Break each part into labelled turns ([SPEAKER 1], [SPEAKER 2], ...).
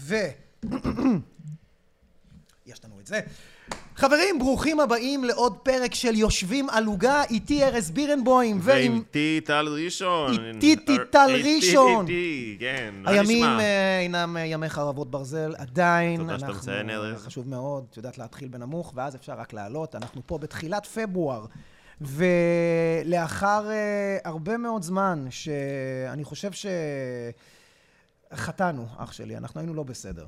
[SPEAKER 1] ו... יש לנו את זה. חברים, ברוכים הבאים לעוד פרק של יושבים על עוגה, איתי ארז בירנבוים ועם...
[SPEAKER 2] ואיתי טל ראשון. אה,
[SPEAKER 1] איתי טל
[SPEAKER 2] איתי,
[SPEAKER 1] ראשון.
[SPEAKER 2] איתי, כן, מה נשמע?
[SPEAKER 1] הימים אה, אינם אה, ימי חרבות ברזל, עדיין.
[SPEAKER 2] תודה שאתה
[SPEAKER 1] אנחנו-
[SPEAKER 2] מציין, ארז.
[SPEAKER 1] חשוב מאוד, את יודעת להתחיל בנמוך, ואז אפשר רק לעלות. אנחנו פה בתחילת פברואר, ולאחר אה, הרבה מאוד זמן, שאני חושב ש... חטאנו, אח שלי, אנחנו היינו לא בסדר.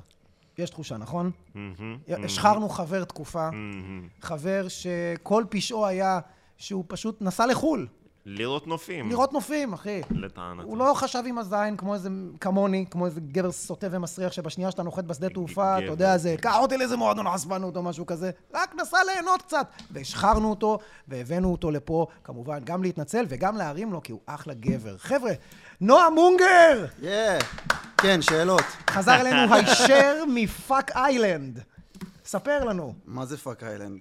[SPEAKER 1] יש תחושה, נכון?
[SPEAKER 2] מהמם,
[SPEAKER 1] השחרנו חבר תקופה,
[SPEAKER 2] מהמם.
[SPEAKER 1] חבר שכל פשעו היה שהוא פשוט נסע לחו"ל,
[SPEAKER 2] Mm. לראות נופים.
[SPEAKER 1] לראות נופים, אחי.
[SPEAKER 2] לטענתו.
[SPEAKER 1] הוא לא חשב עם הזין כמו איזה, כמוני, כמו איזה גבר סוטה ומסריח שבשנייה שאתה נוחת בשדה תעופה, אתה
[SPEAKER 2] גבר.
[SPEAKER 1] יודע, זה, קח אותי לאיזה מועדון עזבנות או משהו כזה, רק נסע ליהנות קצת. והשחרנו אותו, והבאנו אותו לפה, כמובן, גם להתנצל וגם להרים לו, כי הוא אחלה גבר. חבר'ה, נועם מונגר!
[SPEAKER 3] יא! כן, שאלות.
[SPEAKER 1] חזר אלינו הישר מפאק איילנד. ספר לנו.
[SPEAKER 3] מה זה פאק איילנד?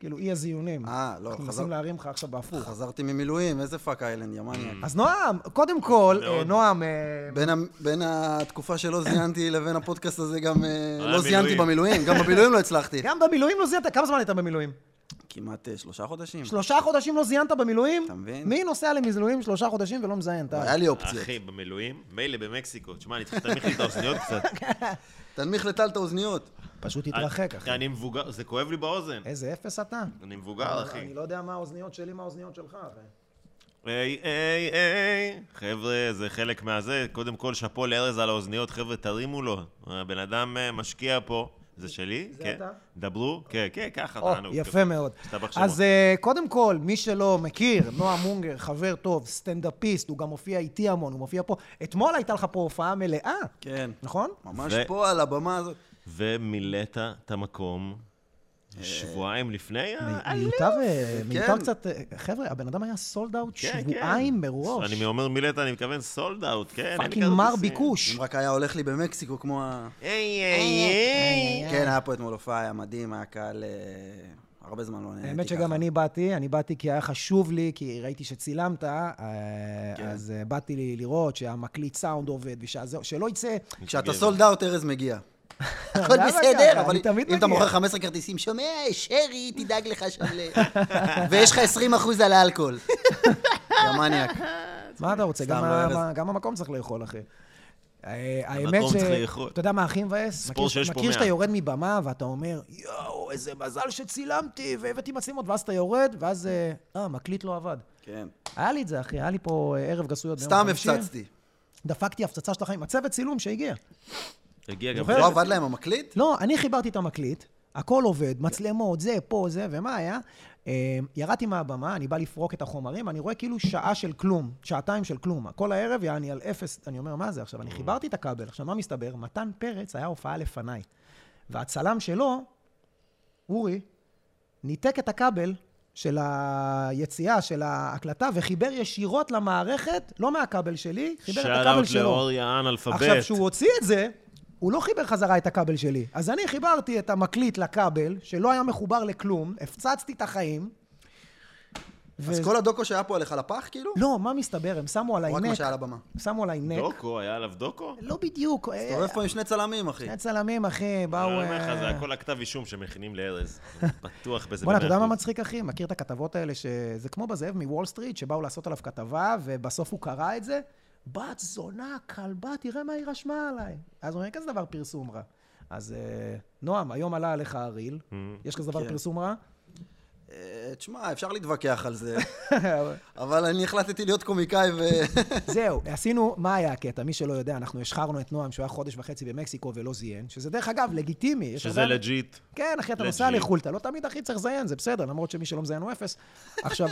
[SPEAKER 1] כאילו, אי הזיונים.
[SPEAKER 3] אה, לא,
[SPEAKER 1] אנחנו
[SPEAKER 3] חזר-
[SPEAKER 1] מנסים להרים לך עכשיו בהפוך.
[SPEAKER 3] חזרתי ממילואים, איזה פאק איילנד, יא מניאק.
[SPEAKER 1] אז נועם, קודם כל,
[SPEAKER 2] מאוד.
[SPEAKER 1] אה, נועם, אה,
[SPEAKER 3] בין ה- בין התקופה שלא זיינתי לבין הפודקאסט הזה גם אה,
[SPEAKER 2] היה
[SPEAKER 3] לא זיינתי
[SPEAKER 2] מילואים.
[SPEAKER 3] במילואים, גם במילואים לא הצלחתי.
[SPEAKER 1] גם במילואים לא זיינת, כמה זמן היית במילואים?
[SPEAKER 3] כמעט אה, שלושה חודשים.
[SPEAKER 1] שלושה חודשים לא זיינת במילואים?
[SPEAKER 3] אתה מבין?
[SPEAKER 1] מי נוסע למילואים שלושה חודשים ולא מזיין? אתה...
[SPEAKER 3] היה לי אופציות.
[SPEAKER 2] אחי, במילואים? מילא במקסיקו. תשמע, אני צריך להנמיך לי את האוזניות קצת.
[SPEAKER 3] תנמיך לטל את האוזניות.
[SPEAKER 1] פשוט התרחק, כן, אחי.
[SPEAKER 2] אני מבוגר, זה כואב לי באוזן.
[SPEAKER 1] איזה אפס אתה.
[SPEAKER 2] אני מבוגר,
[SPEAKER 1] אני
[SPEAKER 2] אחי.
[SPEAKER 1] לא יודע מה האוזניות שלי, מה האוזניות שלך. אחי.
[SPEAKER 2] היי, היי, היי. חבר'ה, זה חלק מהזה. קודם כל, שאפו לארז על האוזניות. חבר'ה, תרימו לו. הבן אדם אה, משקיע פה. זה שלי?
[SPEAKER 1] זה
[SPEAKER 2] כן.
[SPEAKER 1] אתה?
[SPEAKER 2] דברו? כן, כן, ככה,
[SPEAKER 1] או,
[SPEAKER 2] תענוג.
[SPEAKER 1] יפה מאוד.
[SPEAKER 2] הסתבך שמות.
[SPEAKER 1] אז אה, קודם כל, מי שלא מכיר, נועם מונגר, חבר טוב, סטנדאפיסט, הוא גם הופיע איתי המון, הוא מופיע פה. אתמול הייתה לך פה הופעה מלאה,
[SPEAKER 3] כן.
[SPEAKER 1] נכון?
[SPEAKER 3] ממש
[SPEAKER 2] ו-
[SPEAKER 3] פה על הבמה הזאת.
[SPEAKER 2] ומילאת את המקום
[SPEAKER 1] אה,
[SPEAKER 2] שבועיים לפני ה...
[SPEAKER 1] מיותר, אה,
[SPEAKER 3] כן.
[SPEAKER 1] מיותר קצת, אה, חבר'ה, הבן אדם היה סולד אאוט
[SPEAKER 2] כן,
[SPEAKER 1] שבועיים
[SPEAKER 2] כן.
[SPEAKER 1] מראש.
[SPEAKER 2] אני אומר מילאת, אני מתכוון סולד אאוט, כן? אין לי
[SPEAKER 1] פאקינג
[SPEAKER 2] כרטיסים.
[SPEAKER 1] מר ביקוש.
[SPEAKER 3] אם רק היה הולך לי במקסיקו כמו ה...
[SPEAKER 2] היי, היי, היי.
[SPEAKER 3] כן, היה פה אתמול הופעה, היה מדהים, היה קהל... אה, הרבה זמן לא נהניתי
[SPEAKER 1] האמת
[SPEAKER 3] ככה.
[SPEAKER 1] שגם אני באתי, אני באתי כי היה חשוב לי, כי ראיתי שצילמת, אה,
[SPEAKER 2] כן.
[SPEAKER 1] אז אה, באתי לי לראות שהמקליט סאונד עובד, ושזה- שלא יצא...
[SPEAKER 3] כשאתה סולד אאוט, ארז מגיע. הכל
[SPEAKER 1] למה ככה?
[SPEAKER 3] בסדר, אבל
[SPEAKER 1] אני תמיד
[SPEAKER 3] אם אתה
[SPEAKER 1] מגיע.
[SPEAKER 3] מוכר 15 כרטיסים, שומע, שרי, תדאג לך שם ל... ויש לך 20 אחוז על האלכוהול. יא מניאק.
[SPEAKER 1] מה אתה רוצה?
[SPEAKER 3] סתם,
[SPEAKER 1] גם
[SPEAKER 3] לא,
[SPEAKER 1] ה-
[SPEAKER 3] ארז.
[SPEAKER 1] מה- גם המקום צריך לאכול, אחי. אה, האמת
[SPEAKER 2] המקום
[SPEAKER 1] ש...
[SPEAKER 2] צריך לאכול.
[SPEAKER 1] אתה יודע מה הכי מבאס?
[SPEAKER 2] ספורט
[SPEAKER 1] מכיר-
[SPEAKER 2] שיש פה
[SPEAKER 1] מכיר שאתה
[SPEAKER 2] מאה.
[SPEAKER 1] יורד מבמה ואתה אומר, יואו, איזה מזל שצילמתי והבאתי מצלמות, ואז אתה יורד, ואז, אה, אה, מקליט לא עבד.
[SPEAKER 3] כן.
[SPEAKER 1] היה לי את זה, אחי, היה לי פה אה, ערב גסויות ביום
[SPEAKER 3] סתם
[SPEAKER 1] חמישי.
[SPEAKER 3] הפצצתי.
[SPEAKER 1] דפקתי הפצצה של החיים, הצוות צילום שהגיע.
[SPEAKER 2] הגיע גם...
[SPEAKER 1] זוכר?
[SPEAKER 3] לא עבד להם המקליט?
[SPEAKER 1] לא, אני חיברתי את המקליט, הכל עובד, מצלמות, זה, פה, זה, ומה היה? אה, ירדתי מהבמה, אני בא לפרוק את החומרים, אני רואה כאילו שעה של כלום, שעתיים של כלום. כל הערב, יעני על אפס, אני אומר, מה זה עכשיו? אני חיברתי את הכבל. עכשיו, מה מסתבר? מתן פרץ היה הופעה לפניי. והצלם שלו, אורי, ניתק את הכבל של היציאה, של ההקלטה, וחיבר ישירות למערכת, לא מהכבל שלי, חיבר את
[SPEAKER 2] שאל
[SPEAKER 1] הכבל
[SPEAKER 2] אאוט
[SPEAKER 1] שלו.
[SPEAKER 2] לאור יען אלפבית.
[SPEAKER 1] עכשיו, כשהוא הוציא את זה, הוא לא חיבר חזרה את הכבל שלי. אז אני חיברתי את המקליט לכבל, שלא היה מחובר לכלום, הפצצתי את החיים.
[SPEAKER 3] אז כל הדוקו שהיה פה עליך לפח, כאילו?
[SPEAKER 1] לא, אה, מה מסתבר? הם שמו עליי
[SPEAKER 3] או רק מה
[SPEAKER 1] נק,
[SPEAKER 3] שהיה על הבמה?
[SPEAKER 1] שמו עליי נק.
[SPEAKER 2] דוקו, היה עליו דוקו?
[SPEAKER 1] לא בדיוק. אה,
[SPEAKER 3] אתה אוהב פה עם שני צלמים, אחי.
[SPEAKER 1] שני צלמים, אחי, באו...
[SPEAKER 2] אני אומר לך, זה
[SPEAKER 1] אה,
[SPEAKER 2] הכל הכתב אישום שמכינים לארז. בטוח בזה.
[SPEAKER 1] בוא'נה, אתה
[SPEAKER 2] במאה
[SPEAKER 1] יודע מה
[SPEAKER 2] אחוז.
[SPEAKER 1] מצחיק, אחי? מכיר את הכתבות האלה, שזה כמו בזאב מוול סטריט, שבאו לעשות עליו כתבה, ובסוף הוא קרא את זה? בת זונה, כלבה, תראה מה היא רשמה עליי. אז הוא אומר, כזה דבר פרסום רע. אז אה, נועם, היום עלה עליך הריל, יש כזה דבר
[SPEAKER 3] כן.
[SPEAKER 1] פרסום רע?
[SPEAKER 3] אה, תשמע, אפשר להתווכח על זה, אבל אני החלטתי להיות קומיקאי ו...
[SPEAKER 1] זהו, עשינו, מה היה הקטע? מי שלא יודע, אנחנו השחרנו את נועם, שהוא היה חודש וחצי במקסיקו ולא זיין, שזה דרך אגב, לגיטימי. יש
[SPEAKER 2] שזה
[SPEAKER 1] הרבה-
[SPEAKER 2] לג'יט.
[SPEAKER 1] כן, אחי, אתה נוסע
[SPEAKER 2] לג'יט.
[SPEAKER 1] לחו"ל, אתה לא תמיד הכי צריך לזיין, זה בסדר, למרות שמי שלא מזיין הוא אפס. עכשיו,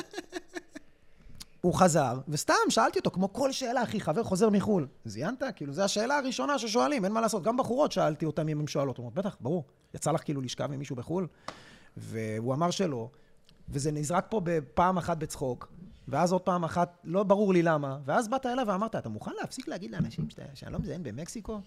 [SPEAKER 1] הוא חזר, וסתם שאלתי אותו, כמו כל שאלה, אחי, חבר חוזר מחו"ל, זיינת? כאילו, זו השאלה הראשונה ששואלים, אין מה לעשות. גם בחורות שאלתי אותן אם הן שואלות. אומרות, בטח, ברור. יצא לך כאילו לשכב עם מישהו בחו"ל? והוא אמר שלא, וזה נזרק פה בפעם אחת בצחוק, ואז עוד פעם אחת, לא ברור לי למה, ואז באת אליו ואמרת, אתה מוכן להפסיק להגיד לאנשים שאתה- שאני לא מזיין במקסיקו?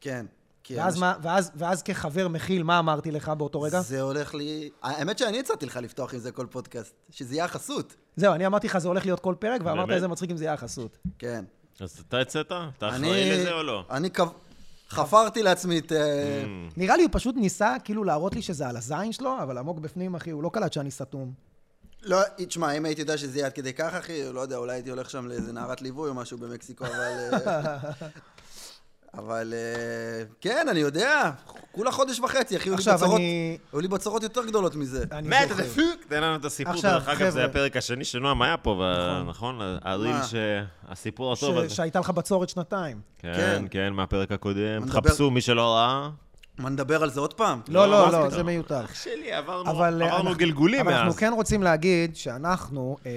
[SPEAKER 3] כן. כי
[SPEAKER 1] ואז,
[SPEAKER 3] אנשים-
[SPEAKER 1] מה, ואז, ואז כחבר מכיל, מה אמרתי לך באותו רגע?
[SPEAKER 3] זה הולך לי... האמת שאני הצעתי לך לפתוח עם זה כל פודקאסט, שזה יהיה החסות.
[SPEAKER 1] זהו, אני אמרתי לך, זה הולך להיות כל פרק, ואמרת
[SPEAKER 2] באמת? Mm.
[SPEAKER 1] איזה מצחיק אם זה יהיה החסות.
[SPEAKER 3] כן.
[SPEAKER 2] אז אתה יצאת? אתה
[SPEAKER 3] אני-
[SPEAKER 2] אחראי לזה או לא?
[SPEAKER 3] אני קב... חפרתי לעצמי את... אה,
[SPEAKER 2] Mm.
[SPEAKER 1] נראה לי הוא פשוט ניסה כאילו להראות לי שזה על הזין שלו, אבל עמוק בפנים, אחי, הוא לא קלט שאני סתום.
[SPEAKER 3] לא, תשמע, אם הייתי יודע שזה יהיה עד כדי כך, אחי, לא יודע, אולי הייתי הולך שם לאיזה נערת ליווי או משהו במקסיקו, אבל... אה, אבל אה, כן, אני יודע, כולה חודש וחצי, אחי, היו לי
[SPEAKER 1] עכשיו,
[SPEAKER 3] בצרות-
[SPEAKER 1] אני-
[SPEAKER 3] היו לי בצורות יותר גדולות מזה.
[SPEAKER 1] אני
[SPEAKER 2] מת,
[SPEAKER 1] זוכר.
[SPEAKER 2] דפוק, תן לנו את הסיפור.
[SPEAKER 1] עכשיו,
[SPEAKER 2] דרך אגב, זה
[SPEAKER 1] חבר'ה.
[SPEAKER 2] הפרק השני שנועם היה פה, ו- נכון? הריל
[SPEAKER 3] מה?
[SPEAKER 2] שהסיפור
[SPEAKER 1] ש-
[SPEAKER 2] הטוב הזה.
[SPEAKER 1] שהייתה לך בצורת שנתיים.
[SPEAKER 2] כן,
[SPEAKER 3] כן.
[SPEAKER 2] כן, מהפרק הקודם.
[SPEAKER 3] נדבר-
[SPEAKER 2] חפשו, מי שלא ראה.
[SPEAKER 3] מה, נדבר על זה עוד פעם?
[SPEAKER 1] לא,
[SPEAKER 2] לא,
[SPEAKER 1] לא,
[SPEAKER 2] מה
[SPEAKER 1] לא,
[SPEAKER 2] פתאום?
[SPEAKER 1] זה מיותר.
[SPEAKER 2] אח שלי, עברנו
[SPEAKER 1] אבל, אה,
[SPEAKER 2] עברנו
[SPEAKER 1] אנחנו-
[SPEAKER 2] גלגולים
[SPEAKER 1] אבל אנחנו
[SPEAKER 2] מאז.
[SPEAKER 1] כן רוצים להגיד שאנחנו אה,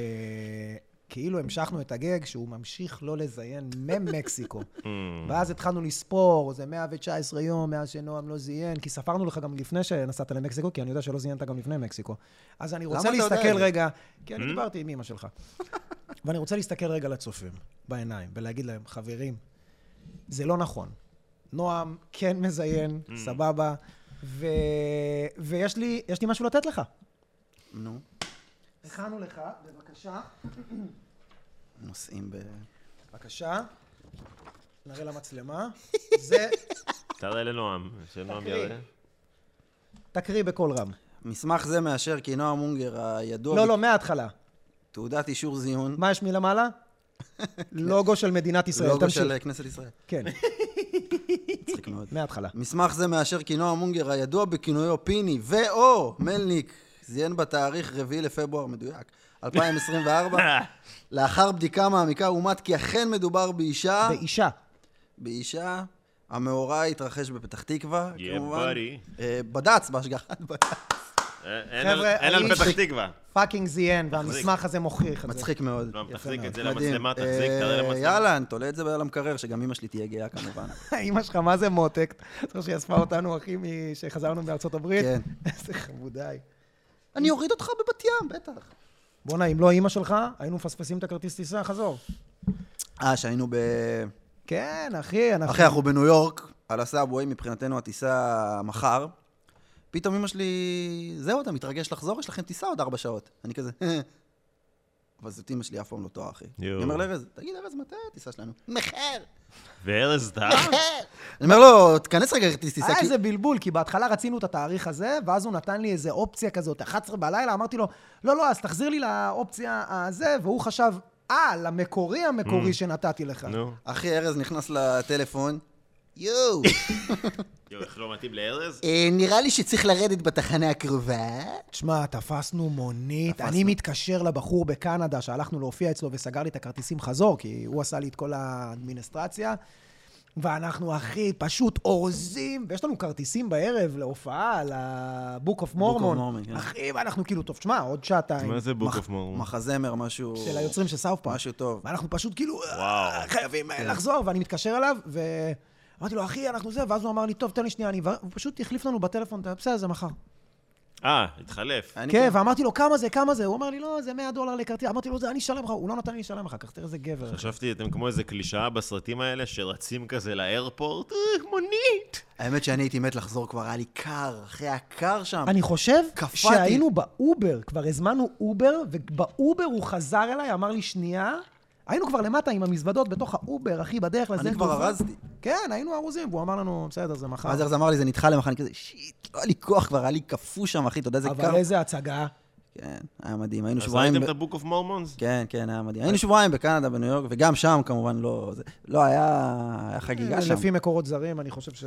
[SPEAKER 1] כאילו המשכנו את הגג שהוא ממשיך לא לזיין ממקסיקו.
[SPEAKER 2] Mm. Hmm,
[SPEAKER 1] ואז התחלנו לספור, זה 119 יום מאז שנועם לא זיין, כי ספרנו לך גם לפני שנסעת למקסיקו, כי אני יודע שלא זיינת גם לפני מקסיקו. אז אני רוצה
[SPEAKER 3] למה אתה יודע
[SPEAKER 1] להסתכל
[SPEAKER 3] את זה? Hmm?
[SPEAKER 1] רגע, כי אני דיברתי עם אמא שלך, ואני רוצה להסתכל רגע לצופים בעיניים ולהגיד להם, חברים, זה לא נכון. נועם כן מזיין,
[SPEAKER 3] Hmm.
[SPEAKER 1] סבבה, ו... ויש לי, יש לי משהו לתת לך.
[SPEAKER 3] נו,
[SPEAKER 1] הכנו לך, בבקשה.
[SPEAKER 3] נוסעים ב...
[SPEAKER 1] בבקשה. נראה למצלמה. זה,
[SPEAKER 2] תראה לנועם, שנועם
[SPEAKER 1] תקריא.
[SPEAKER 2] יראה.
[SPEAKER 1] תקריא בקול רם.
[SPEAKER 3] מסמך זה מאשר כי נועם אונגר הידוע...
[SPEAKER 1] לא, לא, מההתחלה.
[SPEAKER 3] תעודת אישור זיון.
[SPEAKER 1] מה יש מלמעלה? לוגו של מדינת ישראל.
[SPEAKER 3] לוגו
[SPEAKER 1] תמשיך.
[SPEAKER 3] של אה, כנסת ישראל.
[SPEAKER 1] כן,
[SPEAKER 3] מצחיק מאוד.
[SPEAKER 1] מההתחלה.
[SPEAKER 3] מסמך זה מאשר כי נועם מונגר, הידוע בכינויו פיני ואו מלניק, זיין בתאריך 4 לפברואר, מדויק, 2024. לאחר בדיקה מעמיקה הומת כי אכן מדובר באישה,
[SPEAKER 1] באישה.
[SPEAKER 3] באישה, המאורע התרחש בפתח תקווה,
[SPEAKER 2] Yeah,
[SPEAKER 3] כמובן.
[SPEAKER 2] buddy.
[SPEAKER 3] אה, בד"ץ, בהשגחת בד"ץ.
[SPEAKER 2] אה, אין על-
[SPEAKER 1] חבר'ה,
[SPEAKER 2] אין על
[SPEAKER 1] האיש-
[SPEAKER 2] פתח תקווה.
[SPEAKER 1] פאקינג זיין, והמסמך הזה מוכיח את זה.
[SPEAKER 3] מצחיק מאוד.
[SPEAKER 2] נועם,
[SPEAKER 1] יפה
[SPEAKER 2] תחזיק
[SPEAKER 1] מאוד.
[SPEAKER 2] את זה
[SPEAKER 3] מדהים.
[SPEAKER 2] למצלמה, תחזיק,
[SPEAKER 3] אה,
[SPEAKER 2] תראה למצלמה.
[SPEAKER 3] יאללה, אני תולה את זה על המקרר, שגם אמא שלי תהיה גאה כמובן.
[SPEAKER 1] אמא שלך, מה זה מותק? זוכר שהיא אספה אותנו, אחי, שחזרנו מארצות הברית?
[SPEAKER 3] כן.
[SPEAKER 1] איזה חמודיי.
[SPEAKER 3] אני אוריד אותך בבת ים, בטח.
[SPEAKER 1] בואנה, אם לא אימא שלך, היינו מפספסים את הכרטיס טיסה, חזור.
[SPEAKER 3] אה, שהיינו ב...
[SPEAKER 1] כן, אחי, אנחנו...
[SPEAKER 3] אחי, אנחנו בניו יורק, על הסאבווי, מבחינתנו הטיסה מחר. פתאום אמא שלי, זהו, אתה מתרגש לחזור? יש לכם טיסה עוד ארבע שעות. אני כזה, אבל זאת אמא שלי אף פעם לא טועה, אחי.
[SPEAKER 2] יואו.
[SPEAKER 3] אני אומר לארז, תגיד, ארז, מתי הטיסה שלנו? מחר,
[SPEAKER 2] וארז טעה?
[SPEAKER 3] מחר. אני אומר לו, תכנס רגע כרטיס טיסה,
[SPEAKER 1] היה
[SPEAKER 3] כי...
[SPEAKER 1] אה, איזה בלבול, כי בהתחלה רצינו את התאריך הזה, ואז הוא נתן לי איזה אופציה כזאת, 11 בלילה, אמרתי לו, לא, לא, אז תחזיר לי לאופציה הזה, והוא חשב, אה, למקורי המקורי
[SPEAKER 3] Mm.
[SPEAKER 1] שנתתי לך.
[SPEAKER 2] נו.
[SPEAKER 3] אחי, ארז נכנס לטלפון, יואו,
[SPEAKER 2] יואו, איך לא מתאים לארז?
[SPEAKER 3] אה, נראה לי שצריך לרדת בתחנה הקרובה.
[SPEAKER 1] תשמע, תפסנו מונית.
[SPEAKER 3] תפסנו.
[SPEAKER 1] אני מתקשר לבחור בקנדה שהלכנו להופיע אצלו וסגר לי את הכרטיסים חזור, כי הוא עשה לי את כל האדמיניסטרציה. ואנחנו, אחי, פשוט אורזים, ויש לנו כרטיסים בערב להופעה על ה-Book of
[SPEAKER 3] Mormon,
[SPEAKER 1] Mormon.
[SPEAKER 3] כן.
[SPEAKER 1] אחי, ואנחנו כאילו, טוב, תשמע, עוד שעתיים.
[SPEAKER 2] מה זה בוק אוף מורמון?
[SPEAKER 3] מחזמר, משהו...
[SPEAKER 1] של היוצרים של סאוף פארק.
[SPEAKER 3] משהו טוב.
[SPEAKER 1] ואנחנו פשוט כאילו,
[SPEAKER 2] וואו.
[SPEAKER 1] "אה, חייבים אה, לחזור, ואני מתקשר אליו, ואמרתי לו, אחי, אנחנו זה, ואז הוא אמר לי, טוב, תן לי שנייה, אני... אברר." הוא פשוט החליף לנו בטלפון, "אתה- בסדר, זה מחר.
[SPEAKER 2] אה, התחלף.
[SPEAKER 3] אני
[SPEAKER 1] כן, ואמרתי לו, כמה זה, כמה זה? הוא אמר לי, לא, זה 100 דולר לכרטיס. אמרתי לו, זה אני אשלם לך. הוא לא נתן לי לשלם אחר כך, תראה איזה גבר.
[SPEAKER 2] חשבתי, אתם כמו איזה קלישאה בסרטים האלה, שרצים כזה לאיירפורט, "אה, מונית!
[SPEAKER 3] האמת שאני הייתי מת לחזור כבר, היה לי קר, אחי, היה קר שם.
[SPEAKER 1] אני חושב
[SPEAKER 3] קפאתי.
[SPEAKER 1] שהיינו באובר, כבר הזמנו אובר, ובאובר הוא חזר אליי, אמר לי, שנייה. היינו כבר למטה עם המזוודות בתוך האובר, אחי, בדרך לזה.
[SPEAKER 3] כבר ארזתי.
[SPEAKER 1] כן, היינו ארוזים, והוא אמר לנו, בסדר, זה מחר.
[SPEAKER 3] אז ארז אמר לי, זה נדחה למחר, אני כזה, שיט, לא היה לי כוח כבר, היה לי קפוא שם, אחי, אתה יודע איזה קר.
[SPEAKER 1] אבל איזה הצגה.
[SPEAKER 3] כן, היה מדהים, היינו
[SPEAKER 2] אז
[SPEAKER 3] שבועיים...
[SPEAKER 2] ראיתם את
[SPEAKER 3] ב-
[SPEAKER 2] הבוק אוף מורמונס?
[SPEAKER 3] כן, כן, היה מדהים. היינו שבועיים בקנדה, בניו יורק, וגם שם כמובן לא... זה- לא, היה היה חגיגה שם.
[SPEAKER 1] כן. אה, לפי מקורות זרים, אני חושב ש...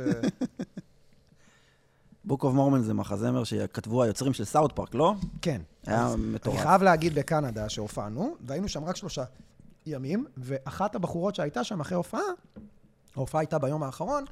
[SPEAKER 3] Book of Mormon זה מחזמר שכתבו היוצרים של סאוט פארק, לא?
[SPEAKER 1] כן.
[SPEAKER 3] היה
[SPEAKER 1] אז
[SPEAKER 3] מטורף.
[SPEAKER 1] אני חייב להגיד בקנדה שהופענו, והיינו שם רק שלושה ימים, ואחת הבחורות שהייתה שם אחרי הופעה, ההופעה הייתה ביום האחרון,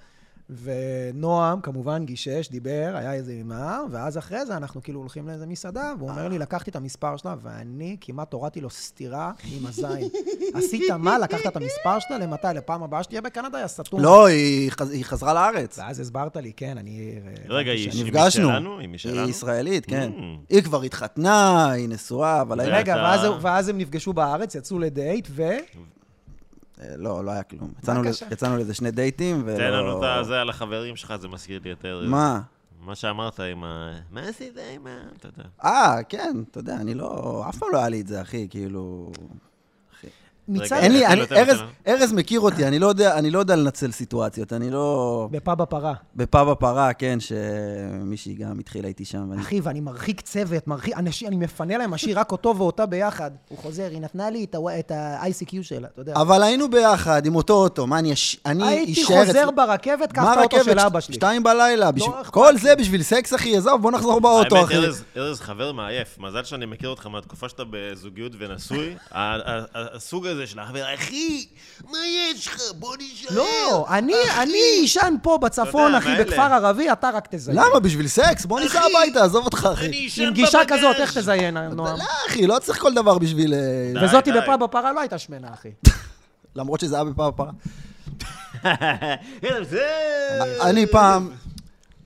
[SPEAKER 1] ונועם כמובן גישש, דיבר, היה איזה מאמר, ואז אחרי זה אנחנו כאילו הולכים לאיזה מסעדה, והוא אומר לי, לקחתי את המספר שלה, ואני כמעט הורדתי לו סטירה עם הזין. עשית מה? לקחת את המספר שלה? למתי? לפעם הבאה שתהיה בקנדה, יא סתום.
[SPEAKER 3] לא, היא חז- היא חזרה לארץ.
[SPEAKER 1] ואז הסברת לי, כן, אני...
[SPEAKER 2] רגע, היא היא
[SPEAKER 3] נפגשנו.
[SPEAKER 2] אה, משלנו? היא משלנו?
[SPEAKER 3] היא ישראלית, כן.
[SPEAKER 2] Mm.
[SPEAKER 3] היא כבר התחתנה, היא נשואה, אבל... היה-
[SPEAKER 1] רגע,
[SPEAKER 2] ואתה-
[SPEAKER 1] ואז, ואז הם נפגשו בארץ, יצאו לדייט, ו...
[SPEAKER 3] אה, לא, לא היה כלום. יצאנו
[SPEAKER 1] בבקשה.
[SPEAKER 3] ל- יצאנו לאיזה שני דייטים, ולא...
[SPEAKER 2] תן לנו את זה על החברים שלך, זה מזכיר לי את ארז.
[SPEAKER 3] כן, לא. מה?
[SPEAKER 2] מה שאמרת עם ה... מה עשית עם ה... אתה יודע.
[SPEAKER 3] אה, כן, אתה יודע, אני לא... אף פעם לא היה לי את זה, אחי, כאילו... אחי.
[SPEAKER 4] מצד...
[SPEAKER 2] רגע,
[SPEAKER 3] אין לי,
[SPEAKER 2] תן
[SPEAKER 3] אני-
[SPEAKER 2] לו, תן לו,
[SPEAKER 3] ארז-
[SPEAKER 2] תן לו.
[SPEAKER 3] ארז מכיר אותי, אני לא יודע- אני לא יודע לנצל סיטואציות, אני לא...
[SPEAKER 2] אוקיי.
[SPEAKER 4] בפאב הפרה.
[SPEAKER 3] בפאב הפרה, כן, שמישהי גם התחילה איתי שם. ואני-
[SPEAKER 4] אחי, ואני מרחיק צוות, מרחיק... אנשים, אני מפנה להם, משאיר רק אותו ואותה ביחד. הוא חוזר, היא נתנה לי את ה- את ה-ICQ שלה, אתה יודע.
[SPEAKER 3] אבל היינו ביחד עם אותו אוטו, מה, אני אש- אני
[SPEAKER 4] הייתי
[SPEAKER 3] אשאר...
[SPEAKER 4] חוזר
[SPEAKER 3] אצלי-
[SPEAKER 4] ברכבת, קח
[SPEAKER 3] מה
[SPEAKER 4] את האוטו
[SPEAKER 3] הרכבת?
[SPEAKER 4] של
[SPEAKER 3] ש-
[SPEAKER 4] אבא שלי. לא
[SPEAKER 3] שתיים בלילה. בשביל-
[SPEAKER 4] אכפת
[SPEAKER 3] כל זה בשביל סקס, אחי, עזוב, בוא נחזור באוטו,
[SPEAKER 2] האמת,
[SPEAKER 3] אחי.
[SPEAKER 2] ארז, ארז חבר מעייף. מזל שאני מכיר אותך מהתקופה שאתה בזוגיות ונשוי. ה- ה- ה- הסוג הזה של החבר, אחי, מה יש לך? בוא נישאר.
[SPEAKER 4] לא, אני, אני אישן פה בצפון,
[SPEAKER 2] אתה יודע,
[SPEAKER 4] אחי,
[SPEAKER 2] מאלה.
[SPEAKER 4] בכפר ערבי, אתה רק תזיין.
[SPEAKER 3] למה? בשביל סקס? בוא ניסע
[SPEAKER 2] אחי,
[SPEAKER 3] הביתה, עזוב אותך, אחי.
[SPEAKER 2] אני אישן
[SPEAKER 4] עם גישה
[SPEAKER 2] בבגאז'.
[SPEAKER 4] כזאת, איך תזיין, נועם?
[SPEAKER 3] לא, אחי, לא צריך כל דבר בשביל... אה,
[SPEAKER 2] די,
[SPEAKER 4] וזאתי
[SPEAKER 2] די.
[SPEAKER 4] בפאב הפרה לא הייתה שמנה, אחי.
[SPEAKER 3] למרות שזה היה בפעם הפרה.
[SPEAKER 2] הנה, זה...
[SPEAKER 3] אני פעם,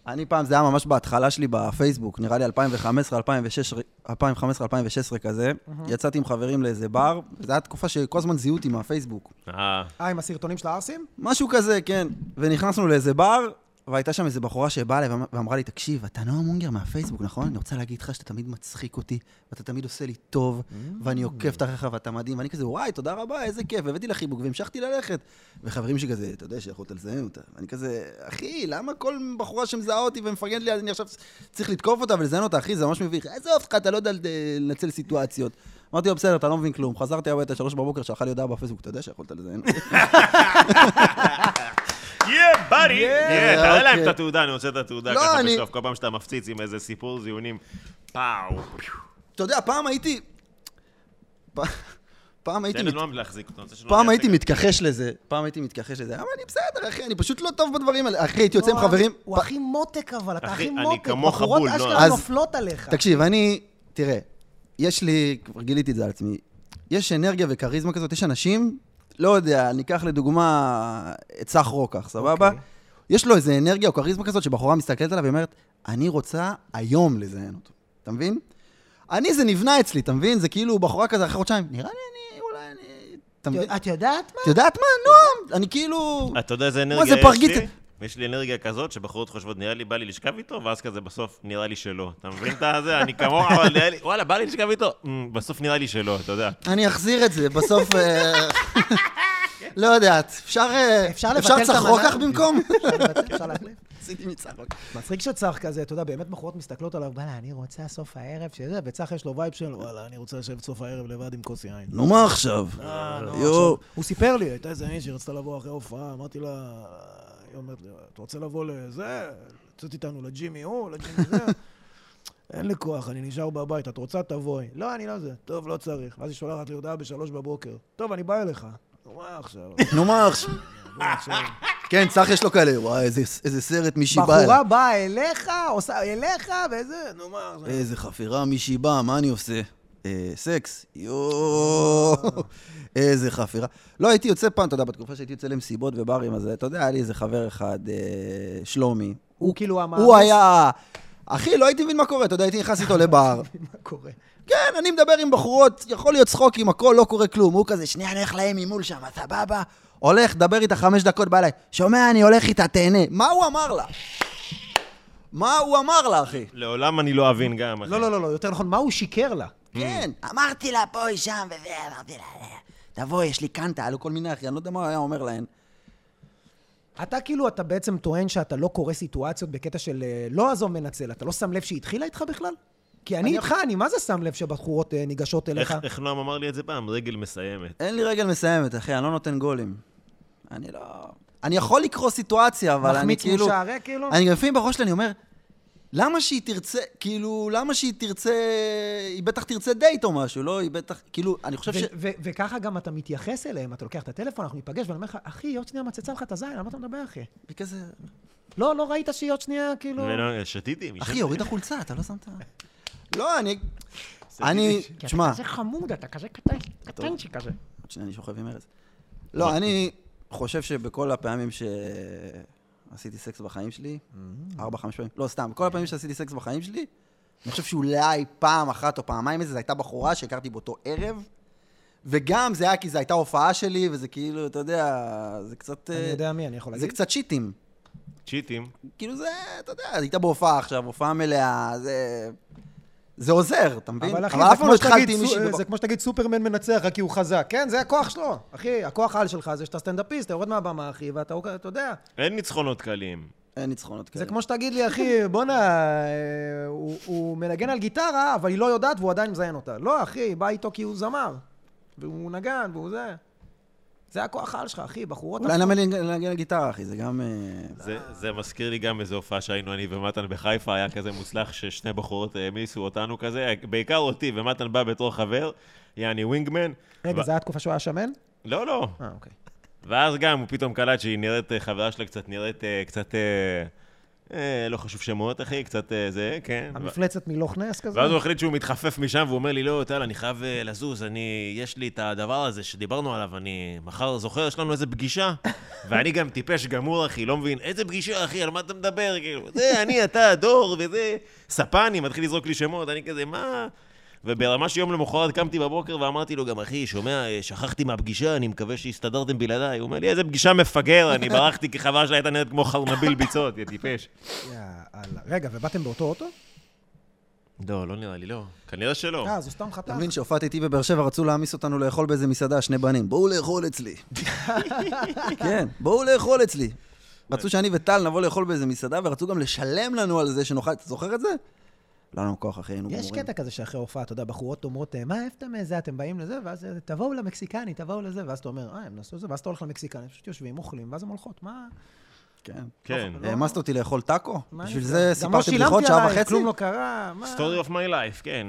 [SPEAKER 3] אני פעם, זה היה ממש בהתחלה שלי בפייסבוק, נראה לי 2015, 2006, 2015, 2016 כזה. יצאתי עם חברים לאיזה בר, זו הייתה תקופה שכל הזמן זיהו אותי מהפייסבוק.
[SPEAKER 2] אה,
[SPEAKER 4] אה, עם הסרטונים של הערסים?
[SPEAKER 3] משהו כזה, כן. ונכנסנו לאיזה בר, והייתה שם איזו בחורה שבאה אליי ואמ- ואמרה לי, תקשיב, אתה נועה מונגר מהפייסבוק, נכון? אני רוצה להגיד לך שאתה תמיד מצחיק אותי, ואתה תמיד עושה לי טוב, ואני עוקב תחתיך ואתה מדהים, ואני כזה, וואי, תודה רבה, איזה כיף, הבאתי לך חיבוק והמשכתי ללכת. וחברים שכזה, אתה יודע שיכולת לזהם אותה. ואני כזה, אחי, למה כל בחורה שמזהה אותי ומפרגנת לי, אז אני עכשיו צריך לתקוף אותה ולזיין אותה, אחי, זה ממש מביך. עזוב אותך, אתה לא יודע לנצל סיטואציות. אמרתי לו, בסדר, אתה לא מבין כלום. חזרתי הביתה, שלוש בבוקר, שלחה לי הודעה בפייסבוק, אתה יודע שיכולת לזיין אותי.
[SPEAKER 2] יא buddy! יא, תראה כן, להם
[SPEAKER 3] אוקיי.
[SPEAKER 2] את התעודה, אני רוצה את התעודה
[SPEAKER 3] לא,
[SPEAKER 2] ככה
[SPEAKER 3] אני-
[SPEAKER 2] בסוף, כל פעם שאתה מפציץ עם איזה סיפור זיונים, פאו.
[SPEAKER 3] אתה יודע, פעם הייתי... פ- פעם הייתי...
[SPEAKER 2] תן
[SPEAKER 3] מת-
[SPEAKER 2] לנועם להחזיק אותו. אני רוצה לא שנועם
[SPEAKER 3] פעם
[SPEAKER 2] יעשה
[SPEAKER 3] הייתי
[SPEAKER 2] ככה.
[SPEAKER 3] מתכחש לזה, פעם הייתי מתכחש לזה. אבל אני בסדר, אחי, אני פשוט לא טוב בדברים האלה. אחי, הייתי יוצא עם
[SPEAKER 1] לא,
[SPEAKER 4] נועם,
[SPEAKER 3] חברים...
[SPEAKER 4] הוא
[SPEAKER 3] פ-
[SPEAKER 4] הכי מותק אבל, אתה
[SPEAKER 2] אחי,
[SPEAKER 4] הכי
[SPEAKER 2] אני
[SPEAKER 4] מותק.
[SPEAKER 2] כמוך
[SPEAKER 4] בחורות
[SPEAKER 2] בול,
[SPEAKER 4] אשכרה
[SPEAKER 2] נועם.
[SPEAKER 3] אז-
[SPEAKER 4] נופלות עליך.
[SPEAKER 3] תקשיב, אני... תראה, יש לי... כבר גיליתי את זה על עצמי. יש אנרגיה וכריזמה כזאת, יש אנשים, לא יודע, ניקח לדוגמה את סך רוקח, סבבה?
[SPEAKER 4] אוקיי.
[SPEAKER 3] יש לו איזה אנרגיה או כריזמה כזאת שבחורה מסתכלת עליו ואומרת, אני רוצה היום לזיין אותו. אתה מבין? אני, זה נבנה אצלי, אתה מבין? זה כאילו בחורה כזה אחרי חודשיים, נראה לי אני, אולי אני... אתה מבין?
[SPEAKER 4] את יודעת מה?
[SPEAKER 3] את יודעת מה, נועם? אני כאילו...
[SPEAKER 2] אתה יודע איזה
[SPEAKER 3] זה
[SPEAKER 2] אנרגיה יש
[SPEAKER 3] פרגית?
[SPEAKER 2] לי? יש לי אנרגיה כזאת שבחורות חושבות, נראה לי בא לי לשכב איתו, ואז כזה בסוף נראה לי שלא. אתה מבין את הזה? אני כמוך, אבל נראה לי, וואלה, בא לי לשכב איתו, "אמ, בסוף נראה לי שלא, אתה יודע.
[SPEAKER 3] אני אחזיר את זה, בסוף... אה, לא יודעת, אפשר... אה,
[SPEAKER 4] אפשר לבטל את
[SPEAKER 3] אפשר
[SPEAKER 4] המנה?
[SPEAKER 3] צחרוקח במקום?
[SPEAKER 4] אפשר להחליף?
[SPEAKER 3] עשיתי מצחרוק.
[SPEAKER 4] מצחיק שצח כזה, אתה יודע, באמת בחורות מסתכלות עליו, וואלה, אני רוצה סוף הערב, שזה, וצח יש לו וייב של, וואלה, אני רוצה לשבת סוף הערב לבד עם כוס יין. אה, לא,
[SPEAKER 3] נו, מה עכשיו? לא,
[SPEAKER 1] אה,
[SPEAKER 3] יואו.
[SPEAKER 4] הוא סיפר לי, הייתה איזה מישהי שרצתה לבוא אחרי הופעה, אמרתי לה, היא אומרת לי, אתה רוצה לבוא לזה? לצאת איתנו לג'ימי הוא, לג'ימי זה? אין לי כוח, אני נשאר בבית, את רוצה תבואי. לא, אני לא זה. טוב, לא צריך. ואז היא שולחת לי הודעה בשלוש בבוקר. טוב, אני בא אליך. מה עכשיו?
[SPEAKER 3] נו, מה עכשיו?
[SPEAKER 4] בוא עכשיו.
[SPEAKER 3] כן, צח יש לו כאלה, וואי, איזה- איזה סרט מישהי באה. אליי.
[SPEAKER 4] בחורה באה אליך, עושה אליך, וזה, נו מה עכשיו?
[SPEAKER 3] איזה חפירה מישהי באה, מה אני עושה? אה, סקס? יואו, איזה חפירה. לא, הייתי יוצא פעם, אתה יודע, בתקופה שהייתי יוצא למסיבות וברים, אז אתה יודע, היה לי איזה חבר אחד, אה, שלומי.
[SPEAKER 4] הוא כאילו המאמץ.
[SPEAKER 3] הוא היה... אחי, לא הייתי מבין מה קורה, אתה יודע, הייתי נכנס איתו לבר.
[SPEAKER 4] מה קורה?
[SPEAKER 3] כן, אני מדבר עם בחורות, יכול להיות צחוקים, הכל, לא קורה כלום. הוא כזה, שנייה, אני הולך להם ממול שם, סבבה. הולך, דבר איתה חמש דקות, בא אליי, שומע, אני הולך איתה, תהנה. מה הוא אמר לה? מה הוא אמר לה, אחי?
[SPEAKER 2] לעולם אני לא אבין גם, אחי.
[SPEAKER 4] לא, לא, לא, לא, יותר נכון, מה הוא שיקר לה?
[SPEAKER 3] כן, אמרתי לה, בואי שם, וזה, אמרתי לה, "אה, תבואי, יש לי קנטה, עלו כל מיני, אחי, אני לא יודע מה הוא היה אומר להן.
[SPEAKER 4] אתה כאילו, אתה בעצם טוען שאתה לא קורא סיטואציות בקטע של אה, לא עזוב מנצל, אתה לא שם לב שהיא התחילה איתך בכלל? כי אני איתך, אני מה זה שם לב שבחורות אה, ניגשות אליך?
[SPEAKER 2] איך- איך נועם אמר לי את זה פעם? רגל מסיימת.
[SPEAKER 3] אין לי רגל מסיימת, אחי, אני לא נותן גולים. אני לא... אני יכול לקרוא סיטואציה, אבל אני
[SPEAKER 4] מחמיץ
[SPEAKER 3] כאילו...
[SPEAKER 4] מול שערי, כאילו?
[SPEAKER 3] אני גם לפעמים בראש שלי, אני אומר, למה שהיא תרצה, כאילו, למה שהיא תרצה, היא בטח תרצה דייט או משהו, לא? היא בטח, כאילו, אני חושב ש...
[SPEAKER 4] ו- ו- וככה גם אתה מתייחס אליהם, אתה לוקח את הטלפון, אנחנו ניפגש, ואני אומר לך, אחי, עוד שנייה מצצה לך את הזין, על מה אתה מדבר, אחי?
[SPEAKER 3] היא כזה...
[SPEAKER 4] לא, לא ראית שהיא עוד שנייה, כאילו...
[SPEAKER 2] ולא, שתיתי, מי
[SPEAKER 3] לא. אחי,
[SPEAKER 2] שת-
[SPEAKER 3] הורידה חולצה, אתה לא שמת... לא, אני... אני...
[SPEAKER 4] כי אתה
[SPEAKER 3] תשמע,
[SPEAKER 4] כזה חמוד, אתה כזה קטן, קטנצ'י כזה.
[SPEAKER 3] עוד שנייה, אני שוכב עם ארז. לא, אני חושב שבכל הפעמים שעשיתי סקס בחיים שלי, ארבע, חמש פעמים, לא, סתם, בכל הפעמים שעשיתי סקס בחיים שלי, אני חושב שאולי פעם אחת או פעמיים איזה, זו הייתה בחורה שהכרתי באותו ערב, וגם זה היה כי זו הייתה הופעה שלי, וזה כאילו, אתה יודע, זה קצת...
[SPEAKER 4] אני
[SPEAKER 3] אה,
[SPEAKER 4] יודע מי, אני יכול
[SPEAKER 3] זה
[SPEAKER 4] להגיד.
[SPEAKER 3] קצת שיטים.
[SPEAKER 2] צ'יטים.
[SPEAKER 3] כאילו זה, אתה יודע, הייתה בהופעה עכשיו, הופעה מלאה, זה... זה עוזר, אתה מבין?
[SPEAKER 1] אבל אחי,
[SPEAKER 3] אף
[SPEAKER 1] זה
[SPEAKER 3] פעם
[SPEAKER 1] כמו,
[SPEAKER 3] לא
[SPEAKER 1] שתגיד,
[SPEAKER 3] התחלתי עם
[SPEAKER 1] סו-
[SPEAKER 4] אה,
[SPEAKER 3] מישהי בבוקר.
[SPEAKER 1] זה כמו שתגיד סופרמן מנצח רק כי הוא חזק. כן, זה הכוח שלו. אחי, הכוח על שלך זה שאתה סטנדאפיסט, אתה יורד מהבמה, אחי, ואתה, אתה יודע.
[SPEAKER 2] אין ניצחונות קלים.
[SPEAKER 3] אין ניצחונות כאלה.
[SPEAKER 1] זה כמו שתגיד לי, אחי, בואנה, אה, הוא- הוא מנגן על גיטרה, אבל היא לא יודעת והוא עדיין מזיין אותה. לא, אחי, היא באה איתו כי הוא זמר. והוא נגן, והוא זה. זה הכוח על שלך, אחי, בחורות...
[SPEAKER 3] אולי נלמד לנגן על גיטרה, אחי, זה גם... אה,
[SPEAKER 2] זה, זה מזכיר לי גם איזו הופעה שהיינו אני ומתן בחיפה, היה כזה מוצלח ששני בחורות העמיסו אותנו כזה, בעיקר אותי, ומתן בא בתור חבר, יעני ווינגמן.
[SPEAKER 1] רגע,
[SPEAKER 2] ו-
[SPEAKER 1] זו הייתה תקופה שהוא היה שמן?
[SPEAKER 2] לא, לא.
[SPEAKER 1] אה, אוקיי.
[SPEAKER 2] ואז גם הוא פתאום קלט שהיא נראית, אה, חברה שלה קצת נראית אה, קצת... אה, אה, לא חשוב שמות, אחי, קצת אה, זה, כן. ו-
[SPEAKER 1] המפלצת מלוך נס כזה?
[SPEAKER 2] ואז הוא החליט שהוא מתחפף משם, והוא אומר לי, לא, טל, אני חייב אה, לזוז, אני, יש לי את הדבר הזה שדיברנו עליו, אני מחר זוכר, יש לנו איזה פגישה. ואני גם טיפש גמור, אחי, לא מבין, איזה פגישה, אחי, על מה אתה מדבר? כאילו, זה, אני, אתה, דור, וזה, ספני, מתחיל לזרוק לי שמות, אני כזה, מה? וברמה שיום למחרת קמתי בבוקר ואמרתי לו גם, אחי, שומע, אה, שכחתי מהפגישה, אני מקווה שהסתדרתם בלעדיי. הוא אומר לי, איזה פגישה מפגר, אני ברחתי כי חבל שלה הייתה נראית כמו חרמביל ביצות, יא טיפש.
[SPEAKER 1] יאללה. רגע, ובאתם באותו אוטו?
[SPEAKER 2] לא, לא נראה לי, לא. כנראה שלא.
[SPEAKER 1] אה, אז הוא סתם חתך.
[SPEAKER 3] אתה מבין שהופעתי איתי בבאר שבע, רצו להעמיס אותנו לאכול באיזה מסעדה, שני בנים. בואו לאכול אצלי. כן, בואו לאכול אצלי.
[SPEAKER 2] כן.
[SPEAKER 3] רצו שאני וטל נבוא לאכול באיזה מסעדה, ורצו גם לשלם לנו על זה שנאכל... אתה זוכר את זה? לא היה לנו כוח, אחי, היינו גמורים.
[SPEAKER 1] יש קטע כזה שאחרי הופעה, אתה יודע, בחורות אומרות, "אה, מה, איפה אתם מזה, אתם באים לזה, ואז אה, תבואו למקסיקני, תבואו לזה, ואז אתה אומר, אה, הם נעשו זה, ואז אתה הולך למקסיקני, פשוט יושבים, אוכלים, ואז הם הולכות, מה...
[SPEAKER 3] כן.
[SPEAKER 2] כן.
[SPEAKER 1] לא-
[SPEAKER 3] העמסת אותי לאכול טאקו?
[SPEAKER 1] מה
[SPEAKER 3] בשביל
[SPEAKER 1] אני-
[SPEAKER 3] זה
[SPEAKER 1] גם לא
[SPEAKER 3] סיפרתי בדיחות
[SPEAKER 1] שילמתי
[SPEAKER 3] שעה
[SPEAKER 1] עלייך,
[SPEAKER 3] וחצי?
[SPEAKER 1] כלום לא קרה, מה...
[SPEAKER 2] Story of my life, כן.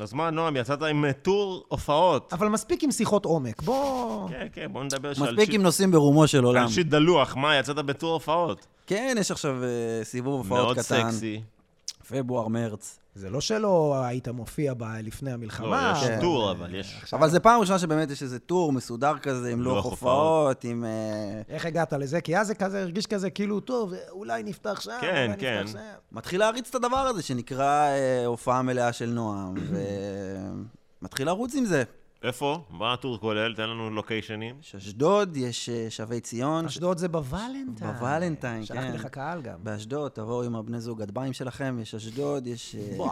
[SPEAKER 2] אז מה, נועם, יצאת עם אה, טור הופעות.
[SPEAKER 1] אבל מספיק עם שיחות עומק, בוא...
[SPEAKER 2] כן, כן, בוא נדבר שעל
[SPEAKER 3] מספיק
[SPEAKER 2] שיט-
[SPEAKER 3] עם נושאים ברומו של עולם.
[SPEAKER 2] על שיט דלוח, מה, יצאת בטור הופעות.
[SPEAKER 3] כן, יש עכשיו אה, סיבוב הופעות
[SPEAKER 2] מאוד
[SPEAKER 3] קטן.
[SPEAKER 2] סקסי.
[SPEAKER 3] פברואר, מרץ.
[SPEAKER 1] זה לא שלא היית מופיע ב- לפני
[SPEAKER 2] לא,
[SPEAKER 1] המלחמה.
[SPEAKER 2] יש
[SPEAKER 3] כן.
[SPEAKER 1] אבל-
[SPEAKER 2] טור, אבל יש...
[SPEAKER 3] אבל זה פעם ראשונה שבאמת יש איזה טור מסודר כזה,
[SPEAKER 1] לא
[SPEAKER 3] עם לוח
[SPEAKER 2] לוח
[SPEAKER 3] הופעות, עם... אה,
[SPEAKER 1] איך הגעת לזה? כי אז זה כזה הרגיש כזה, כאילו, טוב, אולי נפתח שם,
[SPEAKER 2] כן,
[SPEAKER 1] אולי
[SPEAKER 2] כן.
[SPEAKER 1] נפתח שם.
[SPEAKER 3] מתחיל להריץ את הדבר הזה שנקרא אה, הופעה מלאה של נועם, ומתחיל לרוץ עם זה.
[SPEAKER 2] איפה? מה הטור כולל? תן לנו לוקיישנים.
[SPEAKER 3] יש אשדוד, יש אה, שבי ציון.
[SPEAKER 1] אשדוד זה בוולנטיין.
[SPEAKER 3] בוולנטיין, כן.
[SPEAKER 1] שלחתי לך קהל גם.
[SPEAKER 3] באשדוד, תבואו עם הבני זוג הדביים שלכם, יש אשדוד, יש... אה,
[SPEAKER 1] וואו.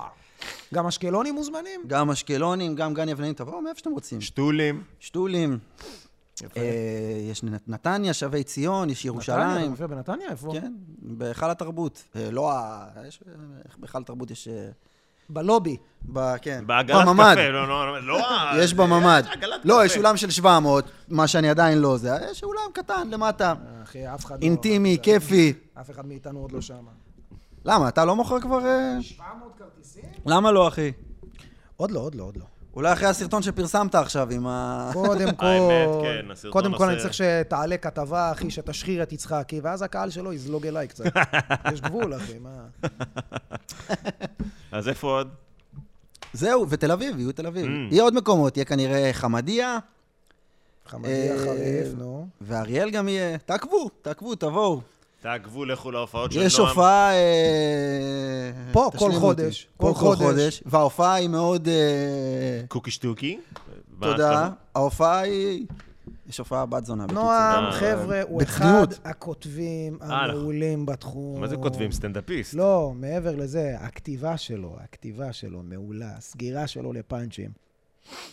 [SPEAKER 1] גם אשקלונים מוזמנים?
[SPEAKER 3] גם אשקלונים, גם גן יבלנים, תבואו מאיפה שאתם רוצים.
[SPEAKER 2] שטולים.
[SPEAKER 3] שתולים. אה, יש נת- נתניה, שבי ציון, יש
[SPEAKER 1] נתניה, אתה
[SPEAKER 3] ירושלים.
[SPEAKER 1] מופיע בנתניה? איפה?
[SPEAKER 3] כן, בהיכל התרבות. אה, לא ה... יש- בהיכל התרבות יש... אה,
[SPEAKER 1] בלובי.
[SPEAKER 3] ב... כן.
[SPEAKER 2] בעגלת
[SPEAKER 3] בממ"ד. אה,
[SPEAKER 2] קפה. לא, לא, לא.
[SPEAKER 3] יש בממ"ד.
[SPEAKER 2] עגלת
[SPEAKER 3] לא,
[SPEAKER 2] קפה.
[SPEAKER 3] יש אולם של 700, מה שאני עדיין לא זה. יש אולם קטן למטה,
[SPEAKER 1] אחי, אף אחד לא...
[SPEAKER 3] אינטימי,
[SPEAKER 1] זה-
[SPEAKER 3] כיפי.
[SPEAKER 1] אף אחד מאיתנו עוד לא שם.
[SPEAKER 3] למה, אתה לא מוכר כבר... אה?
[SPEAKER 1] 700 כרטיסים?
[SPEAKER 3] למה לא, אחי?
[SPEAKER 1] עוד לא, עוד לא, עוד לא.
[SPEAKER 3] אולי אחרי הסרטון שפרסמת עכשיו עם ה...
[SPEAKER 1] קודם כל,
[SPEAKER 2] כן, הסרטון
[SPEAKER 1] קודם כל אני
[SPEAKER 2] עושה-
[SPEAKER 1] צריך שתעלה כתבה, אחי, שתשחיר את יצחקי, ואז הקהל שלו יזלוג אליי קצת. יש גבול, אחי, מה...
[SPEAKER 2] אז איפה עוד?
[SPEAKER 3] זהו, ותל אביב, יהיו תל אביב.
[SPEAKER 2] Mm.
[SPEAKER 3] יהיה עוד מקומות, יהיה כנראה חמדיה,
[SPEAKER 1] חמדי
[SPEAKER 3] אה,
[SPEAKER 1] החריף, נו.
[SPEAKER 3] ואריאל גם יהיה. תעקבו, תעקבו, תבואו.
[SPEAKER 2] תעקבו, לכו להופעות של נועם.
[SPEAKER 3] יש הופעה... אה,
[SPEAKER 1] פה,
[SPEAKER 3] תשלימו
[SPEAKER 1] כל חודש,
[SPEAKER 3] אותי. פה,
[SPEAKER 1] כל
[SPEAKER 3] כל
[SPEAKER 1] חודש.
[SPEAKER 3] חודש. וההופעה היא מאוד... אה,
[SPEAKER 2] קוקי שטוקי.
[SPEAKER 3] תודה. ההופעה היא... יש הופעה בת זונה. בקיצור.
[SPEAKER 1] נועם,
[SPEAKER 2] אה,
[SPEAKER 1] חבר'ה, הוא אחד
[SPEAKER 3] בצניעות.
[SPEAKER 1] הכותבים
[SPEAKER 2] אה, אנחנו-
[SPEAKER 1] המעולים בתחום.
[SPEAKER 2] מה זה כותבים? סטנדאפיסט.
[SPEAKER 1] לא, מעבר לזה, הכתיבה שלו, הכתיבה שלו מעולה, הסגירה שלו לפאנצ'ים.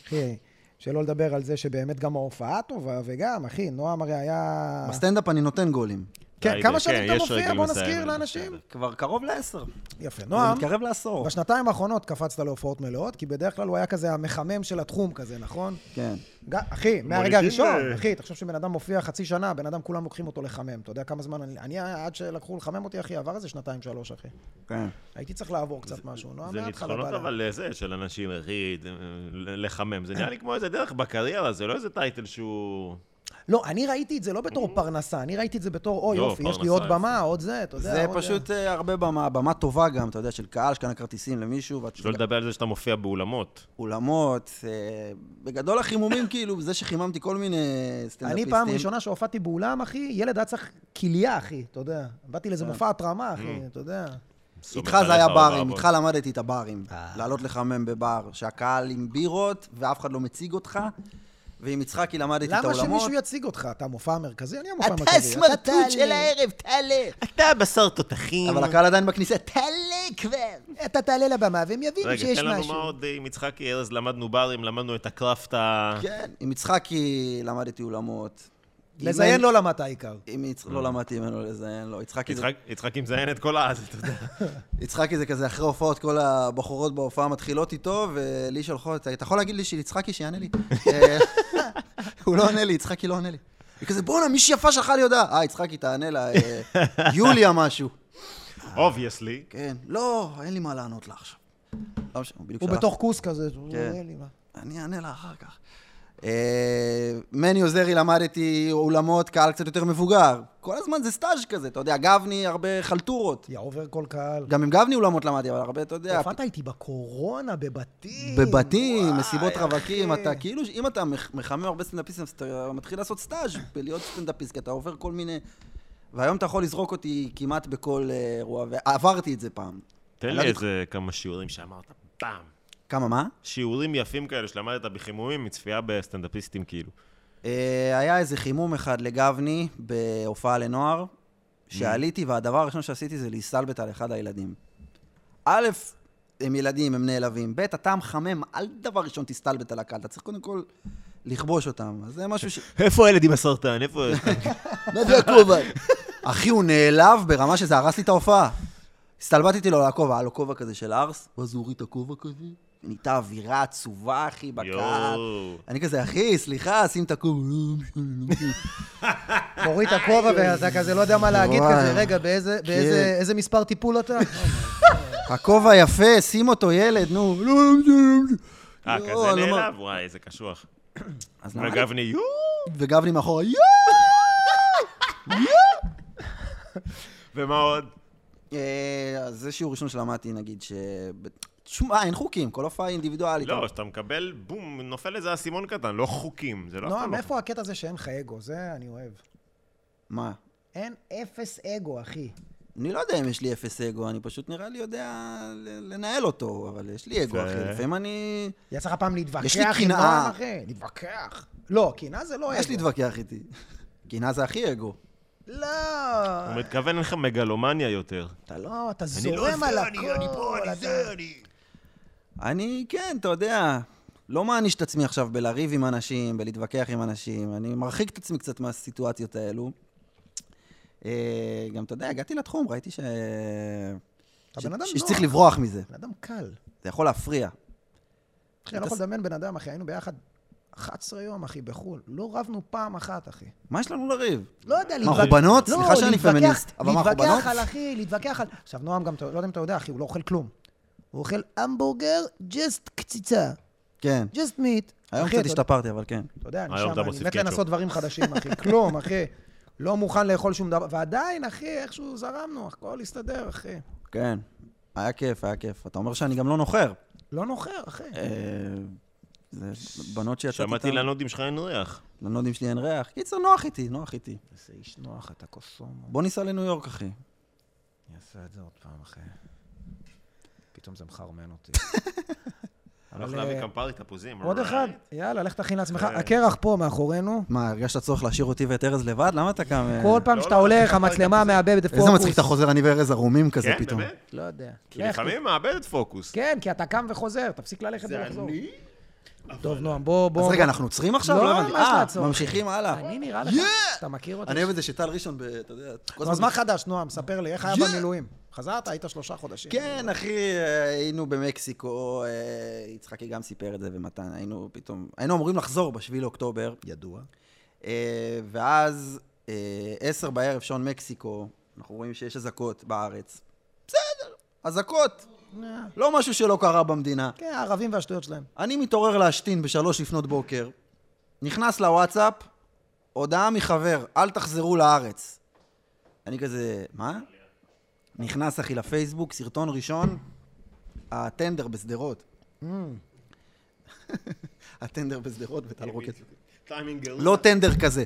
[SPEAKER 1] אחי, שלא לדבר על זה שבאמת גם ההופעה טובה, וגם, אחי, נועם הרי היה...
[SPEAKER 3] בסטנדאפ אני נותן גולים.
[SPEAKER 1] כן,
[SPEAKER 2] די,
[SPEAKER 1] כמה
[SPEAKER 2] כן,
[SPEAKER 1] שנים אתה
[SPEAKER 2] יש
[SPEAKER 1] מופיע?
[SPEAKER 2] רגל
[SPEAKER 1] בוא
[SPEAKER 2] מסיים,
[SPEAKER 1] נזכיר
[SPEAKER 2] בסדר.
[SPEAKER 1] לאנשים.
[SPEAKER 3] כבר קרוב לעשר.
[SPEAKER 1] יפה.
[SPEAKER 3] נועם.
[SPEAKER 1] נועם,
[SPEAKER 3] מתקרב לעשור.
[SPEAKER 1] בשנתיים האחרונות קפצת להופעות מלאות, כי בדרך כלל הוא היה כזה המחמם של התחום כזה, נכון?
[SPEAKER 3] כן.
[SPEAKER 1] ג- אחי, מהרגע
[SPEAKER 2] מוליכים
[SPEAKER 1] הראשון,
[SPEAKER 2] ל-
[SPEAKER 1] אחי, תחשוב שבן אדם מופיע חצי שנה, בן אדם כולם לוקחים אותו לחמם. אתה יודע כמה זמן אני... אני, עד שלקחו לחמם אותי, אחי, עבר איזה שנתיים, שלוש, אחי.
[SPEAKER 3] כן.
[SPEAKER 1] הייתי צריך לעבור קצת משהו, נועם,
[SPEAKER 2] זה
[SPEAKER 3] לא
[SPEAKER 1] מההתחלה בא
[SPEAKER 2] ניצחונות
[SPEAKER 1] לה.
[SPEAKER 2] אבל אה, זה, של אנשים, אחי, אה, לחמם. זה נראה לי כמו איזה דרך בקריירה, זה לא איזה טייטל שהוא...
[SPEAKER 1] לא, אני ראיתי את זה לא בתור פרנסה, אני ראיתי את זה בתור, אוי,
[SPEAKER 2] לא,
[SPEAKER 1] יופי, יש לי
[SPEAKER 2] פרנסה,
[SPEAKER 1] עוד
[SPEAKER 2] יופי.
[SPEAKER 1] במה, עוד זה, אתה יודע.
[SPEAKER 3] זה
[SPEAKER 1] עוד-
[SPEAKER 3] פשוט אה, הרבה במה, במה טובה גם, אתה יודע, של קהל שקנה כרטיסים למישהו, ואת
[SPEAKER 2] שלא
[SPEAKER 3] שולחת
[SPEAKER 2] לדבר על זה שאתה מופיע באולמות.
[SPEAKER 3] אולמות. אה, בגדול החימומים, כאילו, זה שחיממתי כל מיני סטנדאפיסטים.
[SPEAKER 1] אני פעם ראשונה שהופעתי באולם, אחי, ילד היה צריך כליה, אחי, אתה יודע. באתי לאיזה
[SPEAKER 2] אה.
[SPEAKER 1] מופע התרמה, אחי, אתה יודע.
[SPEAKER 2] סומך
[SPEAKER 3] איתך זה היה
[SPEAKER 2] עליך,
[SPEAKER 3] ברים,
[SPEAKER 2] אבא,
[SPEAKER 3] איתך למדתי את הברים. לעלות לחמם בבר, שהקהל עם בירות, ואף אחד לא מציג אותך, ועם יצחקי למדתי את
[SPEAKER 1] למה
[SPEAKER 3] האולמות.
[SPEAKER 1] שמישהו יציג אותך? אתה המופע המרכזי? אני המופע המרכזי.
[SPEAKER 3] אתה הסמרטוט
[SPEAKER 1] תעלה. Mm.
[SPEAKER 3] של הערב, תעלה.
[SPEAKER 2] אתה בשר תותחים.
[SPEAKER 3] אבל הקהל עדיין בכניסה, תעלה,
[SPEAKER 1] כבר. אתה תעלה לבמה והם יבינו
[SPEAKER 2] רגע,
[SPEAKER 1] שיש
[SPEAKER 2] תן לנו
[SPEAKER 1] משהו.
[SPEAKER 2] מה עוד אה, עם יצחקי ארז, למדנו ברים, למדנו את הקראפט ה...
[SPEAKER 3] כן, עם יצחקי למדתי אולמות. עם-
[SPEAKER 1] לזיין לא למדת העיקר.
[SPEAKER 3] עם יצ... לא למדתי ממנו לזיין, לא. יצחקי זה...
[SPEAKER 2] יצחק- יצחקי מזיין את כל העז, אתה יודע.
[SPEAKER 3] יצחקי זה כזה, אחרי הופעות, כל הבחורות בהופעה מתחילות איתו, ולי שלחו, אתה אתה יכול להגיד לי של יצחקי שיענה לי? אה, הוא לא עונה לי, יצחקי לא עונה לי. היא כזה, בואנה, מישהי יפה שלחה לי הודעה. אה, יצחקי, תענה לה, אה, יוליה משהו.
[SPEAKER 2] אובייסלי.
[SPEAKER 3] כן, לא, אין לי מה לענות לה עכשיו. לא משנה, הוא בדיוק
[SPEAKER 1] הוא
[SPEAKER 3] שלח.
[SPEAKER 1] בתוך כוס כזה. הוא
[SPEAKER 3] כן.
[SPEAKER 1] אומר לי, מה.
[SPEAKER 3] אני אענה לה אחר כך. אה, מני עוזרי למדתי אולמות, קהל קצת יותר מבוגר. כל הזמן זה סטאז' כזה, אתה יודע, גבני, הרבה חלטורות.
[SPEAKER 1] יא עובר כל קהל.
[SPEAKER 3] גם עם גבני אולמות למדתי, אבל הרבה, אתה יודע,
[SPEAKER 1] הופעת איתי בקורונה, בבתים.
[SPEAKER 3] בבתים,
[SPEAKER 1] וואי,
[SPEAKER 3] מסיבות
[SPEAKER 1] אחי.
[SPEAKER 3] רווקים, אתה כאילו, אם אתה מח- מחמם הרבה סטנדאפיסטים, אז אתה מתחיל לעשות סטאז' בלהיות סטנדאפיסט, כי אתה עובר כל מיני... והיום אתה יכול לזרוק אותי כמעט בכל אה, אירוע, ועברתי את זה פעם.
[SPEAKER 2] תן
[SPEAKER 3] אני לא
[SPEAKER 2] לי
[SPEAKER 3] יודע-
[SPEAKER 2] איזה כמה שיעורים שאמרת, פעם.
[SPEAKER 3] כמה, מה?
[SPEAKER 2] שיעורים יפים כאלה שלמדת בחימומים מצפייה בסטנדאפיסטים, כאילו.
[SPEAKER 3] אה, היה איזה חימום אחד לגבני בהופעה לנוער,
[SPEAKER 1] Mm.
[SPEAKER 3] שעליתי, והדבר הראשון שעשיתי זה להסתלבט על אחד הילדים. א', הם ילדים, הם נעלבים. ב', אתה מחמם, אל דבר ראשון תסתלבט על הקהל, אתה צריך קודם כל לכבוש אותם. אז זה משהו ש...
[SPEAKER 2] איפה הילד עם הסרטן? איפה...
[SPEAKER 3] מה זה הכובע? אחי, הוא נעלב ברמה שזה הרס לי את ההופעה. הסתלבטתי לו על הכובע, היה לו כובע כזה של ארס, ואז הוא הוריד את הכובע כזה. נהייתה אווירה עצובה, אחי, בקהל.
[SPEAKER 2] יואו.
[SPEAKER 3] אני כזה, אחי, סליחה, שים את הכובע. לא משנה, לא משנה.
[SPEAKER 1] מוריד את הכובע ואתה כזה לא יודע מה להגיד
[SPEAKER 3] כן. וואי. כן.
[SPEAKER 1] כזה, רגע, באיזה- באיזה איזה מספר טיפול אתה?
[SPEAKER 3] לא. הכובע יפה, שים אותו, ילד, נו. לא, לא משנה, לא משנה.
[SPEAKER 2] אה,
[SPEAKER 3] לא,
[SPEAKER 2] כזה
[SPEAKER 3] אני אומר-
[SPEAKER 2] נעלב? וואי, איזה קשוח.
[SPEAKER 3] אז למדתי-
[SPEAKER 2] וגבני, יואו!
[SPEAKER 3] וגבני מאחורה, יואו!
[SPEAKER 2] ומה עוד?
[SPEAKER 3] אה, אז זה שיעור ראשון שלמדתי, נגיד, ש... תשמע, אין חוקים, כל הופעה היא אינדיבידואלית.
[SPEAKER 2] לא, שאתה מקבל, בום, נופל איזה אסימון קטן, לא חוקים. זה לא... אף פעם
[SPEAKER 1] נועם,
[SPEAKER 2] לא
[SPEAKER 1] איפה הקטע הזה שאין לך אגו? זה אני אוהב.
[SPEAKER 3] מה?
[SPEAKER 1] אין אפס אגו, אחי.
[SPEAKER 3] אני לא יודע אם יש לי אפס אגו, אני פשוט נראה לי יודע ל- לנהל אותו, אבל יש לי אגו,
[SPEAKER 2] יפה.
[SPEAKER 3] אחי. לפעמים אני...
[SPEAKER 1] יצא לך פעם להתווכח
[SPEAKER 3] יש לי
[SPEAKER 1] עם
[SPEAKER 3] קנאה.
[SPEAKER 1] נועם, אחי? להתווכח. לא, קנאה זה לא אגו.
[SPEAKER 3] יש להתווכח איתי. קינה זה הכי אגו.
[SPEAKER 1] לא.
[SPEAKER 2] הוא מתכוון לך מגלומניה יותר.
[SPEAKER 1] אתה לא, אתה
[SPEAKER 2] אני לא
[SPEAKER 1] זורם על
[SPEAKER 2] זה,
[SPEAKER 1] הכל.
[SPEAKER 2] אני אני פה, אני
[SPEAKER 1] אתה-
[SPEAKER 2] זה, אני...
[SPEAKER 3] אני, כן, אתה יודע, לא מעניש את עצמי עכשיו בלריב עם אנשים, בלהתווכח עם אנשים. אני מרחיק את עצמי קצת מהסיטואציות האלו. אה, גם, אתה יודע, הגעתי לתחום, ראיתי ש... ש-
[SPEAKER 1] הבן אדם לא-
[SPEAKER 3] ש-
[SPEAKER 1] נוח.
[SPEAKER 3] שצריך לברוח מזה.
[SPEAKER 1] בן אדם קל.
[SPEAKER 3] זה יכול להפריע.
[SPEAKER 4] נכון.
[SPEAKER 1] אחי, אני לא יכול לדמיין בן אדם, אחי, היינו ביחד 11 יום, אחי, בחו"ל. לא רבנו פעם אחת, אחי.
[SPEAKER 3] מה יש לנו לריב?
[SPEAKER 1] לא יודע, להתווכח...
[SPEAKER 3] אנחנו בנות?
[SPEAKER 1] לא,
[SPEAKER 3] סליחה שאני
[SPEAKER 1] להתווכח-
[SPEAKER 3] פמיניסט, אבל מה, אנחנו בנות?
[SPEAKER 1] להתווכח על אחי, להתווכח על... עכשיו, נועם גם, אתה- לא יודע אם אתה יודע, אחי, הוא לא אוכל כלום. הוא אוכל המבורגר, ג'סט קציצה.
[SPEAKER 3] כן.
[SPEAKER 1] ג'סט מיט.
[SPEAKER 3] היום קצת השתפרתי, אבל כן.
[SPEAKER 1] אתה יודע, אני
[SPEAKER 2] היום
[SPEAKER 1] שם,
[SPEAKER 2] אתה
[SPEAKER 1] אני
[SPEAKER 2] מוסיף
[SPEAKER 1] מת
[SPEAKER 2] קטשופ.
[SPEAKER 1] לנסות דברים חדשים, אחי. כלום, אחי. לא מוכן לאכול שום דבר. ועדיין, אחי, איכשהו זרמנו, הכל הסתדר, אחי.
[SPEAKER 3] כן. היה כיף, היה כיף. אתה אומר שאני גם לא נוחר.
[SPEAKER 1] לא נוחר, אחי.
[SPEAKER 3] אה, זה בנות שיצאתי איתן.
[SPEAKER 2] שמעתי לנודים שלך אין ריח.
[SPEAKER 3] לנודים שלי אין ריח. קיצר, נוח איתי, נוח איתי.
[SPEAKER 1] איזה איש נוח, אתה קוסומו.
[SPEAKER 3] בוא ניסע לניו יורק, אחי.
[SPEAKER 1] אני אעשה את זה עוד פעם, אחי. פתאום זה מחרמן אותי.
[SPEAKER 2] אני הולך
[SPEAKER 1] אבל,
[SPEAKER 2] להביא
[SPEAKER 1] אה,
[SPEAKER 2] קמפרי תפוזים. כן,
[SPEAKER 1] עוד
[SPEAKER 2] alright.
[SPEAKER 1] אחד, יאללה, לך תכין לעצמך.
[SPEAKER 2] כן.
[SPEAKER 1] הקרח פה מאחורינו.
[SPEAKER 3] מה, הרגשת צורך להשאיר אותי ואת ארז לבד? למה אתה קם... אה?
[SPEAKER 1] כל פעם
[SPEAKER 2] לא,
[SPEAKER 1] שאתה
[SPEAKER 2] לא,
[SPEAKER 1] הולך,
[SPEAKER 2] לא,
[SPEAKER 1] המצלמה
[SPEAKER 2] לא, לא,
[SPEAKER 1] מאבדת פוקוס.
[SPEAKER 3] איזה מצחיק אתה חוזר, אני וארז ערומים כזה
[SPEAKER 2] כן,
[SPEAKER 3] פתאום.
[SPEAKER 2] באמת?
[SPEAKER 1] לא יודע.
[SPEAKER 2] כי
[SPEAKER 1] לך,
[SPEAKER 2] לפעמים מאבד את פוקוס.
[SPEAKER 1] כן, כי אתה קם וחוזר, תפסיק ללכת ולחזור. טוב, נועם, בוא, בוא.
[SPEAKER 3] אז
[SPEAKER 1] בוא.
[SPEAKER 3] רגע, אנחנו עוצרים עכשיו?
[SPEAKER 1] לא,
[SPEAKER 3] הבנתי.
[SPEAKER 1] מה יש לעצור?
[SPEAKER 3] אה, ממשיכים הלאה.
[SPEAKER 1] אני נראה לך,
[SPEAKER 3] Yeah!
[SPEAKER 1] אתה מכיר אותי.
[SPEAKER 3] אני אוהב את זה שטל ראשון, ב- אתה יודע...
[SPEAKER 1] נו,
[SPEAKER 3] כל
[SPEAKER 1] אז
[SPEAKER 3] הזמן-
[SPEAKER 1] מה חדש, נועם? ספר לי, איך היה
[SPEAKER 3] Yeah!
[SPEAKER 1] במילואים? חזרת? היית שלושה חודשים.
[SPEAKER 3] כן, אחי, אה, היינו במקסיקו, אה, יצחקי גם סיפר את זה, ומתן, היינו פתאום... היינו אמורים לחזור בשביל לאוקטובר.
[SPEAKER 1] ידוע.
[SPEAKER 3] אה, ואז אה, עשר בערב, שעון מקסיקו, אנחנו רואים שיש אזעקות בארץ. בסדר, אזעקות. לא משהו שלא קרה במדינה.
[SPEAKER 1] כן, הערבים והשטויות שלהם.
[SPEAKER 3] אני מתעורר להשתין בשלוש לפנות בוקר, נכנס לוואטסאפ, הודעה מחבר, אל תחזרו לארץ. אני כזה, מה? נכנס אחי לפייסבוק, סרטון ראשון, הטנדר בשדרות. הטנדר בשדרות וטל רוקט.
[SPEAKER 2] טיימינג גרוע.
[SPEAKER 3] לא טנדר כזה.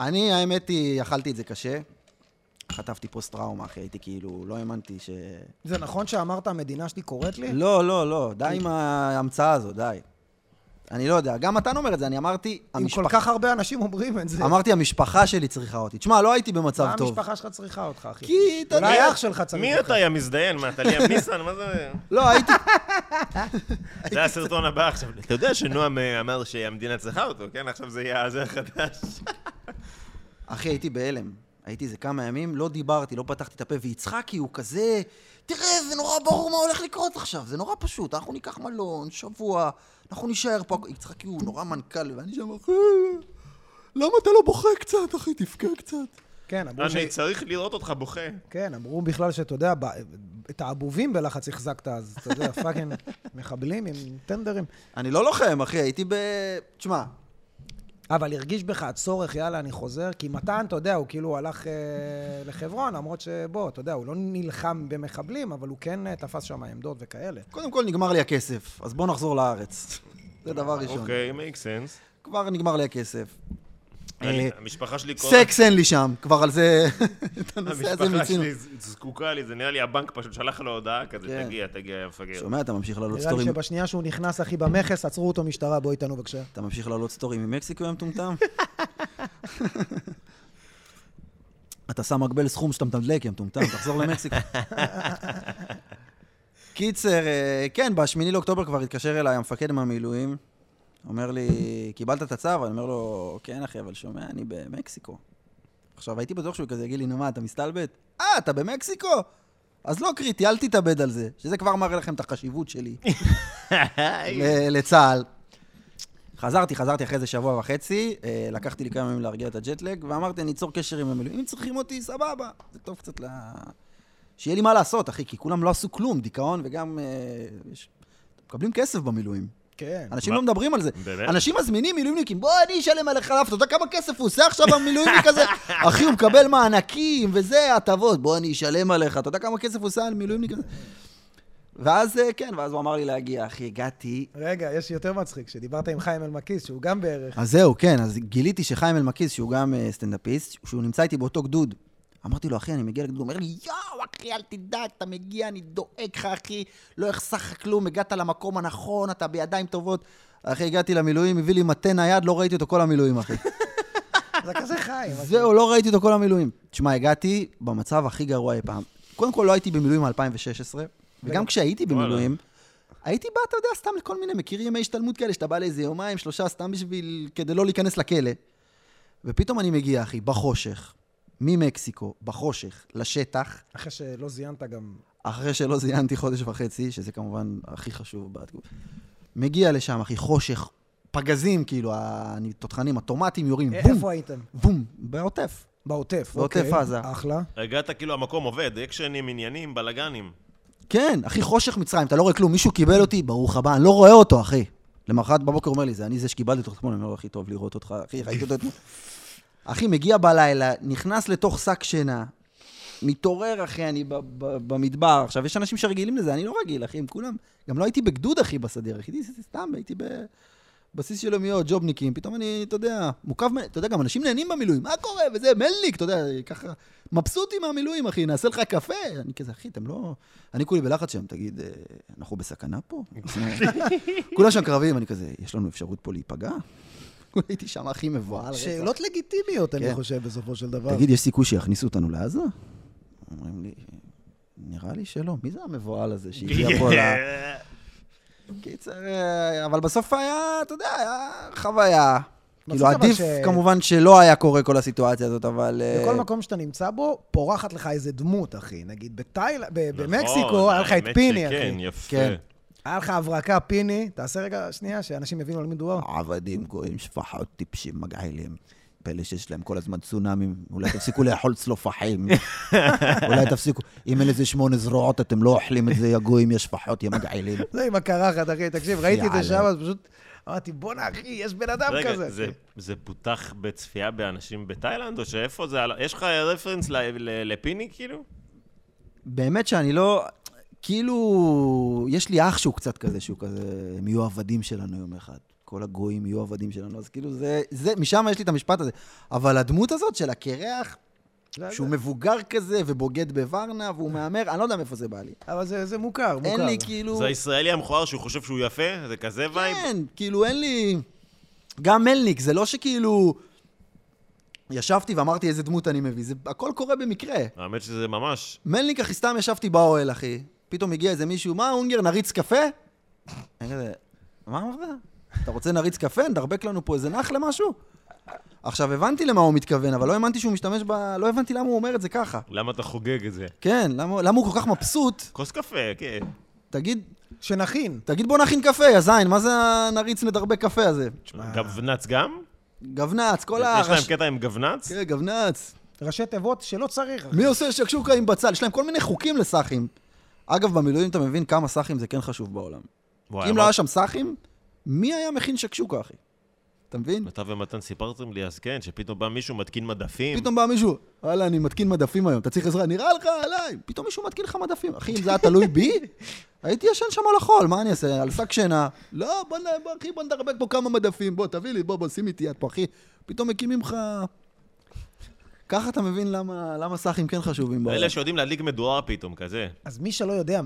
[SPEAKER 3] ואני, האמת היא, אכלתי את זה קשה. חטפתי פוסט-טראומה, אחי, הייתי כאילו, לא האמנתי ש...
[SPEAKER 1] זה נכון שאמרת המדינה שלי קוראת לי?
[SPEAKER 3] לא, לא, לא, די עם ההמצאה הזו, די. אני לא יודע, גם מתן אומר את זה, אני אמרתי,
[SPEAKER 4] אם כל
[SPEAKER 3] המשפחה,
[SPEAKER 4] כך הרבה אנשים אומרים את זה,
[SPEAKER 3] אמרתי, המשפחה שלי צריכה אותי. תשמע, לא הייתי במצב
[SPEAKER 4] מה
[SPEAKER 3] טוב.
[SPEAKER 4] המשפחה שלך צריכה אותך, אחי?
[SPEAKER 3] כי, אתה
[SPEAKER 4] אולי
[SPEAKER 3] יודע-
[SPEAKER 4] אח שלך צריך
[SPEAKER 2] מי
[SPEAKER 4] אותך.
[SPEAKER 2] אתה, יא מזדיין? מה, אתה ליאם ניסן? מה זה?
[SPEAKER 3] לא, הייתי...
[SPEAKER 2] זה הסרטון הבא עכשיו. אתה יודע שנועם אה, אמר שהמדינה צריכה אותו, כן? עכשיו זה יהיה הזה החדש.
[SPEAKER 3] אחי, הייתי בהלם. הייתי איזה כמה ימים, לא דיברתי, לא פתחתי את הפה, ויצחקי הוא כזה... תראה, זה נורא ברור מה הולך לקרות עכשיו, זה נורא פשוט, אנחנו ניקח מלון, שבוע, אנחנו נישאר פה. יצחקי הוא נורא מנכ"ל, ואני שם, אחי, למה אתה לא בוכה קצת, אחי, תבכה קצת.
[SPEAKER 4] כן, אמרו ש...
[SPEAKER 2] אני צריך לראות אותך בוכה.
[SPEAKER 4] כן, אמרו בכלל שאתה יודע, ב- את העבובים בלחץ החזקת, אז אתה יודע, פאקינג מחבלים עם טנדרים.
[SPEAKER 3] אני לא לוחם, אחי, הייתי ב... תשמע,
[SPEAKER 4] אבל הרגיש בך הצורך, יאללה, אני חוזר, כי מתן, אתה יודע, הוא כאילו הלך אה, לחברון, למרות שבוא, אתה יודע, הוא לא נלחם במחבלים, אבל הוא כן אה, תפס שם עמדות וכאלה.
[SPEAKER 3] קודם כל נגמר לי הכסף, אז בואו נחזור לארץ. זה דבר ראשון.
[SPEAKER 2] אוקיי, make sense.
[SPEAKER 3] כבר נגמר לי הכסף.
[SPEAKER 2] אני-
[SPEAKER 3] אה,
[SPEAKER 2] המשפחה שלי כל...
[SPEAKER 3] סקס אין לי שם, כבר על זה... את הנושא הזה
[SPEAKER 2] המשפחה
[SPEAKER 3] מיצינו.
[SPEAKER 2] שלי ז- זקוקה לי, זה נראה לי הבנק פשוט שלח לו הודעה כזה,
[SPEAKER 3] כן.
[SPEAKER 2] תגיע, תגיע, יא מפגר.
[SPEAKER 3] שומע, אתה ממשיך לעלות
[SPEAKER 4] נראה לי
[SPEAKER 3] סטורים.
[SPEAKER 4] שבשנייה שהוא נכנס, אחי, במכס, עצרו אותו משטרה, בוא איתנו בבקשה.
[SPEAKER 3] אתה ממשיך לעלות סטורים ממקסיקו, יא מטומטם? אתה שם מגבל סכום שאתה מתדלק, יא מטומטם, תחזור למקסיקו. קיצר, אה, כן, בשמיני לאוקטובר כבר התקשר אליי המפקד מהמילואים, אומר לי, קיבלת את הצו? אני אומר לו, כן, אחי, אבל שומע, אני במקסיקו. עכשיו, הייתי בטוח שהוא כזה יגיד לי, נו מה, אתה מסתלבט? אה, אתה במקסיקו? אז לא קריטי, אל תתאבד על זה, שזה כבר מראה לכם את החשיבות שלי. ל- לצה"ל. חזרתי, חזרתי אחרי איזה שבוע וחצי, אה, לקחתי לי כמה ימים להרגיע את הג'טלג, ואמרתי, אני אצור קשר עם המילואים, אם צריכים אותי, סבבה. זה טוב קצת ל... שיהיה לי מה לעשות, אחי, כי כולם לא עשו כלום, דיכאון וגם... אה, יש... מקבלים כסף במילואים.
[SPEAKER 4] כן.
[SPEAKER 3] אנשים
[SPEAKER 2] מה?
[SPEAKER 3] לא מדברים על זה.
[SPEAKER 2] באמת?
[SPEAKER 3] אנשים מזמינים מילואימניקים, בוא, אני אשלם עליך חלף, אתה יודע כמה כסף הוא עושה עכשיו במילואימניק הזה? אחי, הוא מקבל מענקים וזה, הטבות, בוא, אני אשלם עליך, אתה יודע כמה כסף הוא עושה על מילואימניק הזה? ואז, אה, כן, ואז הוא אמר לי להגיע, אחי, הגעתי,
[SPEAKER 4] רגע, יש יותר מצחיק, שדיברת עם חיים אלמקיס, שהוא גם בערך...
[SPEAKER 3] אז זהו, כן, אז גיליתי שחיים אלמקיס, שהוא גם אה, סטנדאפיסט, שהוא נמצא איתי באותו גדוד. אמרתי לו, אחי, אני מגיע לגדוד, הוא אומר לי, יואו, אחי, אל תדאג, אתה מגיע, אני דואג לך, אחי, לא אחסך לך כלום, הגעת למקום הנכון, אתה בידיים טובות. אחי, הגעתי למילואים, הביא לי מטה נייד, לא ראיתי אותו כל המילואים, אחי.
[SPEAKER 4] זה כזה חיים. אחי.
[SPEAKER 3] זהו, לא ראיתי אותו כל המילואים. תשמע, הגעתי במצב הכי גרוע אי פעם. קודם כל, לא הייתי במילואים מ-2016, וגם כשהייתי במילואים, הייתי בא, אתה יודע, סתם לכל מיני, מכיר ימי השתלמות כאלה, שאתה בא לאיזה יומיים, שלושה, סתם בשביל, כדי לא להיכנס לכלא. ופתאום אני מגיע, אחי, בחושך, ממקסיקו, בחושך, לשטח,
[SPEAKER 4] אחרי שלא זיינת גם...
[SPEAKER 3] אחרי שלא זיינתי חודש וחצי, שזה כמובן הכי חשוב בתגובה. מגיע לשם, אחי, חושך, פגזים, כאילו, התותחנים, הטומטים יורים, בום,
[SPEAKER 4] איפה הייתם?
[SPEAKER 3] בום, בעוטף.
[SPEAKER 4] בעוטף.
[SPEAKER 3] בעוטף
[SPEAKER 4] אוקיי,
[SPEAKER 3] עזה.
[SPEAKER 4] אחלה.
[SPEAKER 2] הגעת כאילו, המקום עובד, אקשנים, עניינים, בלאגנים.
[SPEAKER 3] כן, אחי, חושך מצרים, אתה לא רואה כלום, מישהו קיבל אותי, ברוך הבא, אני לא רואה אותו, אחי. למחרת בבוקר הוא אומר לי, זה אני זה שקיבלתי אותך אתמול, אני אומר לו, הכי טוב לראות אותך, אחי, ראיתי אותו אתמול. אחי, מגיע בלילה, נכנס לתוך שק שינה, מתעורר, אחי, אני ב- ב- במדבר. עכשיו, יש אנשים שרגילים לזה, אני לא רגיל, אחי, עם כולם. גם לא הייתי בגדוד, אחי, בסדיר, אחי, הייתי סתם, הייתי בבסיס של יומיות, ג'ובניקים, פתאום אני, אתה יודע, מוקף, מ- אתה יודע, גם אנשים נהנים במילואים, מה קורה, וזה, מלניק, אתה יודע, ככה, מבסוטים מהמילואים, אחי, נעשה לך קפה. אני כזה, אחי, אתם לא... אני כולי בלחץ שם, תגיד, אה, אנחנו בסכנה פה? כולם שם קרבים, אני כזה, יש לנו אפשרות פה להיפגע? הייתי שם הכי מבוהל. רצח.
[SPEAKER 4] שאלות לגיטימיות, אני
[SPEAKER 3] כן.
[SPEAKER 4] חושב, בסופו של דבר.
[SPEAKER 3] תגיד, יש סיכוי שיכניסו אותנו לעזה? אומרים לי, נראה לי שלא. מי זה המבוהל הזה שהגיע פה ל... קיצר, אה, אבל בסוף היה, אתה יודע, היה חוויה.
[SPEAKER 4] מצחיק
[SPEAKER 3] כאילו,
[SPEAKER 4] אבל
[SPEAKER 3] עדיף
[SPEAKER 4] ש-
[SPEAKER 3] כמובן שלא היה קורה כל הסיטואציה הזאת, אבל... אה,
[SPEAKER 4] בכל מקום שאתה נמצא בו, פורחת לך איזה דמות, אחי. נגיד בתאילנד,
[SPEAKER 2] נכון,
[SPEAKER 4] במקסיקו, היה לך את
[SPEAKER 2] האמת
[SPEAKER 4] פיני,
[SPEAKER 2] שכן,
[SPEAKER 4] אחי.
[SPEAKER 2] יפה.
[SPEAKER 3] כן.
[SPEAKER 4] היה לך הברקה פיני, תעשה רגע שנייה, שאנשים יבינו על מי מדובר.
[SPEAKER 3] עבדים, גויים, שפחות, טיפשים, מגעילים. פלא שיש להם כל הזמן צונאמים, אולי תפסיקו לאכול צלופחים, אולי תפסיקו, אם אין לזה שמונה זרועות, אתם לא אוכלים את זה, יא גויים, יא שפחות, יא מגעילים.
[SPEAKER 4] זה עם הקרחת, אחי. תקשיב, ראיתי את זה
[SPEAKER 3] יאללה.
[SPEAKER 4] שם, אז פשוט אמרתי, בואנה, אחי, יש בן אדם
[SPEAKER 2] רגע,
[SPEAKER 4] כזה.
[SPEAKER 2] זה-
[SPEAKER 4] אחי."
[SPEAKER 2] זה פותח בצפייה באנשים בתאילנד, או שאיפה זה? עלה? יש לך רפרנס ל- ל- לפיני, כאילו?
[SPEAKER 3] באמת שאני לא... כאילו, יש לי אח שהוא קצת כזה, שהוא כזה, הם יהיו עבדים שלנו יום אחד. כל הגויים יהיו עבדים שלנו, אז כאילו זה, זה, משם יש לי את המשפט הזה. אבל הדמות הזאת של הקרח,
[SPEAKER 4] זה-
[SPEAKER 3] שהוא
[SPEAKER 4] זה-
[SPEAKER 3] מבוגר כזה ובוגד בוורנה, והוא מהמר, אני לא יודע מאיפה זה בא לי.
[SPEAKER 4] אבל זה זה מוכר, מוכר.
[SPEAKER 3] אין לי כאילו...
[SPEAKER 2] זה הישראלי המכוער שהוא חושב שהוא יפה? זה כזה וייב?
[SPEAKER 3] כן, כאילו אין לי... גם מלניק, זה לא שכאילו... ישבתי ואמרתי איזה דמות אני מביא, זה הכל קורה במקרה.
[SPEAKER 2] האמת שזה ממש...
[SPEAKER 3] מלניק אחי סתם ישבתי באוהל, אחי. פתאום הגיע איזה מישהו, מה, אונגר, נריץ קפה? אני כזה, מה אמרת? אתה רוצה נריץ קפה? נדרבק לנו פה איזה נח למשהו? עכשיו, הבנתי למה הוא מתכוון, אבל לא האמנתי שהוא משתמש ב... לא הבנתי למה הוא אומר את זה ככה.
[SPEAKER 2] למה אתה חוגג את זה?
[SPEAKER 3] כן, למה, למה הוא כל כך מבסוט?
[SPEAKER 2] כוס קפה, כן.
[SPEAKER 3] תגיד,
[SPEAKER 4] שנכין.
[SPEAKER 3] תגיד בוא נכין קפה, יא זין, מה זה הנריץ נדרבק קפה הזה?
[SPEAKER 2] גבנץ גם?
[SPEAKER 3] גבנץ, כל
[SPEAKER 2] יש
[SPEAKER 3] הרש...
[SPEAKER 2] להם קטע עם גבנץ?
[SPEAKER 3] כן, גבנץ.
[SPEAKER 4] ראשי תיבות שלא צריך.
[SPEAKER 3] מי עושה שקשוקה עם בצל? יש להם כל מיני חוקים לסאחים. אגב, במילואים אתה מבין כמה סאחים זה כן חשוב בעולם.
[SPEAKER 2] וואי,
[SPEAKER 3] כי אם
[SPEAKER 2] אמרת-
[SPEAKER 3] לא היה שם סאחים, מי היה מכין שקשוקה, אחי? אתה מבין?
[SPEAKER 2] אתה ומתן סיפרתם לי אז כן, שפתאום בא מישהו מתקין מדפים.
[SPEAKER 3] פתאום בא מישהו, וואלה, אני מתקין מדפים היום, אתה צריך עזרה? נראה לך עליי. פתאום מישהו מתקין לך מדפים. אחי, אם זה היה תלוי בי, הייתי ישן שם על החול, מה אני אעשה? על שק שינה. לא, בוא, נ- בוא, אחי, בוא נדרבק פה כמה מדפים, בוא, תביא לי, בוא, בוא, שים איתי יד פה, אחי. פתאום מקימים לך... ככה אתה מבין למה, למה סאחים כן חשובים בעולם.
[SPEAKER 2] אלה שיודעים להדליק מדורה פתאום, כזה.
[SPEAKER 4] אז מי שלא יודע,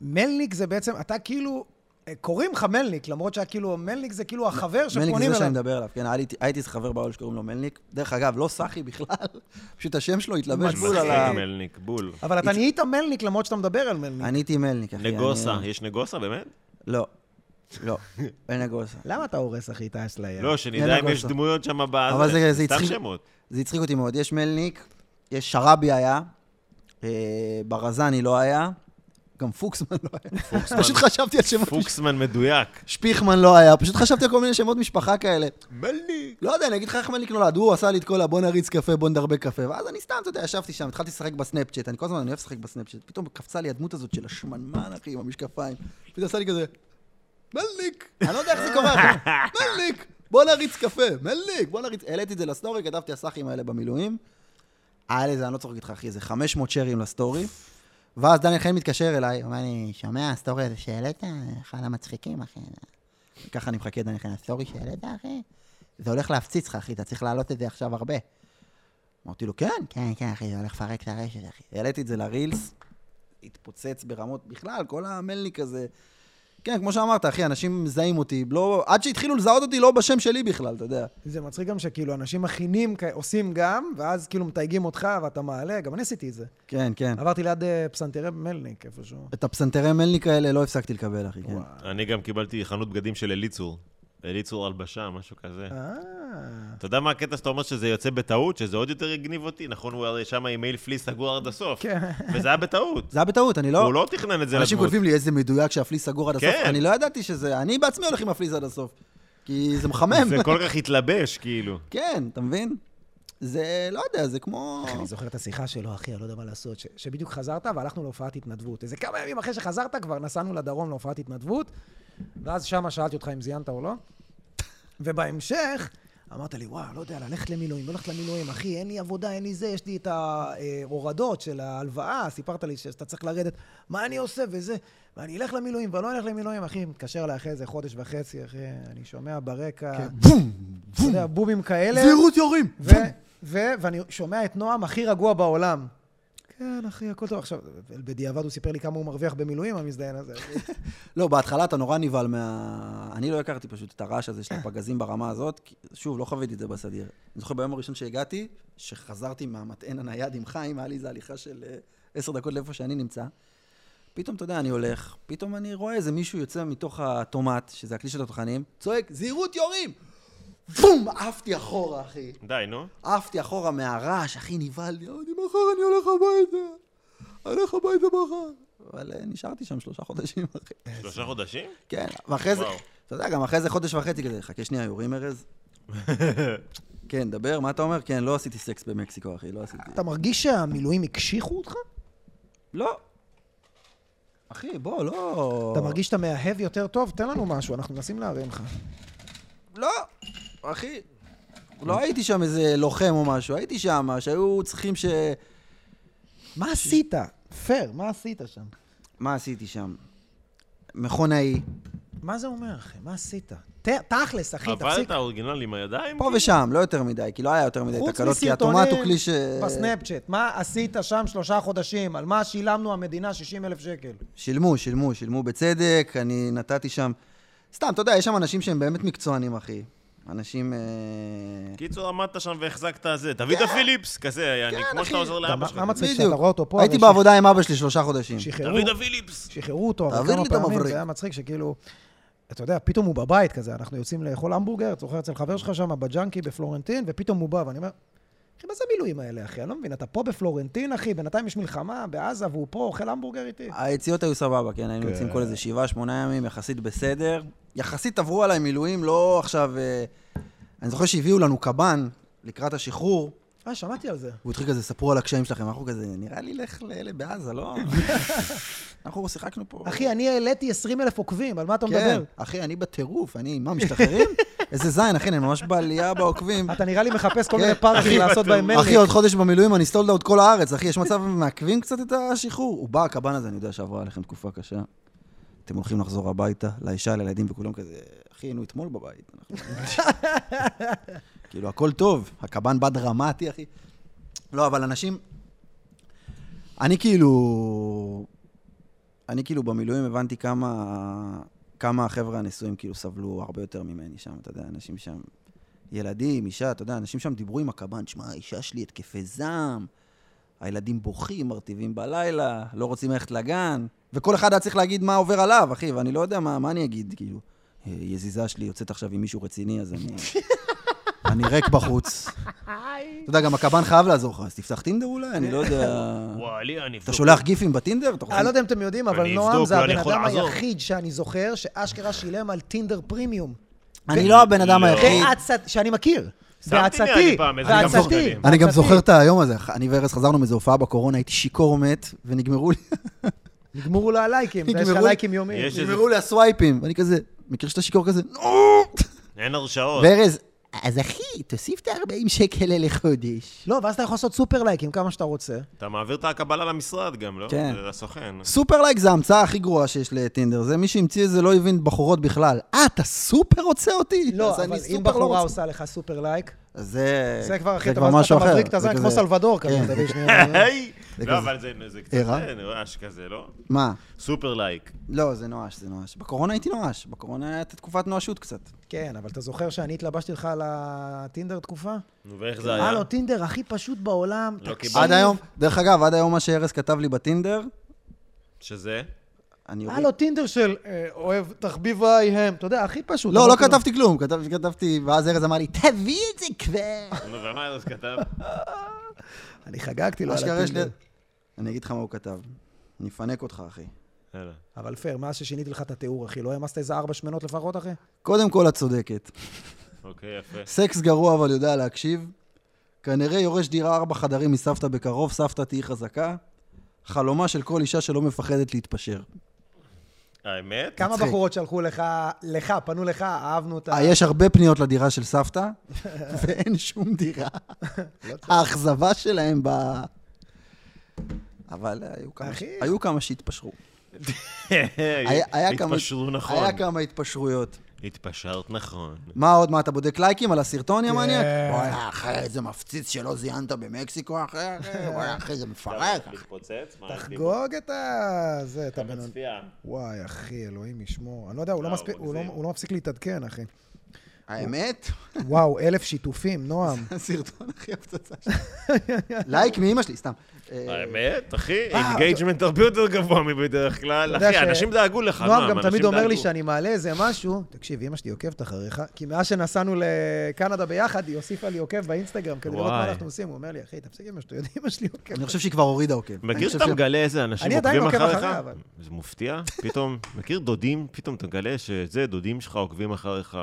[SPEAKER 4] מלניק זה בעצם, אתה כאילו, אה, קוראים לך מלניק, למרות שכאילו, מלניק זה כאילו החבר
[SPEAKER 3] מלניק זה
[SPEAKER 4] שפונים
[SPEAKER 3] זה שאני
[SPEAKER 4] אליו.
[SPEAKER 3] מדבר עליו, כן, הייתי- הייתי חבר בעול שקוראים לו מלניק. דרך אגב, לא סאחי בכלל, פשוט השם שלו התלבש
[SPEAKER 4] מצחיק.
[SPEAKER 3] בול על ה... אה,
[SPEAKER 2] מצחיק מלניק, בול.
[SPEAKER 4] אבל אתה נהיית מלניק למרות שאתה מדבר על מלניק.
[SPEAKER 3] אני הייתי מלניק, אחי.
[SPEAKER 2] נגוסה,
[SPEAKER 3] אני-
[SPEAKER 2] יש נגוסה באמת?
[SPEAKER 3] לא. לא, אין נגוסה.
[SPEAKER 4] למה אתה הורס, אחי, את האשליה?
[SPEAKER 2] לא, שנדע אם
[SPEAKER 3] כן. נגוסה.
[SPEAKER 2] יש דמויות שם ב...
[SPEAKER 3] אבל זה- זה
[SPEAKER 2] סתם
[SPEAKER 3] הצחיק-
[SPEAKER 2] שמות.
[SPEAKER 3] זה הצחיק אותי מאוד. יש מלניק, יש שרבי היה, אה, ברזני לא היה, גם פוקסמן לא היה. פשוט חשבתי על שמות משפחה.
[SPEAKER 2] פוקסמן מדויק.
[SPEAKER 3] שפיכמן לא היה, פשוט חשבתי על כל מיני שמות משפחה כאלה.
[SPEAKER 2] מלניק.
[SPEAKER 3] לא יודע, אני אגיד לך איך מלניק נולד. הוא עשה לי את כל הבוא נריץ קפה, בוא נדרבק קפה. ואז אני סתם, אתה יודע, ישבתי שם, התחלתי לשחק בסנאפצ'אט. אני כל הזמן, אני אוהב לשחק בסנאפצ'אט. פתאום קפצה לי הדמות הזאת של השמנמן, אחי, עם המשקפיים. פתאום עשה לי כזה, מלניק! אני לא יודע איך זה קורה, אחי. מלניק! בוא נריץ קפה, מלניק! בוא נריץ... העליתי את זה לסטורי, כתבתי הסאחים האלה במילואים. היה לזה, אני לא צוחק איתך, אחי, איזה 500 שרים לסטורי. ואז דניאל חן מתקשר אליי, אומר לי, שומע, הסטורי הזה שהעלית, אחד המצחיקים, אחי. ככה אני מחכה דניאל חן, הסטורי שהעלית, אחי? זה הולך להפציץ לך, אחי, אתה צריך להעלות את זה עכשיו הרבה. אמרתי לו, כן. כן, כן, אחי, זה הולך לפרק את הרשת, אחי. העליתי את זה לרילס, התפוצץ ברמות בכלל, כל המלניק הזה. כן, כמו שאמרת, אחי, אנשים מזהים אותי, לא, עד שהתחילו לזהות אותי לא בשם שלי בכלל, אתה יודע.
[SPEAKER 4] זה מצחיק גם שכאילו אנשים מכינים, כ- עושים גם, ואז כאילו מתייגים אותך ואתה מעלה, גם אני עשיתי את זה.
[SPEAKER 3] כן, כן.
[SPEAKER 4] עברתי ליד אה, פסנתרי מלניק איפשהו.
[SPEAKER 3] את הפסנתרי מלניק האלה לא הפסקתי לקבל, אחי, כן.
[SPEAKER 2] אני גם קיבלתי חנות בגדים של אליצור. אליצור הלבשה, משהו כזה.
[SPEAKER 4] אה,
[SPEAKER 2] אתה יודע מה הקטע שאתה אומר שזה יוצא בטעות? שזה עוד יותר הגניב אותי? נכון, הוא הרי שם עם מייל פליס סגור עד הסוף.
[SPEAKER 4] כן.
[SPEAKER 2] וזה היה בטעות.
[SPEAKER 3] זה היה בטעות, אני לא...
[SPEAKER 2] הוא לא תכנן את זה
[SPEAKER 3] אנשים
[SPEAKER 2] לדמות.
[SPEAKER 3] כותבים לי איזה מדויק שהפליס סגור עד הסוף.
[SPEAKER 2] כן.
[SPEAKER 3] אני לא ידעתי שזה... אני בעצמי הולך עם הפליס עד הסוף. כי זה מחמם.
[SPEAKER 2] זה כל כך התלבש, כאילו.
[SPEAKER 3] כן, אתה מבין? זה, לא יודע, זה כמו...
[SPEAKER 4] אני זוכר את השיחה שלו, אחי, אני לא יודע מה לעשות, ש- שבדיוק חזרת והלכנו להופעת התנדבות. איזה כמה ימים אחרי שחזרת כבר נסענו לדרום להופעת התנדבות, ואז שמה שאלתי אותך אם זיינת או לא, ובהמשך אמרת לי, וואו, לא יודע, ללכת למילואים, לא ללכת למילואים, אחי, אין לי עבודה, אין לי זה, יש לי את ההורדות של ההלוואה, סיפרת לי שאתה צריך לרדת, מה אני עושה וזה, ואני אלך למילואים, ואני לא אלך למילואים, אחי, מתקשר אליי אחרי איזה חודש וחצי, אחי, אני שומע ברקע,
[SPEAKER 3] בום!
[SPEAKER 4] אתה יודע, בומים כאלה.
[SPEAKER 3] יורים!
[SPEAKER 4] ו- ו- ואני שומע את נועם הכי רגוע בעולם. כן, אחי, הכל טוב. עכשיו, בדיעבד הוא סיפר לי כמה הוא מרוויח במילואים, המזדיין הזה.
[SPEAKER 3] לא, בהתחלה אתה נורא נבהל מה... אני לא הכרתי פשוט את הרעש הזה של הפגזים ברמה הזאת. כי- שוב, לא חוויתי את זה בסדיר. אני זוכר ביום הראשון שהגעתי, שחזרתי מהמטען הנייד עם חיים, היה לי איזו הליכה של אה, עשר דקות לאיפה שאני נמצא. פתאום, אתה יודע, אני הולך, פתאום אני רואה איזה מישהו יוצא מתוך הטומט, שזה הכלי של התותחנים, צועק, זהירות יורים! בום! עפתי אחורה, אחי.
[SPEAKER 2] די, נו.
[SPEAKER 3] עפתי אחורה מהרעש, אחי, נבהלתי, אמרתי, מחר אני הולך הביתה. אני הולך הביתה מחר. אבל אה, נשארתי שם שלושה חודשים, אחי.
[SPEAKER 2] שלושה חודשים?
[SPEAKER 3] כן, ואחרי זה,
[SPEAKER 2] וואו.
[SPEAKER 3] אתה יודע, גם אחרי זה חודש וחצי כזה, חכה שנייה, יורים ארז. כן, דבר, מה אתה אומר? כן, לא עשיתי סקס במקסיקו, אחי, לא עשיתי.
[SPEAKER 4] אתה מרגיש שהמילואים הקשיחו אותך?
[SPEAKER 3] לא. אחי, בוא, לא...
[SPEAKER 4] אתה מרגיש שאתה מאהב יותר טוב? תן לנו משהו, אנחנו מנסים להרים לך.
[SPEAKER 3] לא, אחי. לא הייתי שם איזה לוחם או משהו, הייתי שם, שהיו צריכים ש...
[SPEAKER 4] מה עשית? פר, מה עשית שם?
[SPEAKER 3] מה עשיתי שם? מכונאי.
[SPEAKER 4] מה זה אומר, אחי? מה עשית?
[SPEAKER 1] ת- תכלס, אחי,
[SPEAKER 2] אבל
[SPEAKER 1] תפסיק.
[SPEAKER 2] את האורגינל עם הידיים? כאילו?
[SPEAKER 3] פה ושם, לא יותר מדי, כי לא היה יותר מדי
[SPEAKER 1] חוץ
[SPEAKER 3] תקלות, כי הטומט הוא
[SPEAKER 1] מסרטונים
[SPEAKER 3] כלי ש...
[SPEAKER 1] בסנאפצ'אט, מה עשית שם שלושה חודשים? על מה שילמנו המדינה 60 אלף שקל?
[SPEAKER 3] שילמו, שילמו, שילמו בצדק, אני נתתי שם... סתם, אתה יודע, יש שם אנשים שהם באמת מקצוענים, אחי. אנשים... אה,
[SPEAKER 2] קיצור, עמדת שם והחזקת זה. תביא
[SPEAKER 3] כן.
[SPEAKER 2] את הפיליפס, כזה היה, אני כמו שאתה עוזר
[SPEAKER 1] גם
[SPEAKER 2] לאבא שלך.
[SPEAKER 1] מה מצחיק
[SPEAKER 3] בדיוק.
[SPEAKER 1] שאתה רואה אותו פה?
[SPEAKER 3] הייתי
[SPEAKER 1] הרי
[SPEAKER 3] בעבודה עם אבא שלי שלושה חודשים.
[SPEAKER 1] שחררו-
[SPEAKER 2] תביא את הפיליפס.
[SPEAKER 1] שחררו אותו, אבל
[SPEAKER 3] תעביר
[SPEAKER 1] כמה
[SPEAKER 3] לי את
[SPEAKER 1] פעמים
[SPEAKER 3] המבריק.
[SPEAKER 1] זה היה מצחיק שכאילו, אתה יודע, פתאום הוא בבית כזה, אנחנו יוצאים לאכול המבורגר, אתה זוכר אצל חבר שלך שם בג'אנקי בפלורנטין, ופתאום הוא בא, ואני אומר, אחי, מה זה המילואים האלה, אחי? אני לא מבין, אתה פה בפלורנטין, אחי, בינתיים יש מלחמה בעזה, והוא פה אוכל המבורגר איתי.
[SPEAKER 3] היציאות היו סבבה, כן, היינו יוצאים כל איזה שבעה, שמונה ימים, יחסית בסדר. יחסית עברו עליי מילואים, לא עכשיו... אה, אני זוכר שהביאו לנו קב"ן לקראת השחרור,
[SPEAKER 1] אה, שמעתי על זה.
[SPEAKER 3] והוא התחיל כזה, ספרו על הקשיים שלכם, אנחנו כזה, נראה לי לך לאלה בעזה, לא? אנחנו שיחקנו פה.
[SPEAKER 1] אוקיי. אחי, אני העליתי 20 אלף עוקבים, על מה אתה
[SPEAKER 3] כן,
[SPEAKER 1] מדבר?
[SPEAKER 3] אחי, אני בטירוף, אני, מה, משתחררים? איזה זין, אחי, אני ממש בעלייה בעוקבים.
[SPEAKER 1] אתה נראה לי מחפש כל
[SPEAKER 3] כן,
[SPEAKER 1] מיני פארקים
[SPEAKER 3] אחי,
[SPEAKER 1] לעשות
[SPEAKER 2] בטוח.
[SPEAKER 1] בהם
[SPEAKER 3] אחי,
[SPEAKER 1] מלניק.
[SPEAKER 3] עוד חודש במילואים, אני אסטולד אאוט כל הארץ, אחי, יש מצב, מעכבים קצת את השחרור. הוא בא, הקב"ן הזה, אני יודע שעברה עליכם תקופה קשה. אתם הולכים לחזור הביתה, לאישה, לילדים, וכולם כזה, אחי, היינו אתמול בבית. אנחנו-" כאילו, הכל טוב, הקב"ן בא דרמטי, אחי. לא, אבל אנשים... אני כאילו... אני כאילו במילואים הבנתי כמה... כמה החבר'ה הנשואים כאילו סבלו הרבה יותר ממני שם, אתה יודע, אנשים שם ילדים, אישה, אתה יודע, אנשים שם דיברו עם הקב"ן, שמע, האישה שלי התקפי זעם, הילדים בוכים, מרטיבים בלילה, לא רוצים ללכת לגן, וכל אחד היה צריך להגיד מה עובר עליו, אחי, ואני לא יודע מה, מה אני אגיד, כאילו, "אה, יזיזה שלי יוצאת עכשיו עם מישהו רציני, אז אני... אני ריק בחוץ. אתה יודע, גם הקב"ן חייב לעזור לך, אז תפתח טינדר אולי, אני לא יודע...
[SPEAKER 2] וואלה, אני אבדוק.
[SPEAKER 3] אתה שולח גיפים בטינדר? אתה
[SPEAKER 1] אני לא
[SPEAKER 3] רוצה...
[SPEAKER 1] יודע אם אתם יודעים, אבל
[SPEAKER 2] אני
[SPEAKER 1] נועם
[SPEAKER 2] אבדוק,
[SPEAKER 1] זה
[SPEAKER 3] לא,
[SPEAKER 2] אולי
[SPEAKER 1] הבן
[SPEAKER 2] אני יכול
[SPEAKER 1] אדם
[SPEAKER 2] לעזור.
[SPEAKER 1] היחיד שאני זוכר, שאשכרה שילם על טינדר פרימיום.
[SPEAKER 3] אני לא הבן אדם
[SPEAKER 2] לא.
[SPEAKER 3] היחיד.
[SPEAKER 1] בעצת- שאני מכיר.
[SPEAKER 2] שמתי לב
[SPEAKER 1] בעצתי,
[SPEAKER 2] אני פעם איזה כמה
[SPEAKER 1] בעצתי.
[SPEAKER 2] שקלים.
[SPEAKER 3] אני גם
[SPEAKER 1] בעצתי.
[SPEAKER 3] זוכר את היום הזה, אני וארז חזרנו מאיזו הופעה בקורונה, הייתי שיכור מת, ונגמרו לי
[SPEAKER 1] נגמרו לו הלייקים,
[SPEAKER 3] נגמרו-
[SPEAKER 1] יש לך לייקים יומיים.
[SPEAKER 2] יש איזה...
[SPEAKER 3] נגמרו לי הסווייפים, ואני כזה, מכיר שאתה שיכור כזה? נו!
[SPEAKER 2] אין הרשאות.
[SPEAKER 3] וארז, אז אחי, תוסיף את ה-40 שקל האלה לחודש.
[SPEAKER 1] לא, ואז אתה יכול לעשות סופר לייקים כמה שאתה רוצה.
[SPEAKER 2] אתה מעביר את הקבלה למשרד גם, לא?
[SPEAKER 3] כן.
[SPEAKER 2] לסוכן.
[SPEAKER 3] סופר לייק זה ההמצאה הכי גרועה שיש לטינדר, זה מי שהמציא את זה לא הבין בחורות בכלל. אה, אתה סופר רוצה אותי?
[SPEAKER 1] לא,
[SPEAKER 3] אז אני
[SPEAKER 1] אבל אם
[SPEAKER 3] סופר לא
[SPEAKER 1] בחורה
[SPEAKER 3] רוצה.
[SPEAKER 1] עושה לך סופר לייק,
[SPEAKER 3] אז זה...
[SPEAKER 1] זה כבר, אחי,
[SPEAKER 3] זה
[SPEAKER 1] אתה ואז
[SPEAKER 3] משהו
[SPEAKER 1] אתה
[SPEAKER 3] אחר.
[SPEAKER 1] מבריק את הזין
[SPEAKER 3] זה
[SPEAKER 1] כמו
[SPEAKER 3] כזה-
[SPEAKER 1] סלבדור כזה,
[SPEAKER 3] כן.
[SPEAKER 1] תביא שנייה.
[SPEAKER 2] היי!
[SPEAKER 3] זה
[SPEAKER 2] לא,
[SPEAKER 3] כזה.
[SPEAKER 2] אבל זה זה קצת
[SPEAKER 3] ערה?
[SPEAKER 2] זה נואש כזה, לא?
[SPEAKER 3] מה?
[SPEAKER 2] סופר לייק.
[SPEAKER 3] לא, זה נואש, זה נואש. בקורונה הייתי נואש, בקורונה הייתה תקופת נואשות קצת.
[SPEAKER 1] כן, אבל אתה זוכר שאני התלבשתי לך על הטינדר תקופה?
[SPEAKER 2] נו, ואיך זה היה?
[SPEAKER 1] הלו, טינדר הכי פשוט בעולם.
[SPEAKER 2] לא
[SPEAKER 1] תקשיב.
[SPEAKER 2] קיבלתי.
[SPEAKER 3] עד היום, דרך אגב, עד היום מה שארז כתב לי בטינדר,
[SPEAKER 2] שזה?
[SPEAKER 3] אני אוריד...
[SPEAKER 1] הלו, טינדר של אה, אוהב תחביביי הם. אתה יודע, הכי פשוט.
[SPEAKER 3] לא, לא
[SPEAKER 1] אמרתי לו,
[SPEAKER 3] כתבתי כלום, כתב- כתבתי, ואז ארז אמר לי, תביא את זה כבר.
[SPEAKER 2] נו, ומה ארז כתב?
[SPEAKER 1] אני חגגתי לא לו על
[SPEAKER 3] אשכרה יש לי...
[SPEAKER 1] הטינדר.
[SPEAKER 3] לא, אני אגיד לך מה הוא כתב. אני אפנק אותך, אחי.
[SPEAKER 2] יאללה.
[SPEAKER 1] אבל פייר, מאז ששיניתי לך את התיאור, אחי, לא העמסת איזה ארבע שמנות לפחות, אחי?
[SPEAKER 3] קודם כל, את צודקת.
[SPEAKER 2] אוקיי, יפה.
[SPEAKER 3] סקס גרוע, אבל יודע להקשיב. כנראה יורש דירה ארבע חדרים מסבתא בקרוב, סבתא תהיי חזקה. חלומה של כל אישה שלא מפחדת להתפשר.
[SPEAKER 2] האמת?
[SPEAKER 1] כמה
[SPEAKER 3] מצחיק.
[SPEAKER 1] בחורות שלחו לך, לך, פנו לך, אהבנו אותה.
[SPEAKER 3] אה, יש הרבה פניות לדירה של סבתא, ואין שום דירה. לא האכזבה שלהם ב... אבל היו כמה-
[SPEAKER 1] אחי.
[SPEAKER 3] היו כמה שהתפשרו. היה- היה כמה-
[SPEAKER 2] התפשרו נכון.
[SPEAKER 3] היה כמה התפשרויות.
[SPEAKER 2] התפשרת נכון.
[SPEAKER 3] מה עוד? מה, אתה בודק לייקים על הסרטון, יא מניאק?
[SPEAKER 1] כן.
[SPEAKER 3] וואי, אחי, איזה מפציץ שלא זיינת במקסיקו, אחי, אחי, וואי, אחי, זה מפרק.
[SPEAKER 2] לא. להתפוצץ? מה,
[SPEAKER 1] תחגוג את ה... זה, את
[SPEAKER 2] כמה
[SPEAKER 1] הבנון.
[SPEAKER 2] צפייה?
[SPEAKER 1] וואי, אחי, אלוהים ישמור. אני לא יודע, הוא לא
[SPEAKER 2] וואו,
[SPEAKER 1] מספיק- הוא לא-
[SPEAKER 2] מגזים.
[SPEAKER 1] הוא לא מפסיק להתעדכן, אחי.
[SPEAKER 3] האמת?
[SPEAKER 1] וואו, אלף שיתופים, נועם.
[SPEAKER 3] הסרטון הכי הפצצה שלי. לייק מאמא שלי, סתם. אה,
[SPEAKER 2] האמת, אחי,
[SPEAKER 1] אה,
[SPEAKER 2] אינגייג'מנט הרבה יותר גבוה מבדרך כלל.
[SPEAKER 1] אתה יודע
[SPEAKER 2] אחי,
[SPEAKER 1] ש-
[SPEAKER 2] אנשים דאגו לך,
[SPEAKER 1] נועם גם
[SPEAKER 2] אנשים
[SPEAKER 1] תמיד אומר לי
[SPEAKER 2] דאגו.
[SPEAKER 1] שאני מעלה איזה משהו, תקשיב, אמא שלי עוקבת אחריך, כי מאז שנסענו לקנדה ביחד, היא הוסיפה לי עוקב באינסטגרם כדי לראות מה
[SPEAKER 2] וואי. כאילו.
[SPEAKER 1] אנחנו עושים. הוא אומר לי, אחי, תפסיק עם השטויות, אמא שלי עוקבת.
[SPEAKER 3] אני חושב שהיא כבר הורידה עוקב. אני
[SPEAKER 2] מכיר
[SPEAKER 3] חושב
[SPEAKER 2] שאתה
[SPEAKER 3] ש-
[SPEAKER 2] מגלה איזה אנשים
[SPEAKER 1] אני עדיין
[SPEAKER 2] עוקבים
[SPEAKER 1] עוקב
[SPEAKER 2] אחריך?
[SPEAKER 1] אחריה, אבל.
[SPEAKER 2] זה מופתיע. פתאום, מכיר דודים? פתאום אתה מגלה שזה, דודים שלך עוקבים אחריך.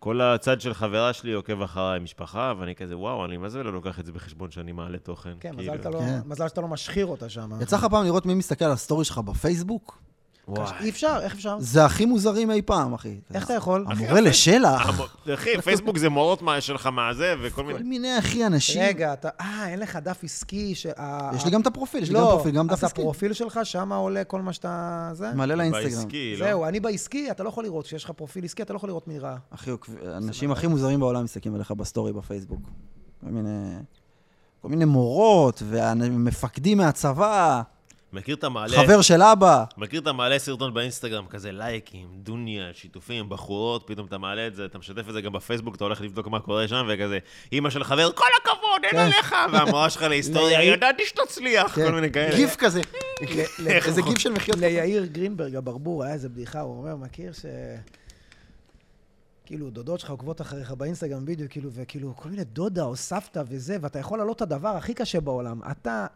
[SPEAKER 2] כל הצד של חברה שלי עוקב אחריי, משפחה, ואני כזה, וואו, אני מה זה לא לוקח את זה בחשבון שאני מעלה תוכן.
[SPEAKER 1] כן,
[SPEAKER 2] כאילו.
[SPEAKER 1] מזל אתה לא-
[SPEAKER 3] כן.
[SPEAKER 1] מזל שאתה לא משחיר אותה שם.
[SPEAKER 3] יצא לך פעם לראות מי מסתכל על הסטורי שלך בפייסבוק?
[SPEAKER 2] וואי.
[SPEAKER 4] אי אפשר, איך אפשר?
[SPEAKER 3] זה הכי מוזרים אי פעם, אחי.
[SPEAKER 4] איך אתה יכול?
[SPEAKER 3] המורה
[SPEAKER 2] אה,
[SPEAKER 3] לשלח.
[SPEAKER 1] לא-
[SPEAKER 2] אחי, פייסבוק זה מורות מה- שלך מה זה, וכל
[SPEAKER 3] כל
[SPEAKER 2] מיני...
[SPEAKER 3] מיני, אחי, אנשים.
[SPEAKER 4] רגע, אתה... אה, אין לך דף עסקי של... ה-
[SPEAKER 3] יש לי גם את הפרופיל, יש לי
[SPEAKER 4] לא,
[SPEAKER 3] גם פרופיל, גם דף
[SPEAKER 4] אז
[SPEAKER 3] עסקי.
[SPEAKER 4] הפרופיל שלך, שם עולה כל מה שאתה... זה?
[SPEAKER 3] מעלה לאינסטגרם.
[SPEAKER 2] בעסקי, לא?
[SPEAKER 4] זהו, אני בעסקי, אתה לא יכול לראות. כשיש לך פרופיל עסקי, אתה לא יכול לראות מי ראה.
[SPEAKER 3] אחי, עוקב- האנשים הכי מוזרים בעולם מסתכלים עליך בסטורי בפייסבוק. כל מיני... כל מיני מורות, ומפקדים מהצבא,
[SPEAKER 2] מכיר את המעלה?
[SPEAKER 3] חבר של אבא.
[SPEAKER 2] מכיר אתה מעלה סרטון באינסטגרם, כזה לייקים, דוניה, שיתופים, בחורות, פתאום אתה מעלה את זה, אתה משתף את זה גם בפייסבוק, אתה הולך לבדוק מה קורה שם, וכזה, אימא של חבר, כל הכבוד,
[SPEAKER 4] כן.
[SPEAKER 2] אין עליך! והמורה שלך להיסטוריה, ידעתי שתצליח, כל מיני כאלה.
[SPEAKER 3] כן. גיף כזה.
[SPEAKER 4] ל-
[SPEAKER 2] איך
[SPEAKER 3] איזה
[SPEAKER 2] הוא-
[SPEAKER 3] גיף של מחיות.
[SPEAKER 4] ליאיר גרינברג, הברבור, היה איזה בדיחה, הוא אומר, מכיר ש... כאילו, דודות שלך עוקבות אחריך באינסטגרם בדיוק, כאילו, וכאילו, כל מיני דודה או סבתא וזה, ואתה יכול להעלות את הדבר הכי קשה בעולם. אתה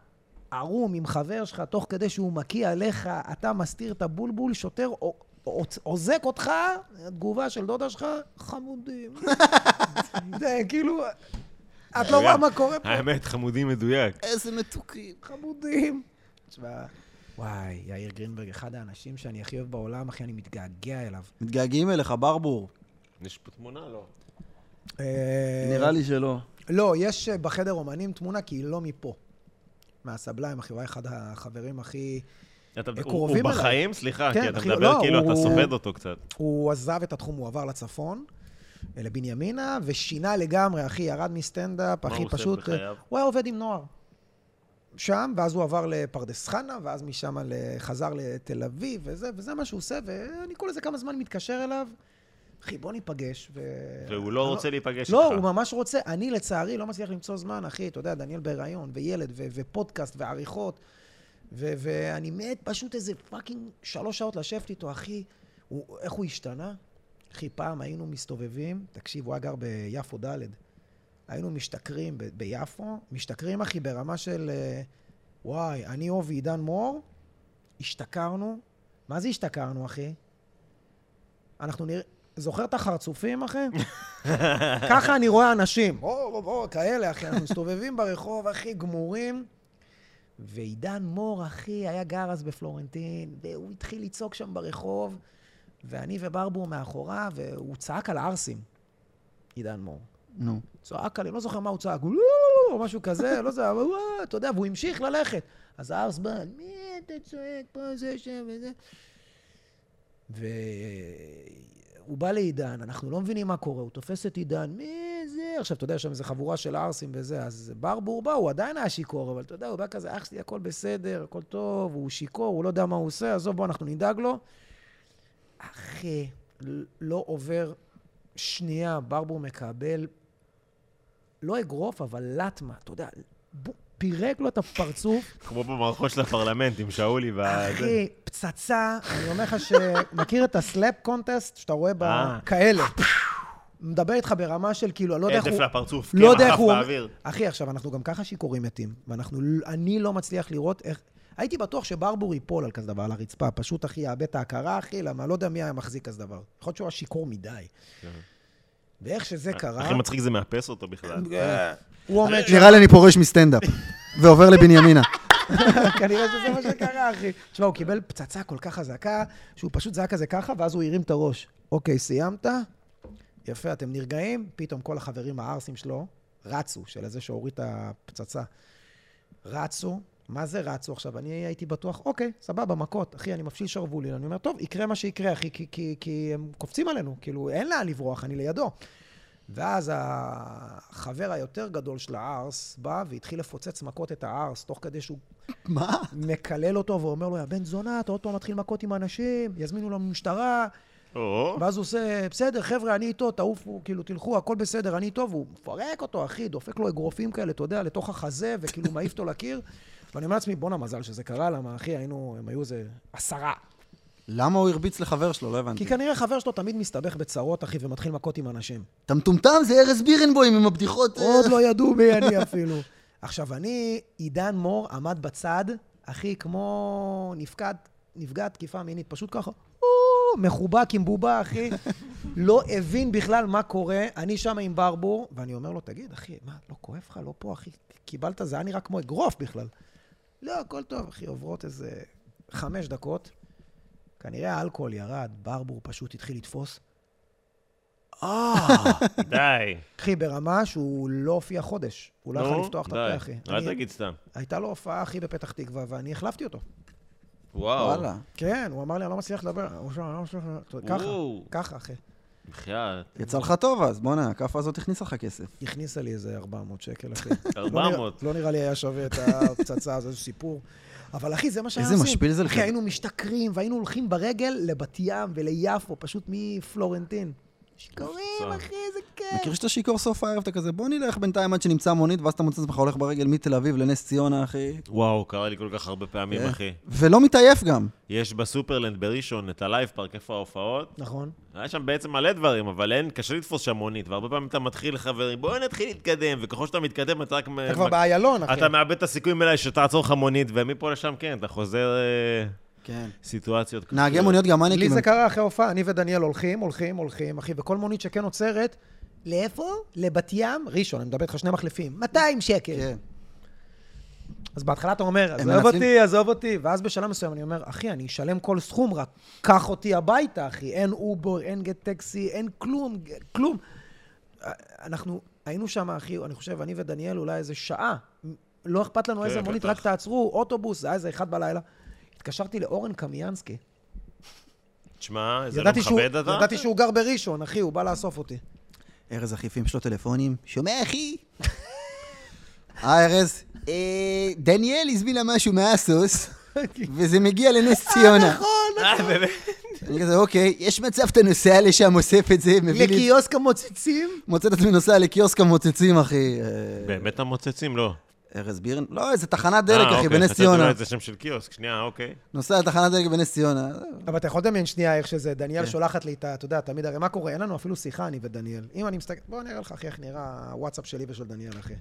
[SPEAKER 4] ערום עם חבר שלך, תוך כדי שהוא מקיא עליך, אתה מסתיר את הבולבול, שוטר או- עוצ- עוזק אותך, התגובה של דודה שלך, חמודים. זה כאילו, את לא רואה מה קורה פה.
[SPEAKER 2] האמת, חמודי מדויק.
[SPEAKER 3] איזה מתוקים.
[SPEAKER 4] חמודים. תשמע, וואי, יאיר גרינברג, אחד האנשים שאני הכי אוהב בעולם, אחי, אני מתגעגע אליו.
[SPEAKER 3] מתגעגעים אליך, ברבור.
[SPEAKER 2] יש פה תמונה, לא?
[SPEAKER 4] אה,
[SPEAKER 3] נראה לי שלא.
[SPEAKER 4] לא, יש אה, בחדר אומנים תמונה, כי היא לא מפה. מהסבליים, אחי, הוא היה אחד החברים הכי...
[SPEAKER 2] אתה- הוא-
[SPEAKER 4] קרובים
[SPEAKER 2] הוא
[SPEAKER 4] אליי.
[SPEAKER 2] בחיים? סליחה,
[SPEAKER 4] כן,
[SPEAKER 2] כי אתה
[SPEAKER 4] אחי,
[SPEAKER 2] מדבר
[SPEAKER 4] לא,
[SPEAKER 2] כאילו אתה
[SPEAKER 4] הוא-
[SPEAKER 2] סופד אותו קצת.
[SPEAKER 4] הוא עזב את התחום, הוא עבר לצפון, אה, לבנימינה, ושינה לגמרי, אחי, ירד מסטנדאפ,
[SPEAKER 2] מה
[SPEAKER 4] אחי,
[SPEAKER 2] הוא עושה
[SPEAKER 4] פשוט... אה,
[SPEAKER 2] בחייו?
[SPEAKER 4] הוא היה עובד עם נוער. שם, ואז הוא עבר לפרדס חנה, ואז משם ל- חזר לתל אביב, וזה, וזה מה שהוא עושה, ואני כל איזה כמה זמן מתקשר אליו. אחי, בוא ניפגש, ו...
[SPEAKER 2] והוא לא
[SPEAKER 4] אני
[SPEAKER 2] רוצה להיפגש
[SPEAKER 4] לא,
[SPEAKER 2] איתך.
[SPEAKER 4] הוא ממש רוצה. אני, לצערי, לא מצליח למצוא זמן, אחי. אתה יודע, דניאל בהיריון, וילד, ו- ופודקאסט, ועריכות, ו- ואני מת פשוט איזה פאקינג שלוש שעות לשבת איתו, אחי. הוא, איך הוא השתנה? אחי, פעם היינו מסתובבים, תקשיב, הוא היה גר ביפו ד', היינו משתכרים ב- ביפו, משתכרים, אחי, ברמה של... אה, וואי, אני אוב ועידן מור, השתכרנו. מה זה השתכרנו, אחי? אנחנו נראה... זוכר את החרצופים, אחי? ככה אני רואה אנשים. או, או, או, כאלה, אחי. אנחנו מסתובבים ברחוב, אחי, גמורים. ועידן מור, אחי, היה גר אז בפלורנטין, והוא התחיל לצעוק שם ברחוב, ואני וברבור מאחוריו, והוא צעק על הערסים, עידן מור.
[SPEAKER 3] נו.
[SPEAKER 4] צעק עליהם, לא זוכר מה הוא צעק, הוא לא, או משהו כזה, לא זה, אבל וואו, אתה יודע, והוא המשיך ללכת. אז הארס בא, מי אתה צועק פה, זה, שם וזה. והוא בא לעידן, אנחנו לא מבינים מה קורה, הוא תופס את עידן, מי זה? עכשיו, אתה יודע, יש שם איזו חבורה של ערסים וזה, אז ברבור בא, הוא עדיין היה שיכור, אבל אתה יודע, הוא בא כזה, אח שלי, הכל בסדר, הכל טוב, הוא שיכור, הוא לא יודע מה הוא עושה, עזוב, בוא, אנחנו נדאג לו. אחי, לא עובר שנייה, ברבור מקבל לא אגרוף, אבל לטמה, אתה יודע, ב- פירק לו את הפרצוף,
[SPEAKER 2] כמו במערכות של הפרלמנט עם שאולי וה...
[SPEAKER 4] אחי, פצצה, אני אומר לך ש... מכיר את הסלאפ קונטסט שאתה רואה
[SPEAKER 2] אה.
[SPEAKER 4] בכאלה? מדבר איתך ברמה של כאילו, אני לא יודע איך
[SPEAKER 2] הדף
[SPEAKER 4] הוא...
[SPEAKER 2] לפרצוף,
[SPEAKER 4] לא
[SPEAKER 2] כן,
[SPEAKER 4] יודע איך
[SPEAKER 2] עף
[SPEAKER 4] הוא...
[SPEAKER 2] באוויר.
[SPEAKER 4] אחי, עכשיו, אנחנו גם ככה שיכורים מתים, ואנחנו... אני לא מצליח לראות איך... הייתי בטוח שברבור ייפול על כזה דבר, על הרצפה. פשוט, אחי, יאבד את ההכרה, אחי, למה? לא יודע מי היה מחזיק כזה דבר. יכול להיות שהוא היה שיכור מדי. ואיך שזה קרה,
[SPEAKER 2] הכי מצחיק זה מאפס אותו בכלל.
[SPEAKER 4] אה? הוא עומד שם...
[SPEAKER 3] נראה לי אני פורש מסטנדאפ, ועובר לבנימינה.
[SPEAKER 4] כנראה שזה מה שקרה, אחי. תשמע, הוא קיבל פצצה כל כך חזקה, שהוא פשוט זעק כזה ככה, ואז הוא הרים את הראש. אוקיי, סיימת? יפה, אתם נרגעים? פתאום כל החברים הערסים שלו רצו, של איזה שהוריד את הפצצה. רצו, מה זה רצו עכשיו? אני הייתי בטוח, אוקיי, סבבה, מכות. אחי, אני מפשיל שרוולים. אני אומר, טוב, יקרה מה שיקרה, אחי, כי, כי, כי הם קופצים עלינו. כאילו, אין לאן לברוח, אני לידו. ואז החבר היותר גדול של הערס בא והתחיל לפוצץ מכות את הערס, תוך כדי שהוא
[SPEAKER 3] מה?
[SPEAKER 4] מקלל אותו ואומר לו, יא בן זונה, אתה עוד פעם מתחיל מכות עם אנשים, יזמינו לנו משטרה,
[SPEAKER 2] או,
[SPEAKER 4] ואז הוא עושה, בסדר, חבר'ה, אני איתו, תעופו, כאילו, תלכו, הכל בסדר, אני איתו, והוא מפרק אותו, אחי, דופק לו אגרופים כאלה, אתה יודע, לתוך החזה, וכאילו מעיף אותו לקיר. ואני אומר לעצמי, בואנה, מזל שזה קרה, למה, אחי, היינו, הם היו איזה עשרה.
[SPEAKER 3] למה הוא הרביץ לחבר שלו? לא הבנתי.
[SPEAKER 4] כי כנראה חבר שלו תמיד מסתבך בצרות, אחי, ומתחיל מכות עם אנשים.
[SPEAKER 3] אתה מטומטם? זה ארז בירנבוים עם הבדיחות. אה,
[SPEAKER 4] עוד לא ידעו מי אני אפילו. עכשיו, אני, עידן מור עמד בצד, אחי, כמו נפקד, נפגע תקיפה מינית, פשוט ככה, "או", מחובק עם בובה, אחי. לא הבין בכלל מה קורה, אני שם עם ברבור, ואני אומר לו, תגיד, אחי, מה, לא כואב לך? לא פה, אחי, קיבלת, זה היה נראה כמו אגרוף בכלל. לא, הכל טוב, אחי, עוברות איזה חמש דקות. כנראה האלכוהול ירד, ברבור פשוט התחיל לתפוס.
[SPEAKER 3] אה,
[SPEAKER 2] די.
[SPEAKER 4] אחי, ברמה שהוא לא הופיע חודש. הוא לא יכול לפתוח את הפה, אחי. אני-
[SPEAKER 2] אל תגיד סתם.
[SPEAKER 4] הייתה לו הופעה, אחי, בפתח תקווה, ואני החלפתי אותו.
[SPEAKER 2] וואו.
[SPEAKER 3] וואלה.
[SPEAKER 4] כן, הוא אמר לי, אני לא מצליח לדבר. הוא שם, אני לא מצליח לדבר. אתה יודע, ככה,
[SPEAKER 2] וואו.
[SPEAKER 4] ככה, אחי.
[SPEAKER 2] בחייאת.
[SPEAKER 3] יצא לך טוב אז, בואנה, הכאפה הזאת הכניסה לך כסף.
[SPEAKER 4] היא הכניסה לי איזה 400 שקל, אחי.
[SPEAKER 2] 400.
[SPEAKER 4] לא נראה- לא נראה לי היה שווה את הפצצה הזו, איזה סיפור. אבל אחי, זה מה שהיה
[SPEAKER 3] איזה
[SPEAKER 4] עושים.
[SPEAKER 3] משפיל זה לך.
[SPEAKER 4] אחי, היינו משתכרים והיינו הולכים ברגל לבת ים וליפו, פשוט מפלורנטין. שיכורים,
[SPEAKER 2] פצצה.
[SPEAKER 4] אחי, איזה כיף.
[SPEAKER 3] מכיר שאתה שיכור סוף הערב, אתה כזה, בוא נלך בינתיים עד שנמצא מונית, ואז אתה מוצא את עצמך הולך ברגל מתל אביב לנס ציונה, אחי.
[SPEAKER 2] וואו, קרה לי כל כך הרבה פעמים,
[SPEAKER 3] כן.
[SPEAKER 2] אחי.
[SPEAKER 3] ולא מתעייף גם.
[SPEAKER 2] יש בסופרלנד בראשון את הלייב פארק, איפה ההופעות?
[SPEAKER 4] נכון.
[SPEAKER 2] היה שם בעצם מלא דברים, אבל אין, קשה לתפוס שם מונית, והרבה פעמים אתה מתחיל לחברים, בואו נתחיל להתקדם, וככל שאתה מתקדם אתה רק...
[SPEAKER 4] אתה כבר באיילון, אחי.
[SPEAKER 2] אתה מאבד את הסיכויים אליי שתעצור לך מונית, ומפה לשם כן, אתה חוזר אה,
[SPEAKER 3] כן.
[SPEAKER 2] סיטואציות.
[SPEAKER 3] נהגי
[SPEAKER 2] קשות.
[SPEAKER 3] מוניות גם
[SPEAKER 4] לי
[SPEAKER 3] מניאקים.
[SPEAKER 4] זה
[SPEAKER 3] הם-
[SPEAKER 4] קרה אחרי ההופעה, אני ודניאל הולכים, הולכים, הולכים, אחי, וכל מונית שכן עוצרת, לאיפה? לבת ים, ראשון, אני מדבר איתך שני מחלפים, 200 שקל.
[SPEAKER 3] כן.
[SPEAKER 4] אז בהתחלה אתה אומר, עזוב
[SPEAKER 3] מנצלים-
[SPEAKER 4] אותי, עזוב אותי, ואז בשלב מסוים אני אומר, אחי, אני אשלם כל סכום, רק קח אותי הביתה, אחי. אין אובר, אין גט טקסי, אין כלום, כלום. אנחנו היינו שם, אחי, אני חושב, אני ודניאל אולי איזה שעה. לא אכפת לנו
[SPEAKER 2] כן,
[SPEAKER 4] איזה מונית,
[SPEAKER 2] בטח.
[SPEAKER 4] רק תעצרו, אוטובוס, זה היה איזה אחד בלילה. התקשרתי לאורן קמיאנסקי.
[SPEAKER 2] תשמע, זה לא
[SPEAKER 4] ידעתי שהוא-
[SPEAKER 2] מכבד אתה?
[SPEAKER 4] ידעתי שהוא גר בראשון, אחי, הוא בא לאסוף אותי.
[SPEAKER 3] ארז אחיפים, יש לו טלפונים. שומע, אחי? אה, ארז? אה, דניאל הזמין לה משהו מהסוס, וזה מגיע לנס ציונה.
[SPEAKER 4] נכון.
[SPEAKER 2] אה, באמת?
[SPEAKER 3] אני כזה, אוקיי, יש מצב שאתה נוסע לשם, אוסף את זה, מביא לי...
[SPEAKER 4] לקיוסק המוצצים?
[SPEAKER 3] מוצא את עצמי נוסע לקיוסק המוצצים, אחי. אה,
[SPEAKER 2] באמת המוצצים? לא.
[SPEAKER 3] ארז בירן? לא, איזה תחנת דלק,
[SPEAKER 2] אה,
[SPEAKER 3] אחי,
[SPEAKER 2] אוקיי,
[SPEAKER 3] בנס
[SPEAKER 2] חשבתי אולי
[SPEAKER 3] ציונה.
[SPEAKER 2] זה שם של קיוסק, שנייה, אוקיי.
[SPEAKER 3] נוסע לתחנת דלק בנס ציונה.
[SPEAKER 4] אבל אתה יכול לדמיין שנייה איך שזה, דניאל
[SPEAKER 3] כן.
[SPEAKER 4] שולחת לי את ה... אתה יודע, תמיד, הרי מה קורה? אין לנו אפילו שיחה, אני ודניאל. אם אני מסתכל... בוא, אני אראה לך, אחי, איך נראה הוואטסאפ שלי ושל דניאל, אחי.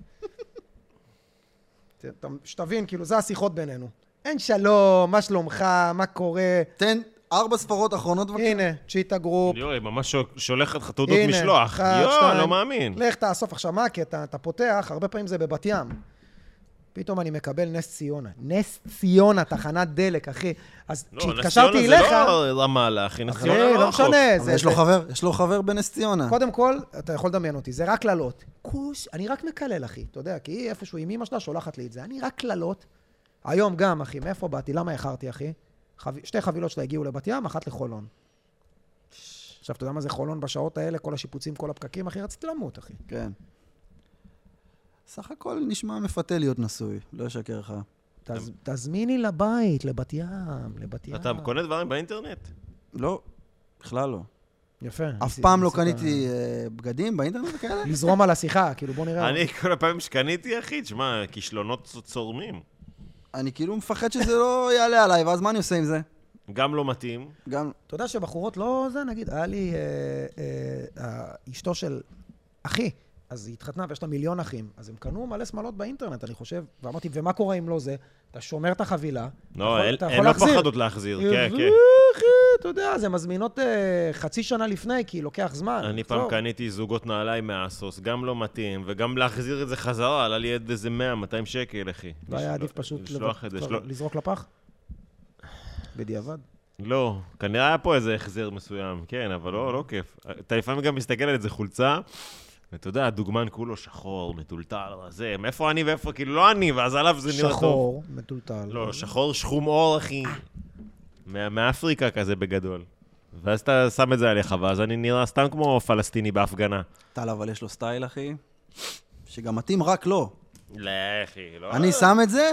[SPEAKER 4] ת- ת- שתבין, כאילו, זה השיחות בינינו. אין שלום, מה שלומך, מה קורה?
[SPEAKER 3] תן ארבע ספרות אחרונות,
[SPEAKER 2] אוקיי.
[SPEAKER 3] בבקשה.
[SPEAKER 4] הנה, צ'יטה גרופ.
[SPEAKER 2] יואי, ממש שולחת לך תעודות
[SPEAKER 4] הנה,
[SPEAKER 2] משלוח.
[SPEAKER 4] אחת,
[SPEAKER 2] יואי,
[SPEAKER 4] שתיים.
[SPEAKER 2] לא מאמין.
[SPEAKER 4] לך תאסוף עכשיו, מה הקטע? אתה פותח, הרבה פעמים זה בבת ים. פתאום אני מקבל נס ציונה. נס ציונה, תחנת דלק, אחי. אז
[SPEAKER 2] לא, נס ציונה
[SPEAKER 4] כשהתקשרתי אליך...
[SPEAKER 2] זה לא רמאללה, אחי, נס
[SPEAKER 4] אחי,
[SPEAKER 2] ציונה לא
[SPEAKER 4] לא
[SPEAKER 2] רחוק.
[SPEAKER 4] משנה,
[SPEAKER 3] אבל
[SPEAKER 4] זה...
[SPEAKER 3] יש
[SPEAKER 4] זה-
[SPEAKER 3] לו חבר, יש לו חבר בנס ציונה.
[SPEAKER 4] קודם כל, אתה יכול לדמיין אותי, זה רק קללות. כוס, אני רק מקלל, אחי. אתה יודע, כי היא איפשהו עם אמא שלה שולחת לי את זה. אני רק קללות. היום גם, אחי, מאיפה באתי? למה איחרתי, אחי? חב... שתי חבילות שלה הגיעו לבת ים, אחת לחולון. עכשיו, אתה יודע מה זה חולון בשעות האלה? כל השיפוצים, כל הפקקים, אחי? רציתי למות, אחי.
[SPEAKER 3] כן. סך הכל נשמע מפתה להיות נשוי, לא אשקר לך.
[SPEAKER 4] תז... תזמיני לבית, לבת ים, לבת ים.
[SPEAKER 2] אתה קונה דברים באינטרנט?
[SPEAKER 3] לא, בכלל לא.
[SPEAKER 4] יפה.
[SPEAKER 3] אף
[SPEAKER 4] ניסי-
[SPEAKER 3] פעם לא
[SPEAKER 4] ניסית
[SPEAKER 3] קניתי אה, בגדים באינטרנט וכאלה?
[SPEAKER 4] לזרום על השיחה, כאילו, בוא נראה.
[SPEAKER 2] אני כל הפעמים שקניתי, אחי, תשמע, כישלונות צ- צורמים.
[SPEAKER 3] אני כאילו מפחד שזה לא יעלה עליי, ואז מה אני עושה עם זה?
[SPEAKER 2] גם לא מתאים.
[SPEAKER 3] גם...
[SPEAKER 4] אתה יודע שבחורות לא זה, נגיד, היה לי אה, אה, אה, אשתו של אחי, אז היא התחתנה ויש לה מיליון אחים, אז הם קנו מלא שמלות באינטרנט, אני חושב, ואמרתי, ומה קורה אם לא זה? אתה שומר את החבילה, אתה
[SPEAKER 2] לא,
[SPEAKER 4] יכול-
[SPEAKER 2] אין-
[SPEAKER 4] נכון, אתה
[SPEAKER 2] הן
[SPEAKER 4] יכול
[SPEAKER 2] לא
[SPEAKER 4] להחזיר.
[SPEAKER 2] פחדות להחזיר. כן,
[SPEAKER 4] יבוא,
[SPEAKER 2] כן.
[SPEAKER 4] אחי, אתה יודע, אז הן מזמינות אה, חצי שנה לפני, כי לוקח זמן.
[SPEAKER 2] אני פעם
[SPEAKER 4] טוב.
[SPEAKER 2] קניתי זוגות נעליים מאסוס, גם לא מתאים, וגם להחזיר את זה חזרה, עלה לי עד איזה 100-200 שקל, אחי.
[SPEAKER 4] לא היה
[SPEAKER 2] לשלוח-
[SPEAKER 4] עדיף פשוט
[SPEAKER 2] לשלוח
[SPEAKER 4] לב-
[SPEAKER 2] את זה.
[SPEAKER 4] כבר
[SPEAKER 2] שלוח-
[SPEAKER 4] לזרוק לפח? בדיעבד.
[SPEAKER 2] לא, כנראה היה פה איזה החזר מסוים, כן, אבל לא, לא כיף. אתה לפעמים גם מסתכל על איזה חולצה, ואתה יודע, הדוגמן כולו שחור, מטולטל, זה, מאיפה אני ואיפה, כאילו לא אני, ואז עליו זה נראה טוב.
[SPEAKER 4] שחור, מטולטל.
[SPEAKER 2] לא, שחור שחום אור, אחי. מה- מאפריקה כזה בגדול. ואז אתה שם את זה עליך, ואז אני נראה סתם כמו פלסטיני בהפגנה.
[SPEAKER 3] טל, אבל יש לו סטייל, אחי, שגם מתאים רק לו.
[SPEAKER 2] לא, אחי, לא...
[SPEAKER 3] אני שם את זה?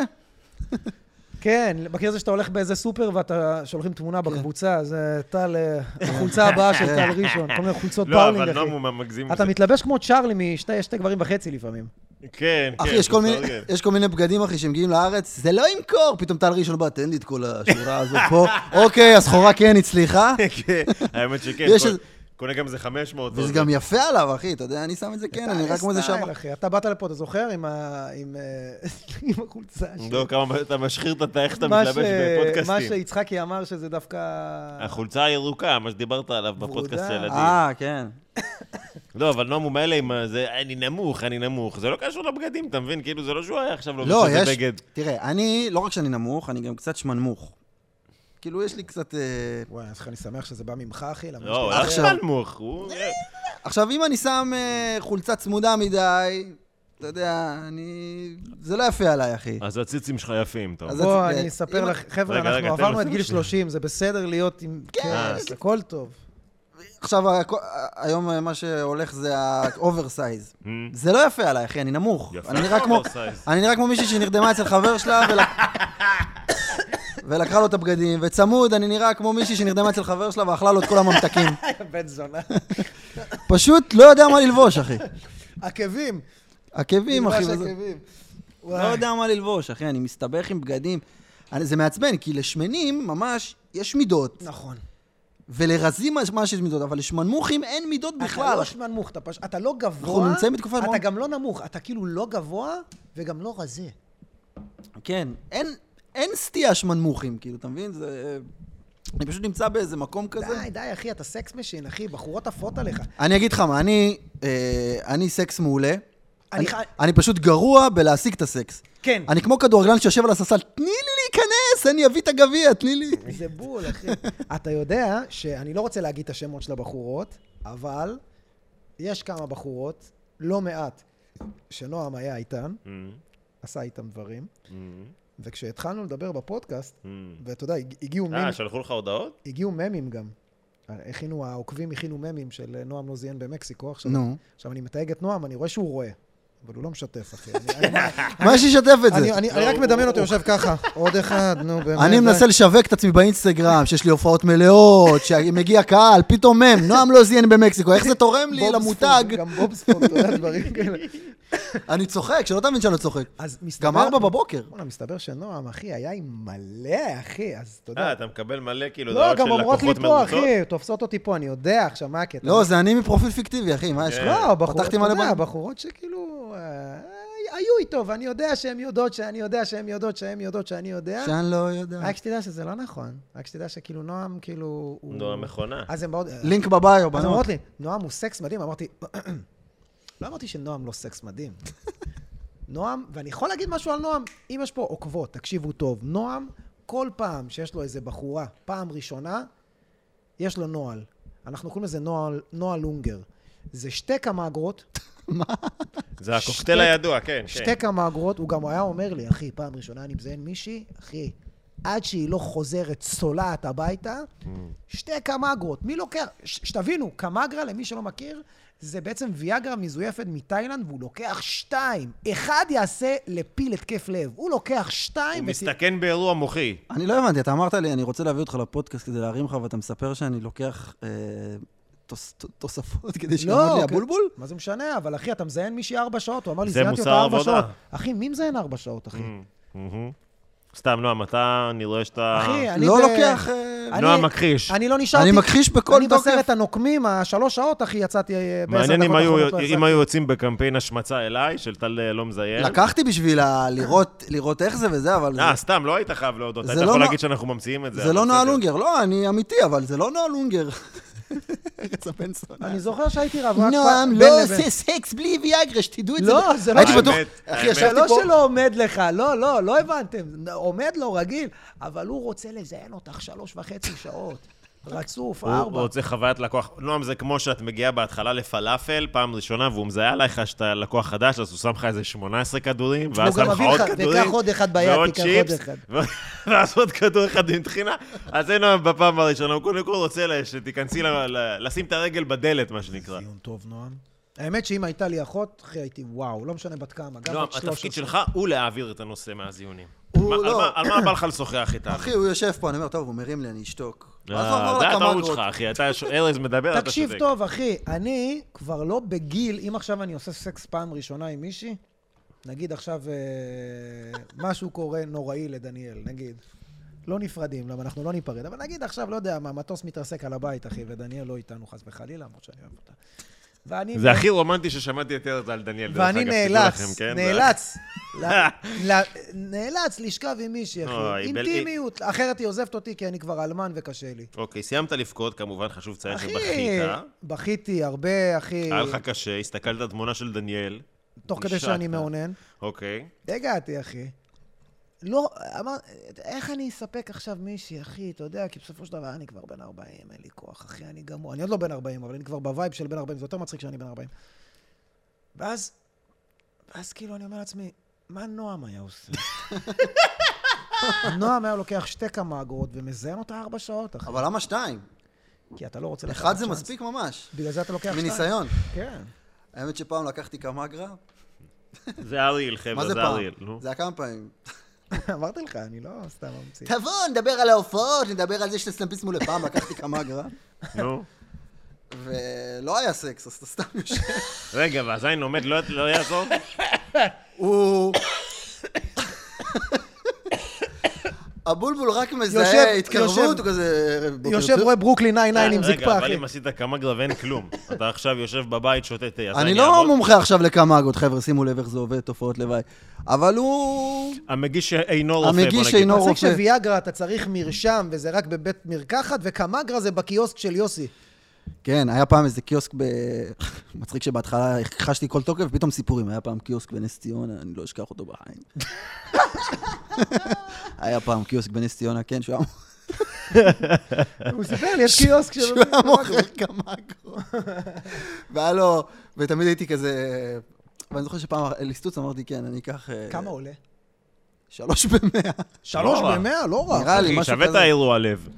[SPEAKER 4] כן, מכיר זה שאתה הולך באיזה סופר ואתה שולחים תמונה
[SPEAKER 3] כן.
[SPEAKER 4] בקבוצה, זה טל, אה, החולצה הבאה של טל ראשון, כל מיני חולצות
[SPEAKER 2] לא,
[SPEAKER 4] פאולינג,
[SPEAKER 2] אבל
[SPEAKER 4] אחי.
[SPEAKER 2] נומו מגזים
[SPEAKER 4] אתה
[SPEAKER 2] מזה.
[SPEAKER 4] מתלבש כמו צ'ארלי משתי שתי גברים וחצי לפעמים.
[SPEAKER 2] כן, כן.
[SPEAKER 3] אחי, יש כל מיני-
[SPEAKER 2] תתארגן.
[SPEAKER 3] יש כל מיני בגדים, אחי, שמגיעים לארץ, זה לא ימכור! פתאום טל ראשון בא, תן לי את כל השורה הזאת פה. אוקיי, הסחורה כן הצליחה,
[SPEAKER 2] כן, האמת שכן.
[SPEAKER 3] יש
[SPEAKER 2] כל-
[SPEAKER 3] איזה-
[SPEAKER 2] קונה גם איזה 500.
[SPEAKER 3] וזה
[SPEAKER 2] עוד.
[SPEAKER 3] גם יפה עליו, אחי, אתה יודע, אני שם את זה כן, אני רק כמו איזה
[SPEAKER 4] סטייל,
[SPEAKER 3] שמה.
[SPEAKER 4] אחי. אתה באת לפה, אתה זוכר? עם ה- עם, אה, עם החולצה של...
[SPEAKER 2] לא, כמה אתה משחיר את ה- איך אתה
[SPEAKER 4] מה
[SPEAKER 2] מתלבש
[SPEAKER 4] ש- מה
[SPEAKER 2] בפודקאסטים.
[SPEAKER 4] שיצחקי אמר שזה דווקא...
[SPEAKER 2] החולצה הירוקה, מה שדיברת עליו בפודקאסט של
[SPEAKER 4] ורודה.
[SPEAKER 2] ילדים.
[SPEAKER 3] אה, כן.
[SPEAKER 2] לא, אבל נומו מילא עם זה, אני נמוך, אני נמוך. זה לא קשור לבגדים, אתה מבין? כאילו, זה לא שהוא היה עכשיו לובש
[SPEAKER 3] לא,
[SPEAKER 2] איזה
[SPEAKER 3] יש...
[SPEAKER 2] בגד.
[SPEAKER 3] תראה, אני, לא רק שאני נמוך, אני גם קצת שמנמוך. כאילו, יש לי קצת... אה,
[SPEAKER 4] וואי, אז אני שמח שזה בא ממך, אחי. למה
[SPEAKER 2] לא, הוא
[SPEAKER 4] יש לי-
[SPEAKER 2] הלך
[SPEAKER 3] עכשיו-
[SPEAKER 2] שלנמוך, הוא...
[SPEAKER 3] עכשיו, אם אני שם אה, חולצה צמודה מדי, אתה יודע, אני... זה לא יפה עליי,
[SPEAKER 4] אה,
[SPEAKER 3] אחי.
[SPEAKER 2] אז הציצים שלך יפים, טוב.
[SPEAKER 3] אז-
[SPEAKER 4] בוא,
[SPEAKER 3] זה-
[SPEAKER 4] אני
[SPEAKER 3] אם-
[SPEAKER 4] אספר לך, חבר'ה,
[SPEAKER 2] רגע,
[SPEAKER 4] אנחנו
[SPEAKER 2] רגע, תן
[SPEAKER 4] עברנו
[SPEAKER 2] לו
[SPEAKER 4] את גיל
[SPEAKER 2] שנייה.
[SPEAKER 4] 30, זה בסדר להיות עם
[SPEAKER 3] כן.
[SPEAKER 4] כס, הכל טוב.
[SPEAKER 3] עכשיו, הכ- היום אה, מה שהולך זה האוברסייז.
[SPEAKER 2] Mm.
[SPEAKER 3] זה לא יפה עליי, אחי, אני נמוך.
[SPEAKER 2] יפה,
[SPEAKER 3] אני נראה כמו...
[SPEAKER 2] אוברסייז.
[SPEAKER 3] אני נראה כמו מישהי שנרדמה אצל חבר שלה ול... ולקחה לו את הבגדים, וצמוד, אני נראה כמו מישהי שנרדמה אצל חבר שלה ואכלה לו את כל הממתקים.
[SPEAKER 4] בן זונה.
[SPEAKER 3] פשוט לא יודע מה ללבוש, אחי.
[SPEAKER 4] עקבים.
[SPEAKER 3] עקבים, אחי.
[SPEAKER 4] ממש
[SPEAKER 3] וזה-
[SPEAKER 4] עקבים.
[SPEAKER 3] לא
[SPEAKER 4] וואי.
[SPEAKER 3] יודע מה ללבוש, אחי, אני מסתבך עם בגדים. אני, זה מעצבן, כי לשמנים ממש יש מידות,
[SPEAKER 4] נכון.
[SPEAKER 3] ולרזים ממש יש מידות, אבל לשמנמוכים אין מידות
[SPEAKER 4] אתה
[SPEAKER 3] בכלל.
[SPEAKER 4] לא שמנמוך, אתה פשוט... אתה לא גבוה.
[SPEAKER 3] אנחנו נמצאים בתקופה
[SPEAKER 4] אתה
[SPEAKER 3] מאוד-
[SPEAKER 4] גם לא נמוך, אתה כאילו לא גבוה וגם לא רזה.
[SPEAKER 3] כן, אין, אין סטייה שמנמוכים, כאילו, אתה מבין? זה... אני פשוט נמצא באיזה מקום כזה.
[SPEAKER 4] די, די, אחי, אתה סקס משין, אחי, בחורות עפות עליך.
[SPEAKER 3] אני אגיד לך מה, אני, אה, אני סקס מעולה.
[SPEAKER 4] אני
[SPEAKER 3] אני,
[SPEAKER 4] ח-
[SPEAKER 3] אני פשוט גרוע בלהשיג את הסקס.
[SPEAKER 4] כן.
[SPEAKER 3] אני כמו כדורגלן שיושב על הססל, תני לי להיכנס, אני אביא את הגביע, תני לי.
[SPEAKER 4] זה בול, אחי. אתה יודע שאני לא רוצה להגיד את השמות של הבחורות, אבל יש כמה בחורות, לא מעט, שנועם היה איתן,
[SPEAKER 2] Mm,
[SPEAKER 4] עשה איתם דברים,
[SPEAKER 2] mm,
[SPEAKER 4] וכשהתחלנו לדבר בפודקאסט,
[SPEAKER 2] mm.
[SPEAKER 4] ואתה יודע, הג- הגיעו
[SPEAKER 2] אה,
[SPEAKER 4] מימים,
[SPEAKER 2] שלחו לך הודעות?
[SPEAKER 4] הגיעו ממים גם. הכינו, העוקבים הכינו ממים של אה, נועם נוזיאן במקסיקו עכשיו.
[SPEAKER 3] נו.
[SPEAKER 4] עכשיו אני מתייג את נועם, אני רואה שהוא רואה, אבל הוא לא משתף, אחי. אני- אני-
[SPEAKER 3] מה יש לשתף את זה?
[SPEAKER 4] אני- אני אני רק
[SPEAKER 2] לא.
[SPEAKER 4] מדמיין אותו יושב ככה, עוד אחד, נו באמת.
[SPEAKER 3] אני מנסה לשווק את עצמי באינסטגרם, שיש לי הופעות מלאות, שמגיע קהל, פתאום מם, נועם לא זיין במקסיקו, איך זה תורם לי
[SPEAKER 4] בוב
[SPEAKER 3] למותג?
[SPEAKER 4] ספוג, גם בוב ספוג, אתה יודע, דברים כאלה.
[SPEAKER 3] אני צוחק, שלא תבין שאני לא צוחק.
[SPEAKER 4] אז מסתבר...
[SPEAKER 3] גם ארבע בבוקר.
[SPEAKER 4] בואנה, מסתבר שנועם, אחי, היה עם מלא, אחי, אז אתה
[SPEAKER 2] אה,
[SPEAKER 4] יודע.
[SPEAKER 2] אתה מקבל מלא כאילו
[SPEAKER 4] לא,
[SPEAKER 2] הודעות של
[SPEAKER 4] גם אומרות לי
[SPEAKER 2] לקוחות
[SPEAKER 4] פה,
[SPEAKER 2] מרוצות?
[SPEAKER 4] אחי, תופסות אותי פה, אני יודע עכשיו, מה הקטע?
[SPEAKER 3] לא, זה אני מפרופיל פיקטיבי, אחי, מה יש לך?
[SPEAKER 4] לא, בחורות,
[SPEAKER 3] פתחתי
[SPEAKER 4] אתה
[SPEAKER 3] מלא
[SPEAKER 4] יודע,
[SPEAKER 3] בעיה.
[SPEAKER 4] בחורות שכאילו... אה, היו איתו, ואני יודע שהן יודעות, שאני יודע שהן יודעות, שהן יודעות, שאני יודע.
[SPEAKER 3] שאני לא יודע.
[SPEAKER 4] רק שתדע שזה לא נכון. רק שתדע שכאילו נועם, כאילו... הוא-
[SPEAKER 2] נו, המכונה.
[SPEAKER 4] אז הן באות...
[SPEAKER 3] לינק בביו,
[SPEAKER 4] אז הן
[SPEAKER 3] בנות.
[SPEAKER 4] אומרות לי, נועם הוא סקס מדהים. אמרתי, לא אמרתי שנועם לא סקס מדהים. נועם, ואני יכול להגיד משהו על נועם, אם יש פה עוקבות, תקשיבו טוב. נועם, כל פעם שיש לו איזה בחורה, פעם ראשונה, יש לו נוהל. אנחנו קוראים לזה נוהל, נוהל אונגר. זה שתי כמגרות,
[SPEAKER 2] זה הקוקטייל הידוע, כן, כן.
[SPEAKER 4] שתי כמה אגרות, הוא גם היה אומר לי, אחי, פעם ראשונה אני מזיין מישהי, אחי, עד שהיא לא חוזרת צולעת הביתה,
[SPEAKER 2] Mm.
[SPEAKER 4] שתי כמה אגרות. מי לוקח? ש- שתבינו, קמגרה, למי שלא מכיר, זה בעצם ויאגרה מזויפת מתאילנד, והוא לוקח שתיים. אחד יעשה לפיל התקף לב. הוא לוקח שתיים...
[SPEAKER 2] הוא
[SPEAKER 4] ות-
[SPEAKER 2] מסתכן באירוע מוחי.
[SPEAKER 3] אני לא הבנתי, אתה אמרת לי, אני רוצה להביא אותך לפודקאסט כדי להרים לך, ואתה מספר שאני לוקח אה, תוס- תוספות כדי שיעמוד לי
[SPEAKER 4] אוקיי.
[SPEAKER 3] הבולבול?
[SPEAKER 4] מה זה משנה? אבל אחי, אתה מזיין מישהי ארבע שעות, הוא אמר לי,
[SPEAKER 2] זה
[SPEAKER 4] זיינתי
[SPEAKER 2] מוסר
[SPEAKER 4] אותה ארבע
[SPEAKER 2] עבודה. Mm.
[SPEAKER 4] שעות. אחי, מי מזיין ארבע שעות, אחי?
[SPEAKER 2] מהמם. סתם, נועם, אתה, אני רואה שאתה...
[SPEAKER 4] אחי, אני...
[SPEAKER 3] לא
[SPEAKER 4] ב-
[SPEAKER 3] לוקח... אה,
[SPEAKER 4] אני-
[SPEAKER 2] נועם מכחיש.
[SPEAKER 4] אני לא נשארתי...
[SPEAKER 3] אני מכחיש בכל
[SPEAKER 4] אני
[SPEAKER 3] תוקף.
[SPEAKER 4] בסרט הנוקמים, השלוש שעות, אחי, יצאתי אה, בעשר דקות
[SPEAKER 2] מעניין אם היו-
[SPEAKER 4] האחרונות לא
[SPEAKER 2] אם
[SPEAKER 4] יצאתי.
[SPEAKER 2] היו יוצאים בקמפיין השמצה אליי, של טל אה, לא מזיין.
[SPEAKER 3] לקחתי בשביל ה- לראות- לראות איך זה וזה, אבל זה-
[SPEAKER 2] אה, סתם, לא היית חייב להודות.
[SPEAKER 3] זה
[SPEAKER 2] היית
[SPEAKER 3] לא
[SPEAKER 2] יכול
[SPEAKER 3] נוע-
[SPEAKER 2] להגיד שאנחנו ממציאים את זה.
[SPEAKER 3] זה
[SPEAKER 2] אבל
[SPEAKER 3] לא נועה
[SPEAKER 2] בסדר.
[SPEAKER 3] לונגר. לא, אני אמיתי, אבל זה לא נועה לונגר. ארץ הפנסונה.
[SPEAKER 4] אני זוכר שהייתי רב רק
[SPEAKER 3] נועם
[SPEAKER 4] בין
[SPEAKER 3] לא
[SPEAKER 4] לבין.
[SPEAKER 3] עושה סקס בלי ויאגרה, שתדעו את זה.
[SPEAKER 4] לא, זה לא-
[SPEAKER 3] הייתי
[SPEAKER 4] האמת,
[SPEAKER 3] בטוח,
[SPEAKER 2] האמת.
[SPEAKER 3] אחי, ישבתי
[SPEAKER 4] זה לא
[SPEAKER 3] פה.
[SPEAKER 4] שלא עומד לך, לא, לא, לא הבנתם. עומד לו רגיל, אבל הוא רוצה לזיין אותך שלוש וחצי שעות. רצוף,
[SPEAKER 2] הוא הוא
[SPEAKER 4] ארבע.
[SPEAKER 2] רוצה חוויית לקוח. נועם, זה כמו שאת מגיעה בהתחלה לפלאפל, פעם ראשונה, והוא מזהה עלייך שאתה לקוח חדש, אז הוא שם לך איזה 18 כדורים, ואז
[SPEAKER 4] גם
[SPEAKER 2] שם לך
[SPEAKER 4] מביא
[SPEAKER 2] עוד
[SPEAKER 4] לך,
[SPEAKER 2] כדורים,
[SPEAKER 4] וקח עוד אחד ביד,
[SPEAKER 2] ועוד
[SPEAKER 4] תיקח עוד
[SPEAKER 2] צ'יפס,
[SPEAKER 4] אחד.
[SPEAKER 2] ו- ואז עוד כדור אחד עם טחינה. אז זה נועם בפעם הראשונה, הוא קודם כל רוצה לה- שתיכנסי, ל- ל- לשים את הרגל בדלת, מה שנקרא.
[SPEAKER 4] ציון טוב, נועם. האמת שאם הייתה לי אחות, אחי, הייתי וואו, לא משנה בת כמה. גם
[SPEAKER 2] נועם,
[SPEAKER 4] בת
[SPEAKER 2] התפקיד
[SPEAKER 4] 13.
[SPEAKER 2] שלך הוא להעביר את הנושא מהזיונים.
[SPEAKER 3] הוא
[SPEAKER 2] מה- על
[SPEAKER 3] לא.
[SPEAKER 2] מה- על מה בא לך לשוחח איתנו?
[SPEAKER 3] אחי, הוא יושב פה, אני אומר, טוב, הוא מרים לי, אני אשתוק. ואז הוא
[SPEAKER 2] אה,
[SPEAKER 3] עבר
[SPEAKER 2] זה הטעות
[SPEAKER 3] לקמגרות.
[SPEAKER 2] שלך, אחי. אתה, ש- ארז מדבר, אתה
[SPEAKER 4] תקשיב
[SPEAKER 2] שותק.
[SPEAKER 4] טוב, אחי, אני כבר לא בגיל, אם עכשיו אני עושה סקס פעם ראשונה עם מישהי, נגיד עכשיו אה, משהו קורה נוראי לדניאל, נגיד. לא נפרדים, למה אנחנו לא ניפרד, אבל נגיד עכשיו, לא יודע מה, מטוס מתרסק על הבית, אחי, ודניאל לא איתנו חס וחלילה, למרות שאני אוהב אותה. ואני...
[SPEAKER 2] זה הכי רומנטי ששמעתי את ארז על דניאל. דרך
[SPEAKER 4] ואני
[SPEAKER 2] אגב, תדעו
[SPEAKER 4] נאלץ,
[SPEAKER 2] לכם, כן? זה-
[SPEAKER 4] נאלץ, ל- ל- נאלץ לשכב עם מישהי, אחי,
[SPEAKER 2] אוי, בל-
[SPEAKER 4] אינטימיות, אחרת היא עוזבת אותי כי אני כבר אלמן וקשה לי.
[SPEAKER 2] אוקיי, סיימת לבכות, כמובן, חשוב לציין
[SPEAKER 4] אחי,
[SPEAKER 2] שבכית.
[SPEAKER 4] בכיתי הרבה, אחי,
[SPEAKER 2] אה? היה לך קשה, הסתכלת על תמונה של דניאל.
[SPEAKER 4] תוך כדי
[SPEAKER 2] נשקת.
[SPEAKER 4] שאני מאונן.
[SPEAKER 2] אוקיי.
[SPEAKER 4] הגעתי, אחי. לא, אמר, איך אני אספק עכשיו מישהי, אחי, אתה יודע, כי בסופו של דבר אני כבר בן 40, אין לי כוח, אחי, אני גמור. אני עוד לא בן 40, אבל אני כבר בווייב של בן 40, זה יותר מצחיק שאני בן 40. ואז, ואז כאילו אני אומר לעצמי, מה נועם היה עושה? נועם היה לוקח שתי קמ"גות ומזיין אותה ארבע שעות, אחי.
[SPEAKER 3] אבל למה שתיים?
[SPEAKER 4] כי אתה לא רוצה לקחת
[SPEAKER 3] אחד זה
[SPEAKER 4] צ'אנס.
[SPEAKER 3] מספיק ממש.
[SPEAKER 4] בגלל זה אתה לוקח שתיים.
[SPEAKER 3] מניסיון.
[SPEAKER 4] כן.
[SPEAKER 3] האמת שפעם לקחתי קמגרה,
[SPEAKER 2] זה אריאל,
[SPEAKER 3] מה
[SPEAKER 2] חבר'ה,
[SPEAKER 3] זה
[SPEAKER 2] זה אריאל.
[SPEAKER 3] פעם?
[SPEAKER 2] נו.
[SPEAKER 3] זה היה כמה פעמים.
[SPEAKER 4] אמרתי לך, אני לא סתם ממציא.
[SPEAKER 3] תבוא, נדבר על ההופעות, נדבר על זה שאתה סטמפיסט מול פעם, לקחתי קמגרה,
[SPEAKER 2] נו.
[SPEAKER 3] ולא היה סקס, אז אתה סתם יושב.
[SPEAKER 2] רגע, והזין לומד, לא- לא יעזור?
[SPEAKER 3] הוא... הבולבול רק מזהה
[SPEAKER 4] יושב-
[SPEAKER 3] התקרבות,
[SPEAKER 4] יושב-
[SPEAKER 3] הוא כזה... בוקר
[SPEAKER 4] יושב
[SPEAKER 3] טוב.
[SPEAKER 4] רואה ברוקלין 99 עם
[SPEAKER 2] אה, רגע,
[SPEAKER 4] זקפה,
[SPEAKER 2] אבל
[SPEAKER 4] אחי.
[SPEAKER 2] אם עשית כמה גרבן כלום, אתה עכשיו יושב בבית, שותה תה, הזין
[SPEAKER 3] אני
[SPEAKER 2] יעבוד?
[SPEAKER 3] לא מומחה עכשיו לקמגות, חבר'ה, שימו לב איך זה עובד, תופעות לוואי. אבל הוא...
[SPEAKER 2] המגיש אינו רופא, בוא נגיד.
[SPEAKER 3] המגיש אינו
[SPEAKER 4] מצחיק
[SPEAKER 3] רופא.
[SPEAKER 4] שוויאגרה אתה צריך מרשם, וזה רק בבית מרקחת, וקמגרה זה בקיוסק של יוסי.
[SPEAKER 3] כן, היה פעם איזה קיוסק ב... מצחיק שבהתחלה הכחשתי כל תוקף, פתאום סיפורים. היה פעם קיוסק בנס ציונה, אני לא אשכח אותו בחיים. היה פעם קיוסק בנס ציונה, כן, שהוא היה-
[SPEAKER 4] הוא סיפר לי, יש קיוסק של...
[SPEAKER 3] שהוא היה מוכר קמגו. והיה לו... ותמיד הייתי כזה... ואני זוכר שפעם ליסטוץ אמרתי, כן, אני אקח... אה,
[SPEAKER 4] כמה עולה?
[SPEAKER 3] שלוש במאה.
[SPEAKER 4] שלוש
[SPEAKER 2] רע.
[SPEAKER 4] במאה? לא רע.
[SPEAKER 3] נראה לי,
[SPEAKER 2] אחי,
[SPEAKER 3] משהו
[SPEAKER 2] שווה את
[SPEAKER 3] כזה.
[SPEAKER 2] האירוע לב.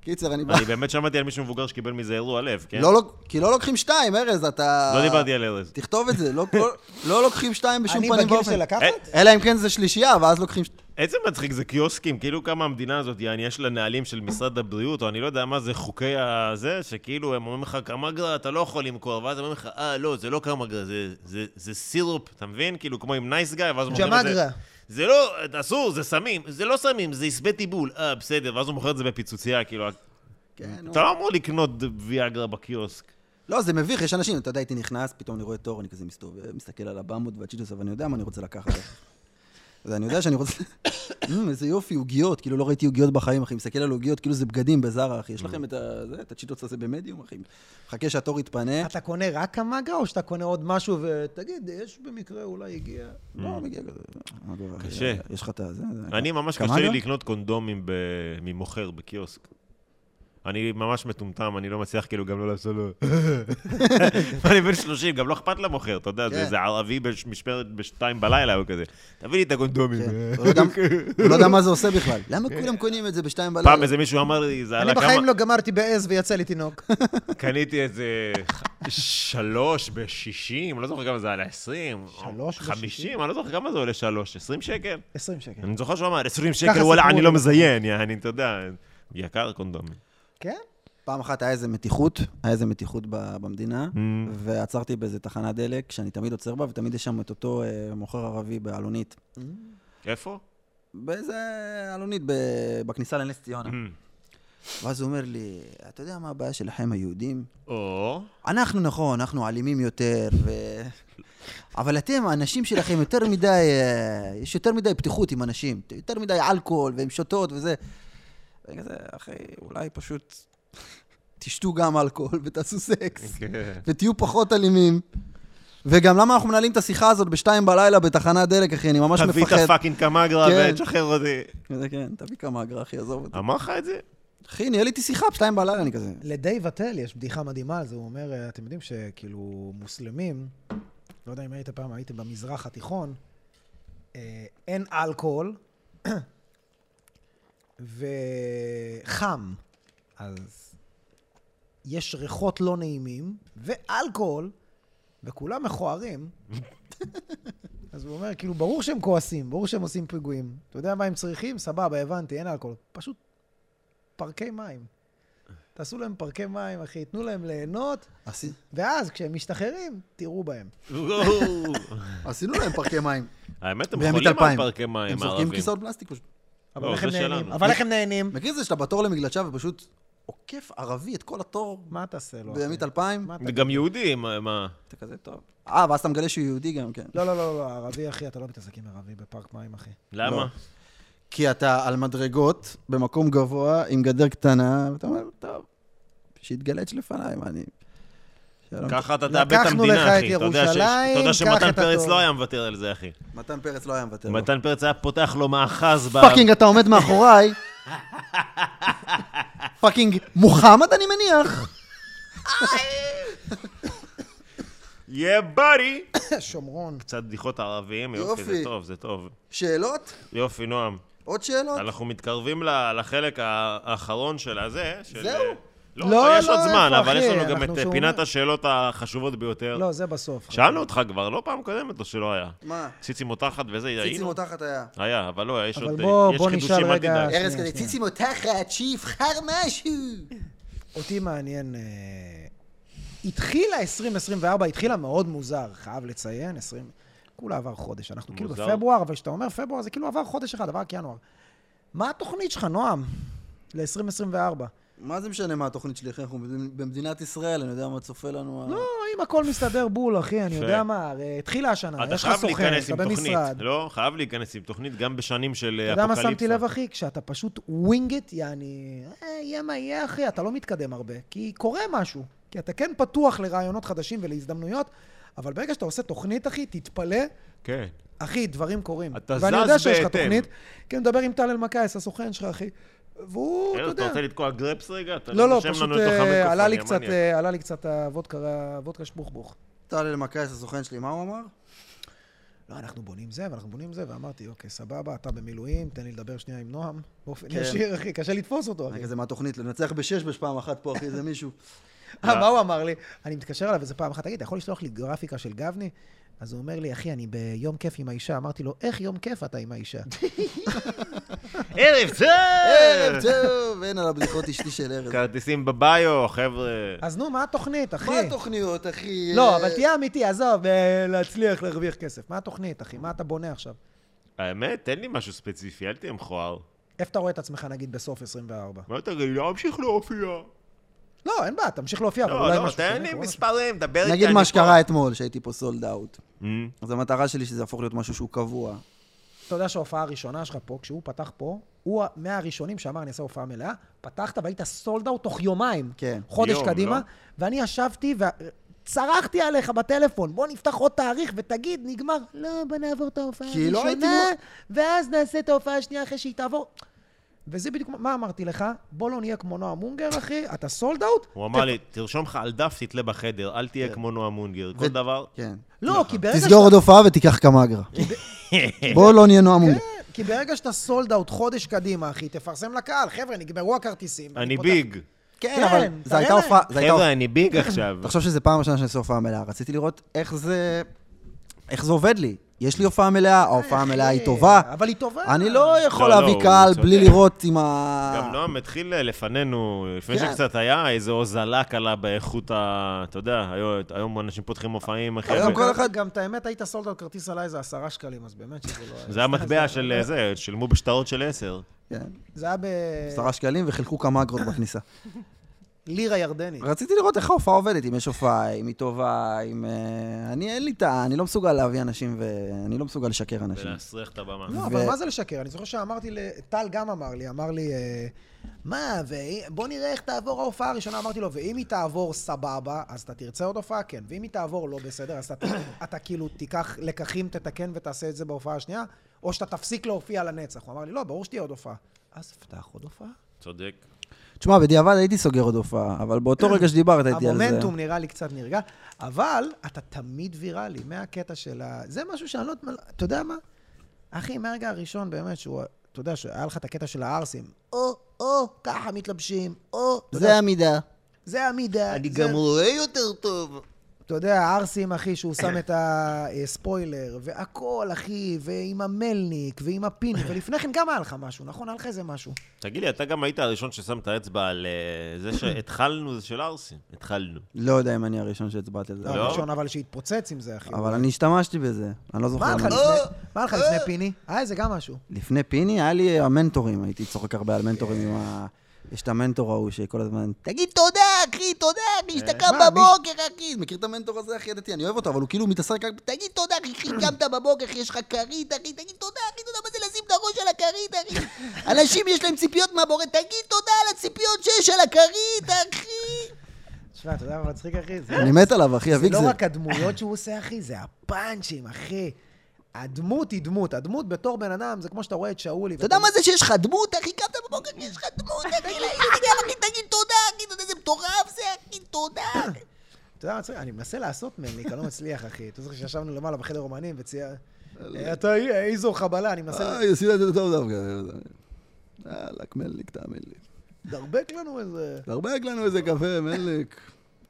[SPEAKER 3] קיצר, אני בא...
[SPEAKER 2] אני באמת שמעתי על מישהו מבוגר שקיבל מזה אירוע לב, כן?
[SPEAKER 3] לא אה, לוק- כי לא לוקחים שתיים, ארז, אתה...
[SPEAKER 2] לא דיברתי על ארז.
[SPEAKER 3] תכתוב את זה, לא כל- לא לוקחים שתיים בשום
[SPEAKER 4] אני
[SPEAKER 3] פנים
[SPEAKER 4] בגיל
[SPEAKER 3] ואופן.
[SPEAKER 4] של לקחת?
[SPEAKER 3] אלא אם כן זה שלישייה, ואז לוקחים... ש-
[SPEAKER 2] איזה מצחיק, זה קיוסקים, כאילו כמה המדינה הזאת, יעני, יש לה נהלים של משרד הבריאות, או אני לא יודע מה זה חוקי הזה, שכאילו הם אומרים לך קמגרה, אתה לא יכול למכור, ואז אומרים לך, אה, לא, זה לא קמגרה, זה, זה, זה סירופ, אתה מבין? כאילו, כמו עם נייס גיא, ואז מוכרים את זה.
[SPEAKER 4] ג'מגרה.
[SPEAKER 2] זה לא, אסור, זה סמים, זה לא סמים, זה עשבי טיבול, אה, בסדר, ואז הוא מוכר את זה בפיצוצייה, כאילו,
[SPEAKER 3] כן, נו.
[SPEAKER 2] אתה לא אמור לקנות ויאגרה בקיוסק.
[SPEAKER 3] לא, זה מביך, יש אנשים, אתה יודע, הייתי נכנס, פתאום אני רואה תור, אני כזה מסתובב, מסתכל על הבמות והצ'יטוס, אבל אני יודע מה אני רוצה לקחת. אז אני יודע שאני רוצה... אמ, איזה יופי, עוגיות, כאילו לא ראיתי עוגיות בחיים, אחי, מסתכל על עוגיות, כאילו זה בגדים בזארה, אחי, יש לכם את ה- זה, את הצ'יטוס הזה במדיום, אחי. מחכה שהתור יתפנה.
[SPEAKER 2] Mm.
[SPEAKER 4] אתה קונה רק קמגרה, או שאתה קונה עוד משהו ותגיד, יש במקרה, אולי הגיע...
[SPEAKER 3] לא, מגיע כזה. מה קורה, אחי?
[SPEAKER 2] קשה.
[SPEAKER 3] יש לך את הזה?
[SPEAKER 2] אני ממש
[SPEAKER 3] כמה לא?
[SPEAKER 2] קשה לי
[SPEAKER 3] אגב?
[SPEAKER 2] לקנות קונדומים ב... ממוכר בקיוסק. אני ממש מטומטם, אני לא מצליח כאילו גם לא לעשות לו... אני בן 30, גם לא אכפת למוכר, אתה יודע, זה
[SPEAKER 3] כן.
[SPEAKER 2] איזה ערבי במשמרת בשתיים בלילה, הוא כזה, תביא לי את הקונדומים.
[SPEAKER 3] הוא
[SPEAKER 4] כן.
[SPEAKER 3] לא יודע- הוא לא יודע מה זה עושה בכלל. למה כולם קונים את זה בשתיים בלילה?
[SPEAKER 2] כן. פעם איזה מישהו אמר לי, זה
[SPEAKER 4] אני
[SPEAKER 2] עלה
[SPEAKER 4] בחיים
[SPEAKER 2] כמה...
[SPEAKER 4] לא גמרתי בעז ויצא לי תינוק.
[SPEAKER 2] קניתי איזה שלוש בשישים, לא זוכר כמה זה עלה, עשרים.
[SPEAKER 4] שלוש
[SPEAKER 2] חמישים, אני לא זוכר כמה זה עולה שלוש, עשרים שקל?
[SPEAKER 4] 20 שקל.
[SPEAKER 2] אני זוכר שהוא אמר, עשרים
[SPEAKER 4] ככה
[SPEAKER 2] שקל, וואלה,
[SPEAKER 4] סיפרו
[SPEAKER 2] אני
[SPEAKER 4] לי.
[SPEAKER 2] לא מזיין, יעני, אתה יודע, יקר קונדומים.
[SPEAKER 4] כן?
[SPEAKER 3] פעם אחת היה איזה מתיחות, היה איזה מתיחות ב- במדינה, ועצרתי באיזה תחנת דלק, שאני תמיד עוצר בה, ותמיד יש שם את אותו אה, מוכר ערבי באלונית.
[SPEAKER 2] איפה?
[SPEAKER 3] באיזה אלונית ב- בכניסה לנס ציונה. ואז הוא אומר לי, אתה יודע מה הבעיה שלכם היהודים?
[SPEAKER 2] או...
[SPEAKER 3] אנחנו נכון, אנחנו אלימים יותר, ו... אבל אתם, האנשים שלכם יותר מדי, אה, יש יותר מדי פתיחות עם אנשים, יותר מדי אלכוהול, והן שותות וזה. ואני כזה, אחי, אולי פשוט תשתו גם אלכוהול ותעשו סקס.
[SPEAKER 2] כן.
[SPEAKER 3] ותהיו פחות אלימים. וגם למה אנחנו מנהלים את השיחה הזאת בשתיים בלילה בתחנת דלק, אחי, אני ממש
[SPEAKER 2] תביא את
[SPEAKER 3] מפחד.
[SPEAKER 2] הפאקינג קמגרה
[SPEAKER 3] כן.
[SPEAKER 2] ותשחרר אותי.
[SPEAKER 3] כזה, כן, תביא כמה אגרה, אחי, עזוב אותי.
[SPEAKER 2] אמר לך את זה?
[SPEAKER 3] אחי, ניהל איתי שיחה בשתיים בלילה, אני כזה.
[SPEAKER 4] לדייב אטל יש בדיחה מדהימה על זה, הוא אומר, אה, אתם יודעים שכאילו מוסלמים, לא יודע אם היית פעם, הייתם במזרח התיכון, אה, אין אלכוהול וחם, אז יש ריחות לא נעימים ואלכוהול, וכולם מכוערים. אז הוא אומר, כאילו, ברור שהם כועסים, ברור שהם עושים פיגועים. אתה יודע מה הם צריכים? סבבה, הבנתי, אין אלכוהול. פשוט פרקי מים. תעשו להם פרקי מים, אחי, תנו להם ליהנות,
[SPEAKER 3] "עשי-
[SPEAKER 4] ואז כשהם משתחררים, תראו בהם.
[SPEAKER 3] עשינו להם פרקי מים.
[SPEAKER 2] האמת, הם
[SPEAKER 3] בימית
[SPEAKER 2] חולים על
[SPEAKER 3] אלפיים.
[SPEAKER 2] פארקי מים
[SPEAKER 3] הם זורקים
[SPEAKER 2] הערבים.
[SPEAKER 3] כיסאות פלסטיק פשוט.
[SPEAKER 4] אבל
[SPEAKER 2] לא,
[SPEAKER 4] איך הם
[SPEAKER 2] זה
[SPEAKER 4] נהנים?
[SPEAKER 2] שלנו.
[SPEAKER 4] אבל איך הם נהנים?
[SPEAKER 3] מכיר את זה שאתה בתור למגלשה ופשוט עוקף ערבי את כל התור
[SPEAKER 4] מה תעשה לו? אחי?
[SPEAKER 3] בימית אלפיים?
[SPEAKER 4] מה אתה-
[SPEAKER 2] גם יהודים, מה- מה?
[SPEAKER 3] לא, אתה כזה טוב. אה, ואז אתה מגלה שהוא יהודי גם, כן.
[SPEAKER 4] לא, לא, לא, לא, ערבי, אחי, אתה לא מתעסק עם ערבי בפארק מים, אחי. לא,
[SPEAKER 2] למה?
[SPEAKER 3] כי אתה על מדרגות, במקום גבוה, עם גדר קטנה, ואתה אומר, טוב, שיתגלץ' לפניי, מה אני...
[SPEAKER 4] לא
[SPEAKER 3] שלום.
[SPEAKER 2] ככה אתה תאבד את
[SPEAKER 4] לקחנו לך
[SPEAKER 2] המדינה,
[SPEAKER 4] את
[SPEAKER 2] אחי. אתה יודע ש-
[SPEAKER 4] ירושלים,
[SPEAKER 2] אתה יודע
[SPEAKER 4] קח
[SPEAKER 2] שמתן
[SPEAKER 4] את
[SPEAKER 2] פרץ
[SPEAKER 4] התואר.
[SPEAKER 2] לא היה מוותר על זה, אחי.
[SPEAKER 3] מתן פרץ לא היה מוותר. לו.
[SPEAKER 2] מתן פרץ היה פותח לו מאחז ב...
[SPEAKER 3] פאקינג, אתה עומד מאחוריי. פאקינג מוחמד, אני מניח.
[SPEAKER 2] יא באדי!
[SPEAKER 4] שומרון.
[SPEAKER 2] קצת בדיחות ערבים, יופי,
[SPEAKER 3] יופי.
[SPEAKER 2] זה טוב, זה טוב.
[SPEAKER 3] שאלות?
[SPEAKER 2] יופי, נועם.
[SPEAKER 3] עוד שאלות?
[SPEAKER 2] אנחנו מתקרבים ל- לחלק ה- האחרון של הזה. של-
[SPEAKER 3] זהו?
[SPEAKER 2] לא,
[SPEAKER 4] לא,
[SPEAKER 2] לא, יש עוד
[SPEAKER 4] לא,
[SPEAKER 2] זמן,
[SPEAKER 4] איפה,
[SPEAKER 2] אבל
[SPEAKER 4] אחי?
[SPEAKER 2] יש לנו גם
[SPEAKER 4] אנחנו
[SPEAKER 2] את אה,
[SPEAKER 4] שומעים.
[SPEAKER 2] פינת השאלות החשובות ביותר.
[SPEAKER 4] לא, זה בסוף.
[SPEAKER 2] שאלנו אותך כבר, לא פעם קודמת או שלא היה.
[SPEAKER 3] מה?
[SPEAKER 2] ציצי מותחת וזה,
[SPEAKER 3] ציצי
[SPEAKER 2] היינו?
[SPEAKER 3] מותחת היה.
[SPEAKER 2] היה, אבל לא, יש
[SPEAKER 4] אבל
[SPEAKER 2] עוד...
[SPEAKER 4] בוא-
[SPEAKER 2] יש
[SPEAKER 4] בוא נשאל
[SPEAKER 2] חידושים, אל
[SPEAKER 4] רגע-
[SPEAKER 2] תדאג.
[SPEAKER 4] שנייה,
[SPEAKER 3] ארז כזה,
[SPEAKER 4] שנייה.
[SPEAKER 3] ציצי מותחת, שיבחר משהו.
[SPEAKER 4] אותי מעניין... אה, התחילה 2024, התחילה מאוד מוזר, חייב לציין, 20... כולה עבר חודש, אנחנו כאילו
[SPEAKER 2] מוזר.
[SPEAKER 4] בפברואר, אבל כשאתה אומר פברואר זה כאילו עבר חודש אחד, עבר כינואר. מה התוכנית שלך, נועם? ל-2024.
[SPEAKER 3] מה זה משנה מה התוכנית שלי? אחי, אנחנו במדינת ישראל, אני יודע מה צופה לנו. ה-
[SPEAKER 4] לא, אם הכל מסתדר בול, אחי, אני
[SPEAKER 2] יפה.
[SPEAKER 4] יודע מה, הרי התחילה השנה,
[SPEAKER 2] אתה
[SPEAKER 4] יש לך
[SPEAKER 2] חייב
[SPEAKER 4] סוכן,
[SPEAKER 2] להיכנס
[SPEAKER 4] אה, אתה
[SPEAKER 2] עם תוכנית.
[SPEAKER 4] במשרד.
[SPEAKER 2] לא, חייב להיכנס עם תוכנית גם בשנים של אה,
[SPEAKER 4] אתה
[SPEAKER 2] אפוקליפסה.
[SPEAKER 4] יודע מה שמתי לב, אחי? כשאתה פשוט ווינגט, יעני, "אה, יהיה מה יהיה, אחי, אתה לא מתקדם הרבה, כי קורה משהו. כי אתה כן פתוח לרעיונות חדשים ולהזדמנויות, אבל ברגע שאתה עושה תוכנית, אחי, תתפלא,
[SPEAKER 2] כן.
[SPEAKER 4] אחי, דברים קורים.
[SPEAKER 2] אתה
[SPEAKER 4] ואני יודע
[SPEAKER 2] זז
[SPEAKER 4] שיש לך
[SPEAKER 2] בהתאם.
[SPEAKER 4] תוכנית, כי אני מדבר עם טל אלמקייס, הסוכן שלך, אחי, והוא,
[SPEAKER 2] ארז,
[SPEAKER 4] אתה
[SPEAKER 2] כן, אתה
[SPEAKER 4] יודע...
[SPEAKER 2] רוצה לתקוע גרפס רגע? אתה
[SPEAKER 4] לא, לא,
[SPEAKER 2] נושם
[SPEAKER 4] פשוט
[SPEAKER 2] לנו לתוך
[SPEAKER 4] אה,
[SPEAKER 2] המיקרופון,
[SPEAKER 4] עלה לי
[SPEAKER 2] יא
[SPEAKER 4] קצת,
[SPEAKER 2] מניאק.
[SPEAKER 4] אה, עלה לי קצת הוודקה הוודקה שבוכבוך.
[SPEAKER 3] טל אלמקייס, הסוכן שלי, מה הוא אמר?
[SPEAKER 4] לא, אנחנו בונים זה, ואנחנו בונים זה, ואמרתי, אוקיי, סבבה, אתה במילואים, תן לי לדבר שנייה עם נועם, באופן
[SPEAKER 3] כן.
[SPEAKER 4] ישיר, אחי, קשה לתפוס אותו, אחי.
[SPEAKER 3] אני כזה מהתוכנית, לנצח בשש בשפעם אחת פה, אחי, איזה מישהו.
[SPEAKER 4] אה, מה הוא אמר לי? אני מתקשר אליו איזה פעם אחת, תגיד, אתה יכול לשלוח לי גרפיקה של גבני? אז הוא אומר לי, אחי, אני ביום כיף עם האישה. אמרתי לו, איך יום כיף אתה עם האישה?
[SPEAKER 2] ערב
[SPEAKER 3] ערב
[SPEAKER 2] טוב!
[SPEAKER 3] טוב, אין על הבדיחות אשתי של ארז.
[SPEAKER 2] כרטיסים בביו, חבר'ה.
[SPEAKER 4] אז נו, מה התוכנית, אחי?
[SPEAKER 3] מה התוכניות, אחי?
[SPEAKER 4] לא,
[SPEAKER 3] אה,
[SPEAKER 4] אבל תהיה אמיתי, עזוב, אה, להצליח להרוויח כסף. מה התוכנית, אחי? מה אתה בונה עכשיו?
[SPEAKER 2] האמת, תן לי משהו ספציפי, אל תהיה מכוער.
[SPEAKER 4] איפה אתה רואה את עצמך, נגיד, בסוף 24?
[SPEAKER 2] מה אתה תגיד, לא אמשיך להופיע.
[SPEAKER 4] לא, אין בעיה, תמשיך להופיע, אבל
[SPEAKER 2] לא,
[SPEAKER 4] אולי
[SPEAKER 2] לא,
[SPEAKER 4] משהו
[SPEAKER 2] תן
[SPEAKER 4] שונה,
[SPEAKER 2] לי
[SPEAKER 4] קורה משהו.
[SPEAKER 2] מספרים, דבר איתי.
[SPEAKER 3] נגיד
[SPEAKER 2] אה, אני
[SPEAKER 3] מה
[SPEAKER 2] פה.
[SPEAKER 3] שקרה אתמול, שהייתי פה סולד אאוט.
[SPEAKER 2] אמ,
[SPEAKER 3] אז המטרה שלי שזה יהפוך להיות משהו שהוא קבוע.
[SPEAKER 4] אתה יודע שההופעה הראשונה שלך פה, כשהוא פתח פה, הוא ה- מהראשונים שאמר, אני אעשה הופעה מלאה, פתחת והיית סולד אאוט תוך יומיים.
[SPEAKER 3] כן.
[SPEAKER 4] חודש
[SPEAKER 2] יום,
[SPEAKER 4] קדימה,
[SPEAKER 2] לא?
[SPEAKER 4] ואני ישבתי וצרחתי עליך בטלפון, בוא נפתח עוד תאריך ותגיד, נגמר. לא, בוא נעבור את ההופעה
[SPEAKER 3] כי לא
[SPEAKER 4] הראשונה,
[SPEAKER 3] הייתי
[SPEAKER 4] ואז נעשה את ההופעה השנייה אחרי שהיא תעבור. וזה בדיוק, מה- מה אמרתי לך? בוא לא נהיה כמו נועם מונגר, אחי, אתה סולד אאוט?
[SPEAKER 2] הוא אמר לי, תרשום לך על דף, תתלה בחדר, אל תהיה כמו נועה מונגר. כל דבר.
[SPEAKER 3] כן.
[SPEAKER 4] לא, כי ברגע
[SPEAKER 3] תסגור עוד הופעה ותיקח כמה אגרה. בוא לא נהיה נועם מונגר.
[SPEAKER 4] כן, כי ברגע שאתה סולד אאוט חודש קדימה, אחי, תפרסם לקהל, חבר'ה, נגמרו הכרטיסים. ואני
[SPEAKER 2] אני
[SPEAKER 4] פותח-
[SPEAKER 2] ביג.
[SPEAKER 4] כן,
[SPEAKER 3] כן, אבל
[SPEAKER 4] תראה
[SPEAKER 3] זו הייתה
[SPEAKER 4] להם.
[SPEAKER 3] הופעה... זו הייתה
[SPEAKER 2] חבר'ה, אני ביג עכשיו.
[SPEAKER 3] תחשוב שזו פעם ראשונה שאני עושה הופעה מלאה, רציתי לראות איך זה... איך זה עובד לי. יש לי הופעה מלאה, ההופעה המלאה היא
[SPEAKER 4] אחי,
[SPEAKER 3] טובה.
[SPEAKER 4] אבל היא טובה.
[SPEAKER 3] אני לא יכול
[SPEAKER 2] לא,
[SPEAKER 3] להביא
[SPEAKER 2] הוא
[SPEAKER 3] קהל
[SPEAKER 2] צודק.
[SPEAKER 3] בלי לראות עם ה...
[SPEAKER 2] גם לא. נועם התחיל אה, לפנינו, לפני
[SPEAKER 3] כן.
[SPEAKER 2] שקצת היה, איזו הוזלה קלה באיכות ה... אתה יודע, היום- היום אנשים פותחים מופעים, אחי.
[SPEAKER 3] היום
[SPEAKER 2] ו-
[SPEAKER 4] גם כל
[SPEAKER 3] כל
[SPEAKER 4] אחד,
[SPEAKER 3] אחד-
[SPEAKER 4] גם את האמת, היית סולד על כרטיס עליי איזה עשרה שקלים, אז באמת שזה לא... היה.
[SPEAKER 2] זה המטבע של אה, זה, שילמו בשטרות של עשר.
[SPEAKER 3] כן,
[SPEAKER 4] זה היה ב...
[SPEAKER 3] עשרה שקלים וחילקו כמה אגרות בכניסה.
[SPEAKER 4] לירה ירדנית.
[SPEAKER 3] רציתי לראות איך ההופעה עובדת, אם יש הופעה, אם היא טובה, אם... אה, אני אין לי את ה... אני לא מסוגל להביא אנשים ואני לא מסוגל לשקר אנשים.
[SPEAKER 2] ולהסריח את הבמה.
[SPEAKER 4] לא, אבל מה זה לשקר? אני זוכר שאמרתי ל... טל גם אמר לי, אמר לי, אה, מה, ואם- בוא נראה איך תעבור ההופעה הראשונה. אמרתי לו, ואם היא תעבור סבבה, אז אתה תרצה עוד הופעה? כן. ואם היא תעבור לא בסדר, אז אתה- אתה כאילו תיקח לקחים, תתקן ותעשה את זה בהופעה השנייה, או שאתה תפסיק להופיע לנצח. הוא אמר לי, לא, ברור שתהיה עוד הופעה. אז פתח עוד הופעה.
[SPEAKER 2] צודק.
[SPEAKER 3] תשמע, בדיעבד הייתי סוגר עוד הופעה, אבל באותו רגע שדיברת איתי על זה...
[SPEAKER 4] כן. המומנטום נראה לי קצת נרגע, אבל אתה תמיד ויראלי, מהקטע של ה... זה משהו שאני לא... אתה יודע מה? אחי, מהרגע הראשון באמת, שהוא... אתה יודע, שהיה לך את הקטע של הערסים, או, או, ככה מתלבשים, או, אתה יודע,
[SPEAKER 3] זה המידה.
[SPEAKER 4] זה המידה.
[SPEAKER 2] אני
[SPEAKER 4] זה-
[SPEAKER 2] גם רואה יותר טוב.
[SPEAKER 4] אתה יודע, הערסים, אחי, שהוא שם את הספוילר, והכל, אחי, ועם המלניק, ועם הפיני, ולפני כן גם היה לך משהו, נכון? היה לך איזה משהו.
[SPEAKER 2] תגיד לי, אתה גם היית הראשון ששם את האצבע על אה, זה שהתחלנו, זה של ארסים. התחלנו.
[SPEAKER 3] לא יודע אם אני הראשון שהצבעתי על זה,
[SPEAKER 4] לא, הראשון, אבל שהתפוצץ עם זה, אחי.
[SPEAKER 3] אבל אני השתמשתי בזה, אני לא זוכר.
[SPEAKER 4] מה היה לך
[SPEAKER 3] למה.
[SPEAKER 4] לפני- מה היה לך לפני פיני? היה איזה גם משהו.
[SPEAKER 3] לפני פיני היה לי המנטורים, הייתי צוחק הרבה על מנטורים עם ה... יש את המנטור ההוא שכל הזמן, תגיד תודה, אחי, תודה, אחי, שאתה קם
[SPEAKER 4] מה, מי-
[SPEAKER 3] בבוקר, אחי. מכיר את המנטור הזה, אחי, ידעתי, אני אוהב אותו, אבל הוא כאילו מתעסק רק, ב- תגיד תודה, אחי, אחי, קמת בבוקר, אחי, יש לך כרית, אחי, תגיד תודה, אחי, תודה, מה זה לשים את הראש על הכרית, אחי? אנשים יש להם ציפיות מהבורא, תגיד תודה על הציפיות שיש על הכרית, אחי.
[SPEAKER 4] תשמע, אתה יודע מה מצחיק, אחי? זה-
[SPEAKER 3] אני מת עליו, אחי,
[SPEAKER 4] זה
[SPEAKER 3] אביק
[SPEAKER 4] לא
[SPEAKER 3] זה...
[SPEAKER 4] רק הדמויות שהוא עושה, אחי, זה הפאנצ'ים, אחי. הדמות היא דמות. הדמות בתור בן אדם, זה כמו שאתה רואה את שאולי.
[SPEAKER 1] אתה יודע מה זה שיש לך דמות, אחי? קמת בבוקר שיש לך דמות, אחי, לאינסטגרם, אחי, תגיד תודה, אחי, אתה יודע, זה מטורף זה, אחי, תודה.
[SPEAKER 4] אתה יודע מה מצחיק? אני מנסה לעשות מלניק, אני לא מצליח, אחי. אתה זוכר שישבנו למעלה בחדר אומנים וצייר... אתה איזו חבלה, אני מנסה
[SPEAKER 3] אה, עשית את זה טוב דווקא. יאללה, מלניק, תאמין לי.
[SPEAKER 4] לדרבק לנו איזה...
[SPEAKER 3] תרבק לנו איזה קפה, מלניק.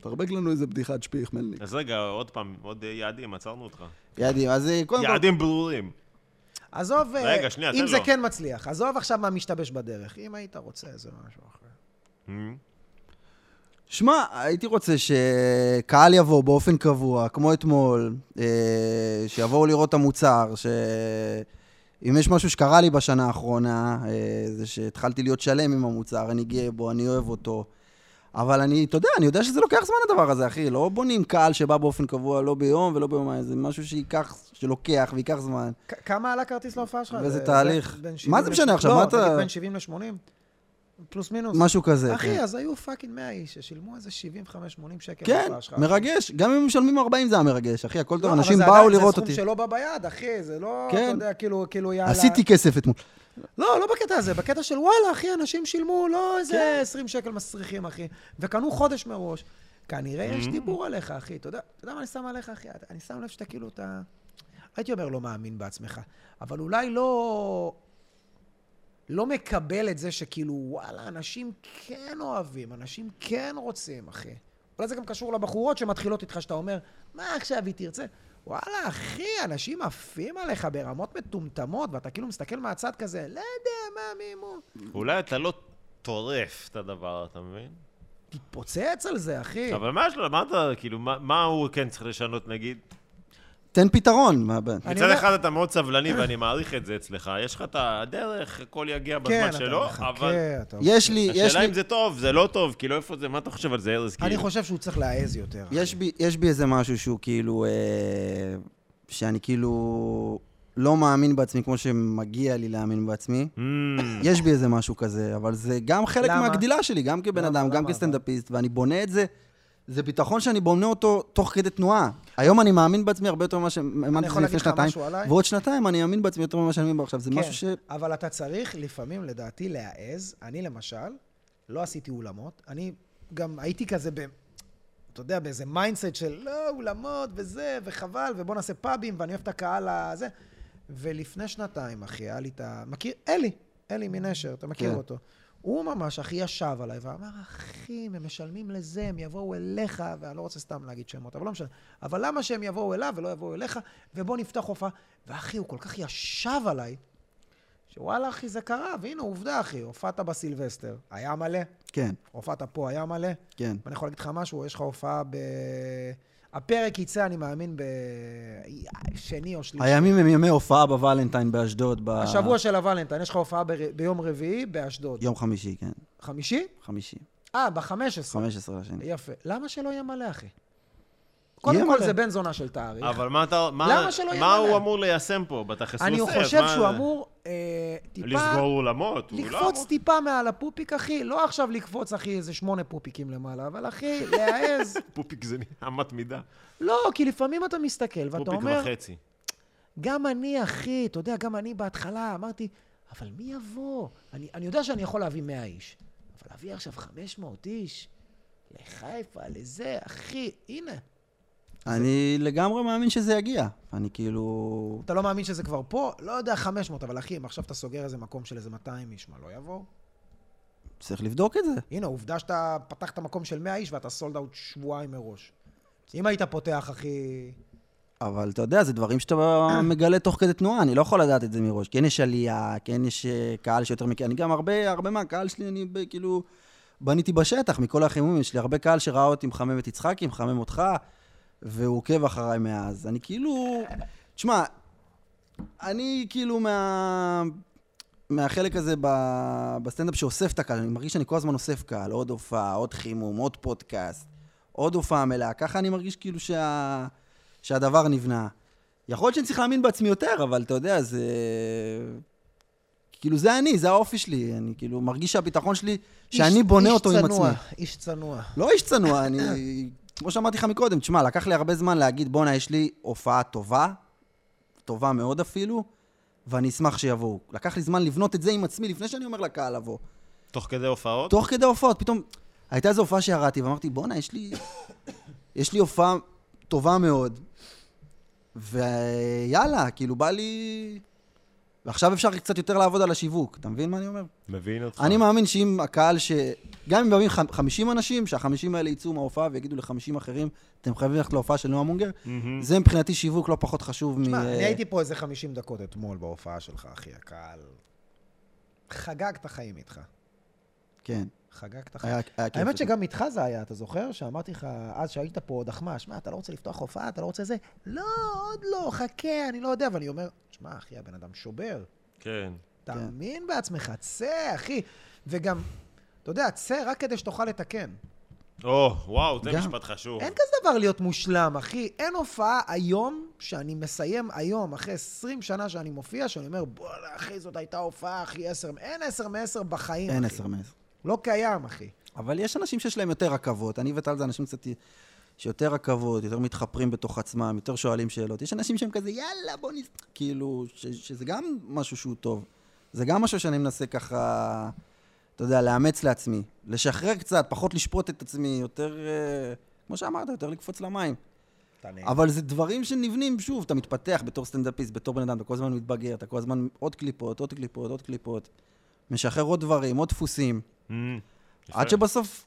[SPEAKER 3] תרבק לנו איזה בדיחת שפיך, מלניק.
[SPEAKER 2] אז רגע, עוד פעם, עוד אה, יעדים, עצרנו אותך.
[SPEAKER 3] יעדים, אז אה, קודם כל...
[SPEAKER 2] יעדים ברורים.
[SPEAKER 4] עזוב, אה,
[SPEAKER 2] רגע, שנייה, לא. תן
[SPEAKER 4] אם זה
[SPEAKER 2] לו.
[SPEAKER 4] כן מצליח. עזוב עכשיו מה משתבש בדרך. אם היית רוצה, זה משהו אחר.
[SPEAKER 2] Hmm?
[SPEAKER 3] שמע, הייתי רוצה שקהל יבוא באופן קבוע, כמו אתמול, אה, שיבואו לראות את המוצר, ש... אם יש משהו שקרה לי בשנה האחרונה, אה, זה שהתחלתי להיות שלם עם המוצר, אני גאה בו, אני אוהב אותו. אבל אני, אתה יודע, אני יודע שזה לוקח זמן הדבר הזה, אחי. לא בונים קהל שבא באופן קבוע, לא ביום ולא ביומיים, זה משהו שייקח, שלוקח וייקח זמן.
[SPEAKER 4] כ- כמה עלה כרטיס להופעה שלך?
[SPEAKER 3] וזה
[SPEAKER 4] זה-
[SPEAKER 3] תהליך.
[SPEAKER 4] בין
[SPEAKER 3] מה
[SPEAKER 4] 70
[SPEAKER 3] זה משנה
[SPEAKER 4] ל-
[SPEAKER 3] עכשיו? מה אתה-
[SPEAKER 4] לא, נגיד בין 70 ל-80? פלוס מינוס.
[SPEAKER 3] משהו כזה.
[SPEAKER 4] אחי,
[SPEAKER 3] כן.
[SPEAKER 4] אז היו פאקינג 100 איש ששילמו איזה 75-80 שקל
[SPEAKER 3] כן,
[SPEAKER 4] להופעה שלך.
[SPEAKER 3] מרגש. גם אם משלמים 40 זה היה מרגש, אחי, הכל
[SPEAKER 4] לא,
[SPEAKER 3] טוב,
[SPEAKER 4] אבל
[SPEAKER 3] אנשים
[SPEAKER 4] זה
[SPEAKER 3] באו
[SPEAKER 4] עדיין-
[SPEAKER 3] לראות
[SPEAKER 4] זה
[SPEAKER 3] אותי.
[SPEAKER 4] סכום שלא בא ביד, אחי, זה לא, אתה
[SPEAKER 3] כן.
[SPEAKER 4] יודע, כאילו, כאילו, יאללה.
[SPEAKER 3] עשיתי כסף אתמול.
[SPEAKER 4] לא, לא בקטע הזה, בקטע של וואלה, אחי, אנשים שילמו לא
[SPEAKER 3] כן.
[SPEAKER 4] איזה 20 שקל מסריחים, אחי, וקנו חודש מראש. כנראה
[SPEAKER 3] Mm-hmm.
[SPEAKER 4] יש דיבור עליך, אחי. אתה יודע, אתה יודע מה אני שם עליך, אחי? אני שם לב שאתה כאילו, אתה... הייתי אומר, לא מאמין בעצמך, אבל אולי לא... לא מקבל את זה שכאילו, וואלה, אנשים כן אוהבים, אנשים כן רוצים, אחי. אולי זה גם קשור לבחורות שמתחילות איתך, שאתה אומר, מה עכשיו היא תרצה? וואלה, אחי, אנשים עפים עליך ברמות מטומטמות, ואתה כאילו מסתכל מהצד כזה, לא יודע, מה, מי מו...
[SPEAKER 2] אולי אתה לא טורף את הדבר, אתה מבין?
[SPEAKER 4] תתפוצץ על זה, אחי.
[SPEAKER 2] אבל מה יש לו, מה אתה, כאילו, מה- מה הוא כן צריך לשנות, נגיד?
[SPEAKER 3] תן פתרון. מה הבעיה?
[SPEAKER 4] אני
[SPEAKER 2] מצד
[SPEAKER 4] אומר-
[SPEAKER 2] אחד אתה מאוד סבלני ואני מעריך את זה אצלך, יש לך את הדרך, הכל יגיע
[SPEAKER 4] כן,
[SPEAKER 2] בזמן
[SPEAKER 4] אתה
[SPEAKER 2] שלו,
[SPEAKER 4] מחכה,
[SPEAKER 2] אבל...
[SPEAKER 4] אתה...
[SPEAKER 3] יש לי, יש
[SPEAKER 2] השאלה
[SPEAKER 3] לי,
[SPEAKER 2] אם זה טוב, זה לא טוב, כאילו איפה זה, מה אתה חושב על זה, ארז?
[SPEAKER 4] אני
[SPEAKER 2] כאילו?
[SPEAKER 4] חושב שהוא צריך להעז יותר.
[SPEAKER 3] יש בי, יש בי איזה משהו שהוא כאילו, אה, שאני כאילו לא מאמין בעצמי כמו שמגיע לי להאמין בעצמי.
[SPEAKER 2] אמ,
[SPEAKER 3] יש בי איזה משהו כזה, אבל זה גם חלק
[SPEAKER 4] Mm. למה?
[SPEAKER 3] מהגדילה שלי, גם כבן
[SPEAKER 4] למה,
[SPEAKER 3] אדם, גם
[SPEAKER 4] למה,
[SPEAKER 3] כסטנדאפיסט, ואני בונה את זה. זה ביטחון שאני בונה אותו תוך כדי תנועה. היום אני מאמין בעצמי הרבה יותר ממה שהאמנתי לפני
[SPEAKER 4] יכול להגיד לך
[SPEAKER 3] שנתיים,
[SPEAKER 4] משהו עליי?
[SPEAKER 3] ועוד שנתיים אני אאמין בעצמי יותר ממה שאני מאמין בו עכשיו. זה
[SPEAKER 4] כן,
[SPEAKER 3] משהו ש...
[SPEAKER 4] אבל אתה צריך לפעמים, לדעתי, להעז. אני, למשל, לא עשיתי אולמות. אני גם הייתי כזה ב... אתה יודע, באיזה מיינדסט של לא, אולמות וזה, וחבל, ובוא נעשה פאבים, ואני אוהב את הקהל הזה. ולפני שנתיים, אחי, היה לי את ה... מכיר? אלי, אלי מנשר, אתה מכיר
[SPEAKER 3] כן.
[SPEAKER 4] אותו. הוא ממש, אחי, ישב עליי ואמר, אחי, הם משלמים לזה, הם יבואו אליך, ואני לא רוצה סתם להגיד שמות, אבל לא משנה. אבל למה שהם יבואו אליו ולא יבואו אליך, ובוא נפתח הופעה. ואחי, הוא כל כך ישב עליי, שוואלה, אחי, זה קרה, והנה, עובדה, אחי, הופעת בסילבסטר, היה מלא,
[SPEAKER 3] כן,
[SPEAKER 4] הופעת פה, היה מלא.
[SPEAKER 3] כן.
[SPEAKER 4] ואני יכול להגיד לך משהו, יש לך הופעה ב... הפרק יצא, אני מאמין, בשני או שלישי.
[SPEAKER 3] הימים הם ימי הופעה בוולנטיין באשדוד. ב-
[SPEAKER 4] השבוע של הוולנטיין, יש לך הופעה בר... ביום רביעי באשדוד.
[SPEAKER 3] יום חמישי, כן.
[SPEAKER 4] חמישי?
[SPEAKER 3] חמישי.
[SPEAKER 4] אה, בחמש עשרה.
[SPEAKER 3] 15 לשני.
[SPEAKER 4] יפה. למה שלא יהיה מלא, אחי? קודם כל
[SPEAKER 3] מלא.
[SPEAKER 4] זה בן זונה של תאריך.
[SPEAKER 2] אבל מה אתה, מה-
[SPEAKER 4] למה שלא יהיה
[SPEAKER 2] מה
[SPEAKER 4] מלא?
[SPEAKER 2] הוא אמור ליישם פה, בתכלס הוא
[SPEAKER 4] אני
[SPEAKER 2] עושה, אז
[SPEAKER 4] חושב
[SPEAKER 2] מה-
[SPEAKER 4] שהוא אמור אה, טיפה...
[SPEAKER 2] לסגור אולמות, הוא לא אמור...
[SPEAKER 4] לקפוץ טיפה מעל הפופיק, אחי. לא עכשיו לקפוץ, אחי, איזה שמונה פופיקים למעלה, אבל אחי, להעז.
[SPEAKER 2] פופיק זה נהיה אמת מידה,
[SPEAKER 4] לא, כי לפעמים אתה מסתכל ואתה
[SPEAKER 2] פופיק
[SPEAKER 4] אומר,
[SPEAKER 2] וחצי.
[SPEAKER 4] גם אני, אחי, אתה יודע, גם אני בהתחלה אמרתי, אבל מי יבוא? אני, אני יודע שאני יכול להביא 100 איש, אבל להביא עכשיו 500 איש לחיפה, לזה, אחי, הנה.
[SPEAKER 3] אני לגמרי מאמין שזה יגיע. אני כאילו...
[SPEAKER 4] אתה לא מאמין שזה כבר פה? לא יודע, 500, אבל אחי, אם עכשיו אתה סוגר איזה מקום של איזה 200 איש, מה, לא יבואו?
[SPEAKER 3] צריך לבדוק את זה.
[SPEAKER 4] הנה, עובדה שאתה פתחת מקום של 100 איש ואתה סולד אאוט שבועיים מראש. אם היית פותח, אחי...
[SPEAKER 3] אבל אתה יודע, זה דברים שאתה מגלה תוך כדי תנועה, אני לא יכול לדעת את זה מראש. כן יש עלייה, כן יש אה, קהל שיותר מכיר. אני גם הרבה, הרבה מהקהל שלי, אני ב- כאילו... בניתי בשטח מכל החימומים, יש לי הרבה קהל שראה אותי מחמם את יצחקי, מחמם אותך, והוא עוקב אחריי מאז. אני כאילו... תשמע, אני כאילו מה... מהחלק הזה ב... בסטנדאפ שאוסף את הקהל, אני מרגיש שאני כל הזמן אוסף קהל, עוד הופעה, עוד חימום, עוד פודקאסט, עוד הופעה מלאה, ככה אני מרגיש כאילו שה... שהדבר נבנה. יכול להיות שאני צריך להאמין בעצמי יותר, אבל אתה יודע, זה... כאילו, זה אני, זה האופי שלי. אני כאילו מרגיש שהביטחון שלי,
[SPEAKER 4] איש-
[SPEAKER 3] שאני בונה
[SPEAKER 4] איש
[SPEAKER 3] אותו עם
[SPEAKER 4] צנוע,
[SPEAKER 3] עצמי.
[SPEAKER 4] איש צנוע.
[SPEAKER 3] לא איש צנוע, אני... כמו שאמרתי לך מקודם, תשמע, לקח לי הרבה זמן להגיד, בואנה, יש לי הופעה טובה, טובה מאוד אפילו, ואני אשמח שיבואו. לקח לי זמן לבנות את זה עם עצמי לפני שאני אומר לקהל לבוא.
[SPEAKER 2] תוך כדי הופעות?
[SPEAKER 3] תוך כדי הופעות, פתאום... הייתה איזו הופעה שירדתי, ואמרתי, בואנה, יש לי... יש לי הופעה טובה מאוד, ויאללה, כאילו, בא לי... ועכשיו אפשר קצת יותר לעבוד על השיווק, אתה מבין מה אני אומר?
[SPEAKER 2] מבין אותך.
[SPEAKER 3] אני מאמין שאם הקהל ש... גם אם באים חמ- 50 אנשים, שהחמישים האלה יצאו מההופעה ויגידו ל-50 אחרים, אתם חייבים ללכת להופעה של נועה מונגר,
[SPEAKER 2] מהמם.
[SPEAKER 3] זה מבחינתי שיווק לא פחות חשוב מ...
[SPEAKER 4] תשמע, Mm. אני הייתי פה איזה 50 דקות אתמול בהופעה שלך, אחי, הקהל. חגג את החיים איתך.
[SPEAKER 3] כן.
[SPEAKER 4] חגג את החיים.
[SPEAKER 3] היה- היה כיף.
[SPEAKER 4] האמת שגם איתך זה היה, אתה זוכר? שאמרתי לך, אז שהיית פה עוד אחמ"ש, שמע, אתה לא רוצה לפתוח הופעה, אתה לא רוצה זה? לא, עוד לא, חכה, אני לא יודע. ואני אומר, שמע, אחי, הבן אדם שובר.
[SPEAKER 2] כן.
[SPEAKER 4] תאמין בעצמך, צא, אחי. וגם, אתה יודע, צא רק כדי שתוכל לתקן.
[SPEAKER 2] או, וואו, זה
[SPEAKER 3] גם.
[SPEAKER 2] משפט חשוב.
[SPEAKER 3] נכון.
[SPEAKER 4] אין כזה דבר להיות מושלם, אחי. אין הופעה היום, שאני מסיים היום, אחרי 20 שנה שאני מופיע, שאני אומר, בוא'נה, אחי, זאת הייתה הופעה, אחי, 10. אין 10 מ-10 בחיים,
[SPEAKER 3] אין
[SPEAKER 4] אחי.
[SPEAKER 3] עשר מעשר.
[SPEAKER 4] לא קיים, אחי.
[SPEAKER 3] אבל יש אנשים שיש להם יותר רכבות. אני וטל זה אנשים קצת... שיותר רכבות, יותר מתחפרים בתוך עצמם, יותר שואלים שאלות. יש אנשים שהם כזה, יאללה, בוא נ... כאילו, ש- שזה גם משהו שהוא טוב. זה גם משהו שאני מנסה ככה, אתה יודע, לאמץ לעצמי. לשחרר קצת, פחות לשפוט את עצמי, יותר... אה, כמו שאמרת, יותר לקפוץ למים.
[SPEAKER 4] אתה נהנה.
[SPEAKER 3] אבל זה דברים שנבנים, שוב, אתה מתפתח בתור סטנדאפיסט, בתור בן אדם, אתה כל הזמן מתבגר, אתה כל הזמן עוד קליפות, עוד קליפות, עוד קליפות. משחרר עוד דברים, עוד דפוסים.
[SPEAKER 2] מהמם.
[SPEAKER 3] עד
[SPEAKER 2] יפה.
[SPEAKER 3] שבסוף,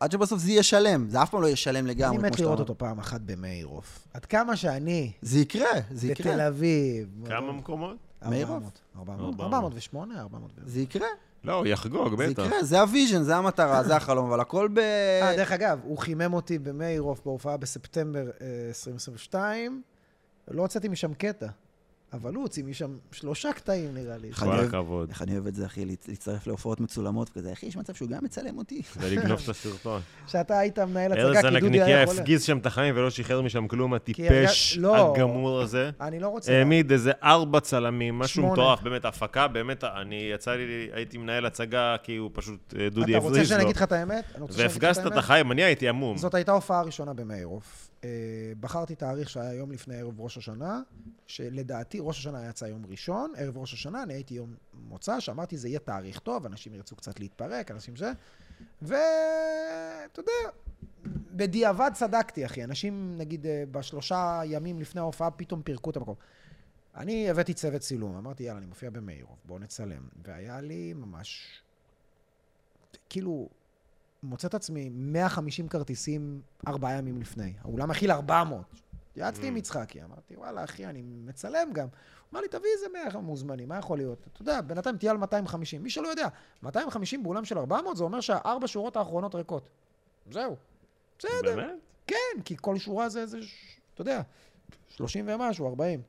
[SPEAKER 3] עד שבסוף זה יהיה שלם. זה אף פעם לא יהיה שלם לגמרי,
[SPEAKER 4] אני
[SPEAKER 3] כמו
[SPEAKER 4] מת
[SPEAKER 3] שאתה
[SPEAKER 4] לראות
[SPEAKER 3] אומר.
[SPEAKER 4] אותו פעם אחת במאירוף. עד כמה שאני,
[SPEAKER 3] זה יקרה, זה יקרה.
[SPEAKER 4] בתל אביב.
[SPEAKER 2] כמה מקומות?
[SPEAKER 4] 400,
[SPEAKER 3] מאירוף?
[SPEAKER 4] 400, 408, 400.
[SPEAKER 3] זה יקרה,
[SPEAKER 2] לא, הוא יחגוג,
[SPEAKER 3] זה
[SPEAKER 4] כן.
[SPEAKER 2] בטח.
[SPEAKER 3] יקרה, זה הוויז'ן, זה המטרה, זה החלום, אבל הכל ב...
[SPEAKER 4] אה, דרך אגב, הוא חימם אותי במאירוף בהופעה בספטמבר אה, 2022. לא הוצאתי משם קטע, אבל הוא הוציא משם שלושה קטעים, נראה לי.
[SPEAKER 3] אחד.
[SPEAKER 2] כל
[SPEAKER 3] אוהב.
[SPEAKER 2] הכבוד.
[SPEAKER 3] איך אני אוהב את זה, אחי, להצ- להצטרף להופעות מצולמות כזה. אחי, יש מצב שהוא גם מצלם אותי.
[SPEAKER 2] ולגנוב את הסרטון.
[SPEAKER 4] שאתה היית מנהל הצגה,
[SPEAKER 2] ארז
[SPEAKER 4] כי דודי היה
[SPEAKER 2] הנקניקיה
[SPEAKER 4] יכול...
[SPEAKER 2] הפגיז שם את החיים ולא שחרר משם כלום,
[SPEAKER 4] הרגע-
[SPEAKER 2] הטיפש
[SPEAKER 4] לא.
[SPEAKER 2] הגמור הזה.
[SPEAKER 4] אני לא רוצה...
[SPEAKER 2] העמיד אה, איזה ארבע צלמים, משהו
[SPEAKER 4] שמונה.
[SPEAKER 2] מטורף, באמת, הפקה, באמת, אני יצא לי, הייתי מנהל הצגה, כי הוא פשוט, אה, דודי
[SPEAKER 4] אתה רוצה
[SPEAKER 2] הבריז
[SPEAKER 4] שאני
[SPEAKER 2] לו.
[SPEAKER 4] אגיד לך את האמת? אני רוצה שאני אגיד לך
[SPEAKER 2] והפגזת את
[SPEAKER 4] האמת?
[SPEAKER 2] החיים, אני הייתי המום.
[SPEAKER 4] זאת הייתה הופעה ראשונה במאירוף. אה, בחרתי תאריך שהיה יום לפני ערב ראש השנה, שלדעתי ראש השנה יצא יום ראשון, ערב ראש השנה, אני הייתי יום מוצא, שאמרתי זה יהיה תאריך טוב, אנשים ירצו קצת להתפרק, אנשים זה, ואתה יודע, בדיעבד צדקתי, אחי. אנשים, נגיד, אה, בשלושה ימים לפני ההופעה, פתאום פירקו את המקום. אני הבאתי צוות צילום, אמרתי, יאללה, אני מופיע במאירוב, בואו נצלם. והיה לי ממש, כאילו, מוצא את עצמי 150 כרטיסים ארבעה ימים לפני. האולם מכיל 400. התייעצתי עם יצחקי, אמרתי, וואלה, אחי, אני מצלם גם. הוא אמר לי, תביא איזה 100 מוזמנים, מה יכול להיות? אתה יודע, בינתיים תהיה על 250. מי שלא יודע, 250 באולם של 400, זה אומר שהארבע שורות האחרונות ריקות. זהו. בסדר.
[SPEAKER 2] באמת?
[SPEAKER 4] כן, כי כל שורה זה איזה, ש- אתה יודע, 30 ומשהו, 40.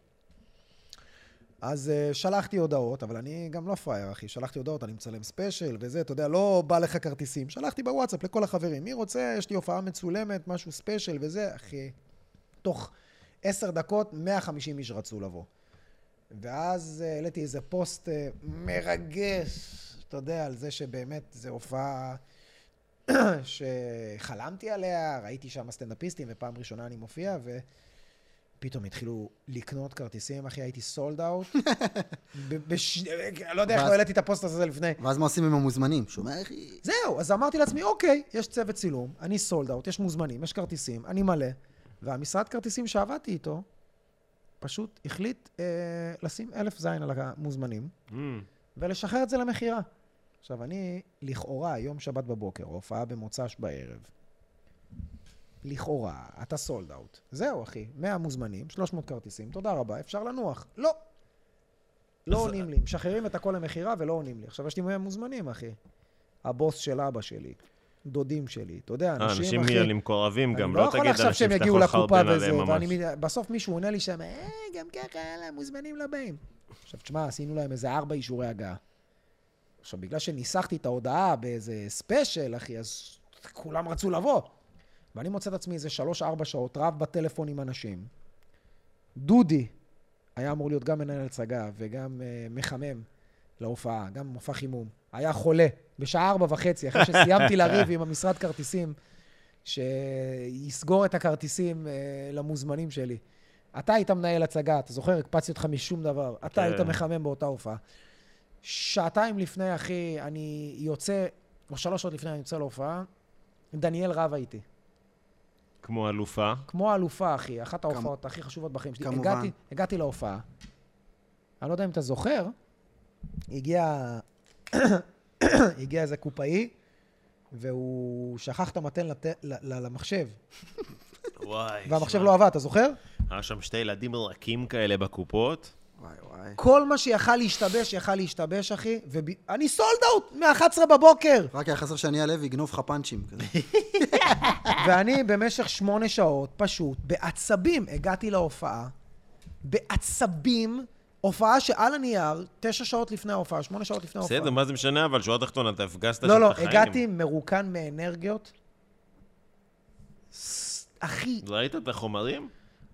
[SPEAKER 4] אז uh, שלחתי הודעות, אבל אני גם לא פראייר, אחי. שלחתי הודעות, אני מצלם ספיישל וזה, אתה יודע, לא בא לך כרטיסים. שלחתי בוואטסאפ לכל החברים. מי רוצה, יש לי הופעה מצולמת, משהו ספיישל וזה, אחי. תוך עשר דקות, 150 איש רצו לבוא. ואז אה, העליתי איזה פוסט אה, מרגש, אתה יודע, על זה שבאמת זו הופעה שחלמתי עליה, ראיתי שם סטנדאפיסטים, ופעם ראשונה אני מופיע, ופתאום התחילו לקנות כרטיסים, אחי, הייתי סולד אאוט. בש... לא יודע איך
[SPEAKER 3] ואז-
[SPEAKER 4] לא העליתי את הפוסט הזה לפני.
[SPEAKER 3] ואז מה עושים עם המוזמנים? שומע, אחי?
[SPEAKER 4] זהו, אז אמרתי לעצמי, אוקיי, יש צוות צילום, אני סולד אאוט, יש מוזמנים, יש כרטיסים, אני מלא. והמשרד כרטיסים שעבדתי איתו, פשוט החליט אה, לשים אלף זין על המוזמנים,
[SPEAKER 2] אמ,
[SPEAKER 4] ולשחרר את זה למכירה. עכשיו, אני, לכאורה, יום שבת בבוקר, הופעה במוצ"ש בערב. לכאורה, אתה סולד אאוט. זהו, אחי, 100 מוזמנים, 300 כרטיסים, תודה רבה, אפשר לנוח. לא. לא
[SPEAKER 2] אז-
[SPEAKER 4] עונים לי, משחררים את הכל למכירה ולא עונים לי. עכשיו, יש לי 100 מוזמנים, אחי. הבוס של אבא שלי, דודים שלי, אתה יודע,
[SPEAKER 2] אה,
[SPEAKER 4] אנשים, אחי...
[SPEAKER 2] אנשים נהיים מקורבים
[SPEAKER 4] אני
[SPEAKER 2] גם,
[SPEAKER 4] לא
[SPEAKER 2] לא
[SPEAKER 4] יכול
[SPEAKER 2] תגיד
[SPEAKER 4] עכשיו
[SPEAKER 2] אנשים
[SPEAKER 4] שהם
[SPEAKER 2] שאתה
[SPEAKER 4] יגיעו
[SPEAKER 2] יכול
[SPEAKER 4] לקופה
[SPEAKER 2] לחרבן
[SPEAKER 4] וזה,
[SPEAKER 2] עליהם ממש.
[SPEAKER 4] ואני... מת- בסוף מישהו עונה לי שם, אה, גם ככה, יאללה, מוזמנים לא באים. עכשיו, תשמע, עשינו להם איזה ארבע אישורי הגעה. עכשיו, בגלל שניסחתי את ההודעה באיזה ספיישל, אחי, אז כולם רצו לבוא. ואני מוצא את עצמי איזה שלוש-ארבע שעות רב בטלפון עם אנשים. דודי היה אמור להיות גם מנהל הצגה וגם אה, מחמם, להופעה, גם מופע חימום. היה חולה בשעה ארבע וחצי, אחרי שסיימתי לריב עם המשרד כרטיסים, שיסגור את הכרטיסים אה, למוזמנים שלי. אתה היית מנהל הצגה, אתה זוכר? הקפצתי אותך משום דבר. אתה היית
[SPEAKER 2] כן.
[SPEAKER 4] מחמם באותה הופעה. שעתיים לפני, אחי, אני יוצא, או שלוש שעות לפני אני יוצא להופעה, דניאל רב איתי.
[SPEAKER 2] כמו אלופה.
[SPEAKER 4] כמו האלופה, אחי, אחת ההופעות הכי חשובות בחיים שלי.
[SPEAKER 3] כמובן.
[SPEAKER 4] הגעתי, הגעתי להופעה. אני לא יודע אם אתה זוכר, הגיע, הגיע איזה קופאי, והוא שכח את המתן לת... ל- ל- למחשב,
[SPEAKER 2] וואי.
[SPEAKER 4] והמחשב
[SPEAKER 2] שמע,
[SPEAKER 4] לא עבד, אתה זוכר?
[SPEAKER 2] היה אה, שם שתי ילדים רכים כאלה בקופות.
[SPEAKER 3] וואי וואי.
[SPEAKER 4] כל מה שיכל להשתבש, יכל להשתבש, אחי, ואני סולד אאוט מ-11 בבוקר.
[SPEAKER 3] רק היה חסר שאני הלוי יגנוב לך פאנצ'ים כזה.
[SPEAKER 4] ואני במשך שמונה שעות, פשוט, בעצבים, הגעתי להופעה, בעצבים, הופעה שעל הנייר, תשע שעות לפני ההופעה, שמונה שעות לפני ההופעה.
[SPEAKER 2] בסדר, מה זה משנה, אבל שורה תחתונה, אתה הפגזת שם
[SPEAKER 4] לא, לא,
[SPEAKER 2] את החיים.
[SPEAKER 4] הגעתי מרוקן מאנרגיות. ס- אחי,
[SPEAKER 2] ראית את החומרים?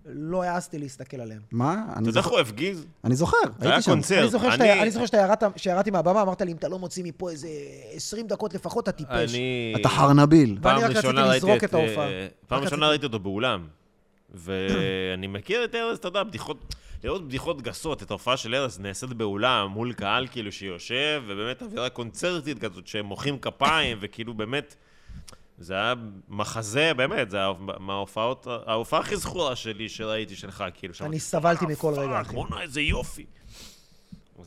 [SPEAKER 4] לא העזתי להסתכל עליהם.
[SPEAKER 3] מה? אני
[SPEAKER 2] אתה יודע איך
[SPEAKER 3] זוכר-
[SPEAKER 2] הוא הפגיז?
[SPEAKER 3] אני זוכר,
[SPEAKER 2] זה היה
[SPEAKER 3] הייתי שם.
[SPEAKER 2] קונצרט.
[SPEAKER 4] אני זוכר שאתה- אני זוכר שאתה ירדת- שירדתי מהבמה, אמרת לי, אם אתה לא מוציא מפה איזה 20 דקות לפחות, אתה טיפש.
[SPEAKER 2] אני...
[SPEAKER 3] אתה חרנביל.
[SPEAKER 4] ואני
[SPEAKER 2] פעם
[SPEAKER 4] רק רציתי
[SPEAKER 2] ראשונה ראיתי
[SPEAKER 4] לזרוק את
[SPEAKER 2] אה,
[SPEAKER 4] ההופעה.
[SPEAKER 2] פעם
[SPEAKER 4] רק
[SPEAKER 2] ראשונה
[SPEAKER 4] רציתי-
[SPEAKER 2] ראיתי אותו באולם. ואני מכיר את ארז, אתה יודע, בדיחות... לראות בדיחות גסות, את ההופעה של ארז נעשית באולם, מול קהל כאילו שיושב, ובאמת אווירה קונצרטית כזאת, שהם מוחאים כפיים, וכאילו באמת... זה היה מחזה, באמת, זה היה מההופעות, ההופעה הכי זכורה שלי שראיתי שלך, כאילו שם.
[SPEAKER 4] אני סבלתי מכל רגע, אחי.
[SPEAKER 2] בואנה, איזה יופי.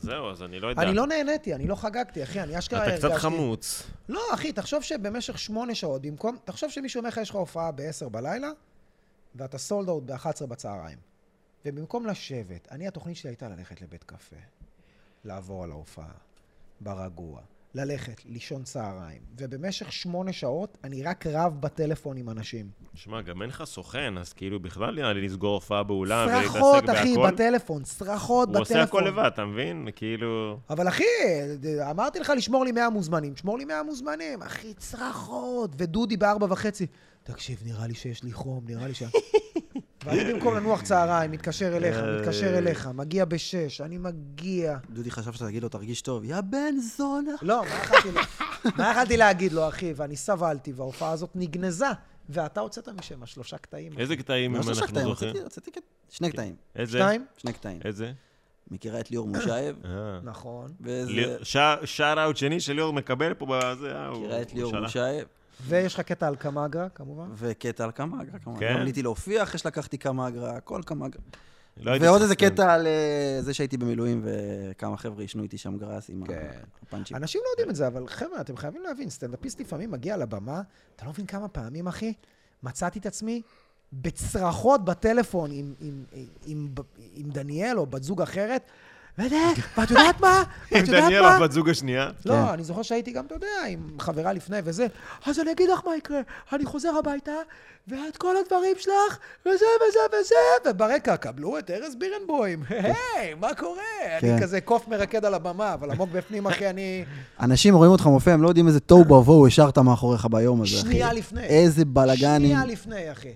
[SPEAKER 2] זהו, אז אני לא יודע.
[SPEAKER 4] אני לא נהניתי, אני לא חגגתי, אחי, אני אשכרה
[SPEAKER 2] אתה
[SPEAKER 4] הרגשתי.
[SPEAKER 2] קצת חמוץ.
[SPEAKER 4] לא, אחי, תחשוב שבמשך שמונה שעות, במקום, תחשוב שמישהו אומר לך, יש לך הופעה ב-10 בלילה, ואתה סולד אאוט ב-11 בצהריים. ובמקום לשבת, אני, התוכנית שלי הייתה ללכת לבית קפה, לעבור על ההופעה, ברגוע, ללכת, לישון צהריים, ובמשך שמונה שעות אני רק רב בטלפון עם אנשים.
[SPEAKER 2] שמע, גם אין לך סוכן, אז כאילו בכלל נראה לי לסגור הופעה באולם ולהתעסק בהכל.
[SPEAKER 4] צרחות, אחי, בטלפון, צרחות
[SPEAKER 2] הוא
[SPEAKER 4] בטלפון.
[SPEAKER 2] עושה הכל לבד, אתה מבין? כאילו...
[SPEAKER 4] אבל אחי, אמרתי לך לשמור לי 100 מוזמנים, שמור לי 100 מוזמנים, אחי, צרחות, ודודי בארבע וחצי, תקשיב, נראה לי שיש לי חום, נראה לי ש... ואני במקום לנוח צהריים, מתקשר אליך, מתקשר אליך, מגיע בשש, אני מגיע.
[SPEAKER 3] דודי חשב שאתה תגיד לו, תרגיש טוב. יא בן זונה.
[SPEAKER 4] לא, מה יכלתי לה- מה יכלתי להגיד לו, אחי? ואני סבלתי, וההופעה הזאת נגנזה, ואתה הוצאת משם שלושה קטעים.
[SPEAKER 2] איזה קטעים
[SPEAKER 3] לא
[SPEAKER 2] אם
[SPEAKER 3] שלושה
[SPEAKER 2] אנחנו
[SPEAKER 3] קטעים,
[SPEAKER 2] זוכרים?
[SPEAKER 3] רציתי- רציתי כ- שני קטעים.
[SPEAKER 2] איזה?
[SPEAKER 4] שתיים?
[SPEAKER 3] שני קטעים.
[SPEAKER 2] איזה?
[SPEAKER 3] מכירה את ליאור מושייב?
[SPEAKER 2] אה.
[SPEAKER 4] נכון.
[SPEAKER 3] ואיזה...
[SPEAKER 2] שער אאוט שני שליאור מקבל פה בזה, אה, הוא...
[SPEAKER 3] מכירה את ליאור
[SPEAKER 2] הוא שלח.
[SPEAKER 3] מושייב?
[SPEAKER 4] ויש לך קטע על קמגרה, כמובן.
[SPEAKER 3] וקטע על כמה אגרה, כמובן.
[SPEAKER 2] כן.
[SPEAKER 3] גם עליתי להופיע אחרי שלקחתי כמה אגרה, הכל כמה אגרה.
[SPEAKER 2] לא הייתי
[SPEAKER 3] ועוד
[SPEAKER 2] צריך-
[SPEAKER 3] איזה קטע על אה, זה שהייתי במילואים וכמה חבר'ה עישנו איתי שם גראס עם
[SPEAKER 4] כן.
[SPEAKER 3] הפאנצ'ים.
[SPEAKER 2] כאילו.
[SPEAKER 4] אנשים לא
[SPEAKER 2] כן.
[SPEAKER 4] יודעים את זה, אבל חבר'ה, אתם חייבים להבין, סטנדאפיסט לפעמים מגיע לבמה, אתה לא מבין כמה פעמים, אחי, מצאתי את עצמי בצרחות בטלפון עם, עם, עם, עם, עם דניאל או בת זוג אחרת, ואת ואת יודעת מה?
[SPEAKER 2] עם
[SPEAKER 4] ואת יודעת
[SPEAKER 2] כן, דניאל,
[SPEAKER 4] מה?
[SPEAKER 2] הבת זוג כן. השנייה.
[SPEAKER 4] לא, אני זוכר שהייתי גם, אתה יודע, עם חברה לפני וזה, אז אני אגיד לך מה יקרה, אני חוזר הביתה, ואת כל הדברים שלך, וזה וזה וזה, וברקע, קבלו את ארז בירנבוים, היי, מה קורה? אני
[SPEAKER 3] כן.
[SPEAKER 4] כזה קוף מרקד על הבמה, אבל עמוק בפנים, אחי, אני...
[SPEAKER 3] אנשים רואים אותך מופיע, הם לא יודעים איזה תוהו ובוהו השארת מאחוריך ביום הזה, אחי.
[SPEAKER 4] שנייה לפני.
[SPEAKER 3] איזה בלאגנים.
[SPEAKER 4] שנייה לפני, אחי.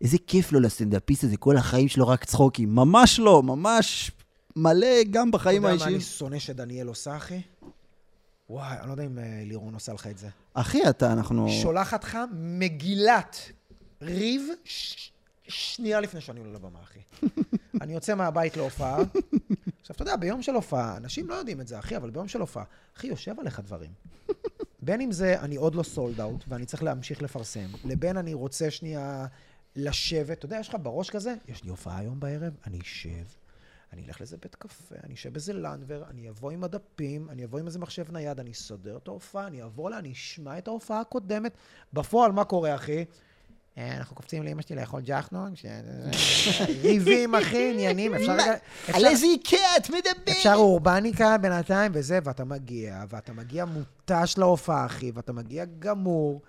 [SPEAKER 3] איזה כיף לו לסטנדאפיסט הזה, כל החיים שלו רק צחוקים. ממש לא, ממש מלא גם
[SPEAKER 4] אתה
[SPEAKER 3] בחיים
[SPEAKER 4] יודע מה
[SPEAKER 3] האישיים.
[SPEAKER 4] אני שונא שדניאל עושה, אחי? וואי, אני לא יודע אם אה, לירון עושה לך את זה.
[SPEAKER 3] אחי, אתה, אנחנו...
[SPEAKER 4] שולחת לך מגילת ריב ש- שנייה לפני שאני עולה לבמה, אחי. אני יוצא מהבית להופעה. עכשיו, אתה יודע, ביום של הופעה, אנשים לא יודעים את זה, אחי, אבל ביום של הופעה, אחי, יושב עליך דברים. בין אם זה אני עוד לא סולד אאוט, ואני צריך להמשיך לפרסם, לבין אני רוצה שנייה לשבת, אתה יודע, יש לך בראש כזה, יש לי הופעה היום בערב, אני אשב, אני אלך לאיזה בית קפה, אני אשב באיזה לנדבר, אני אבוא עם הדפים, אני אבוא עם איזה מחשב נייד, אני אסדר את ההופעה, אני אעבור לה, אני אשמע את ההופעה הקודמת. בפועל, מה קורה, אחי? אה, אנחנו קופצים לאמא שלי לאכול ג'חנון, ש- ריבים, אחי, עניינים, אפשר... רגע-
[SPEAKER 1] על
[SPEAKER 4] אפשר-
[SPEAKER 1] איזה איקאה את מדברת?
[SPEAKER 4] אפשר אורבניקה בינתיים וזה, ואתה מגיע, ואתה מגיע מותש להופעה, אחי, ואתה מגיע גמור.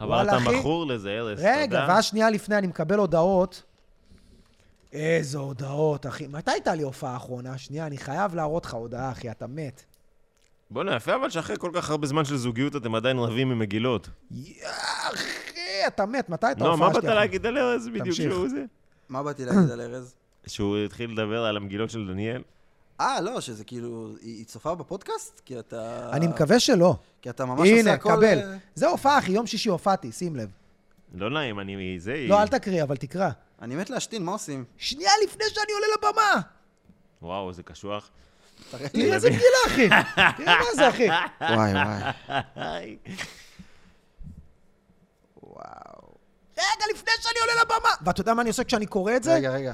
[SPEAKER 2] אבל
[SPEAKER 4] וואלה,
[SPEAKER 2] אתה
[SPEAKER 4] אחי.
[SPEAKER 2] מכור לזה, ארז, אתה
[SPEAKER 4] רגע,
[SPEAKER 2] יודע?
[SPEAKER 4] ואז שנייה לפני אני מקבל הודעות. איזה הודעות, אחי. מתי הייתה לי הופעה האחרונה? שנייה, אני חייב להראות לך הודעה, אחי, אתה מת.
[SPEAKER 2] בוא'נה, יפה אבל שאחרי כל כך הרבה זמן של זוגיות אתם עדיין רבים עם מגילות.
[SPEAKER 4] יא, אחי, אתה מת, מתי הייתה
[SPEAKER 2] נו, לא, מה
[SPEAKER 4] ההופעה
[SPEAKER 2] באת
[SPEAKER 4] שלי? האחרונה?
[SPEAKER 2] להגיד על ארז בדיוק
[SPEAKER 4] תמשיך.
[SPEAKER 2] שהוא זה?
[SPEAKER 3] מה באתי להגיד על ארז?
[SPEAKER 2] שהוא התחיל לדבר על המגילות של דניאל?
[SPEAKER 3] אה, לא, שזה כאילו, היא היא צופה בפודקאסט? כי אתה...
[SPEAKER 4] אני מקווה שלא.
[SPEAKER 3] כי אתה ממש עושה
[SPEAKER 4] הנה,
[SPEAKER 3] הכל...
[SPEAKER 4] קבל.
[SPEAKER 3] אה,
[SPEAKER 4] זה הופעה, אחי, יום שישי הופעתי, שים לב.
[SPEAKER 2] לא נעים, אני... זה...
[SPEAKER 4] לא, אל תקריא, אבל תקרא.
[SPEAKER 3] אני מת להשתין, מה עושים?
[SPEAKER 4] שנייה לפני שאני עולה לבמה!
[SPEAKER 2] וואו, זה קשוח.
[SPEAKER 3] תראה
[SPEAKER 2] כן,
[SPEAKER 3] לי.
[SPEAKER 4] תראה איזה מגילה, אחי! תראה מה זה, אחי!
[SPEAKER 3] וואי, וואי.
[SPEAKER 2] היי.
[SPEAKER 3] וואו.
[SPEAKER 4] רגע, לפני שאני עולה לבמה! ואתה יודע מה אני עושה כשאני קורא את זה?
[SPEAKER 3] רגע, רגע.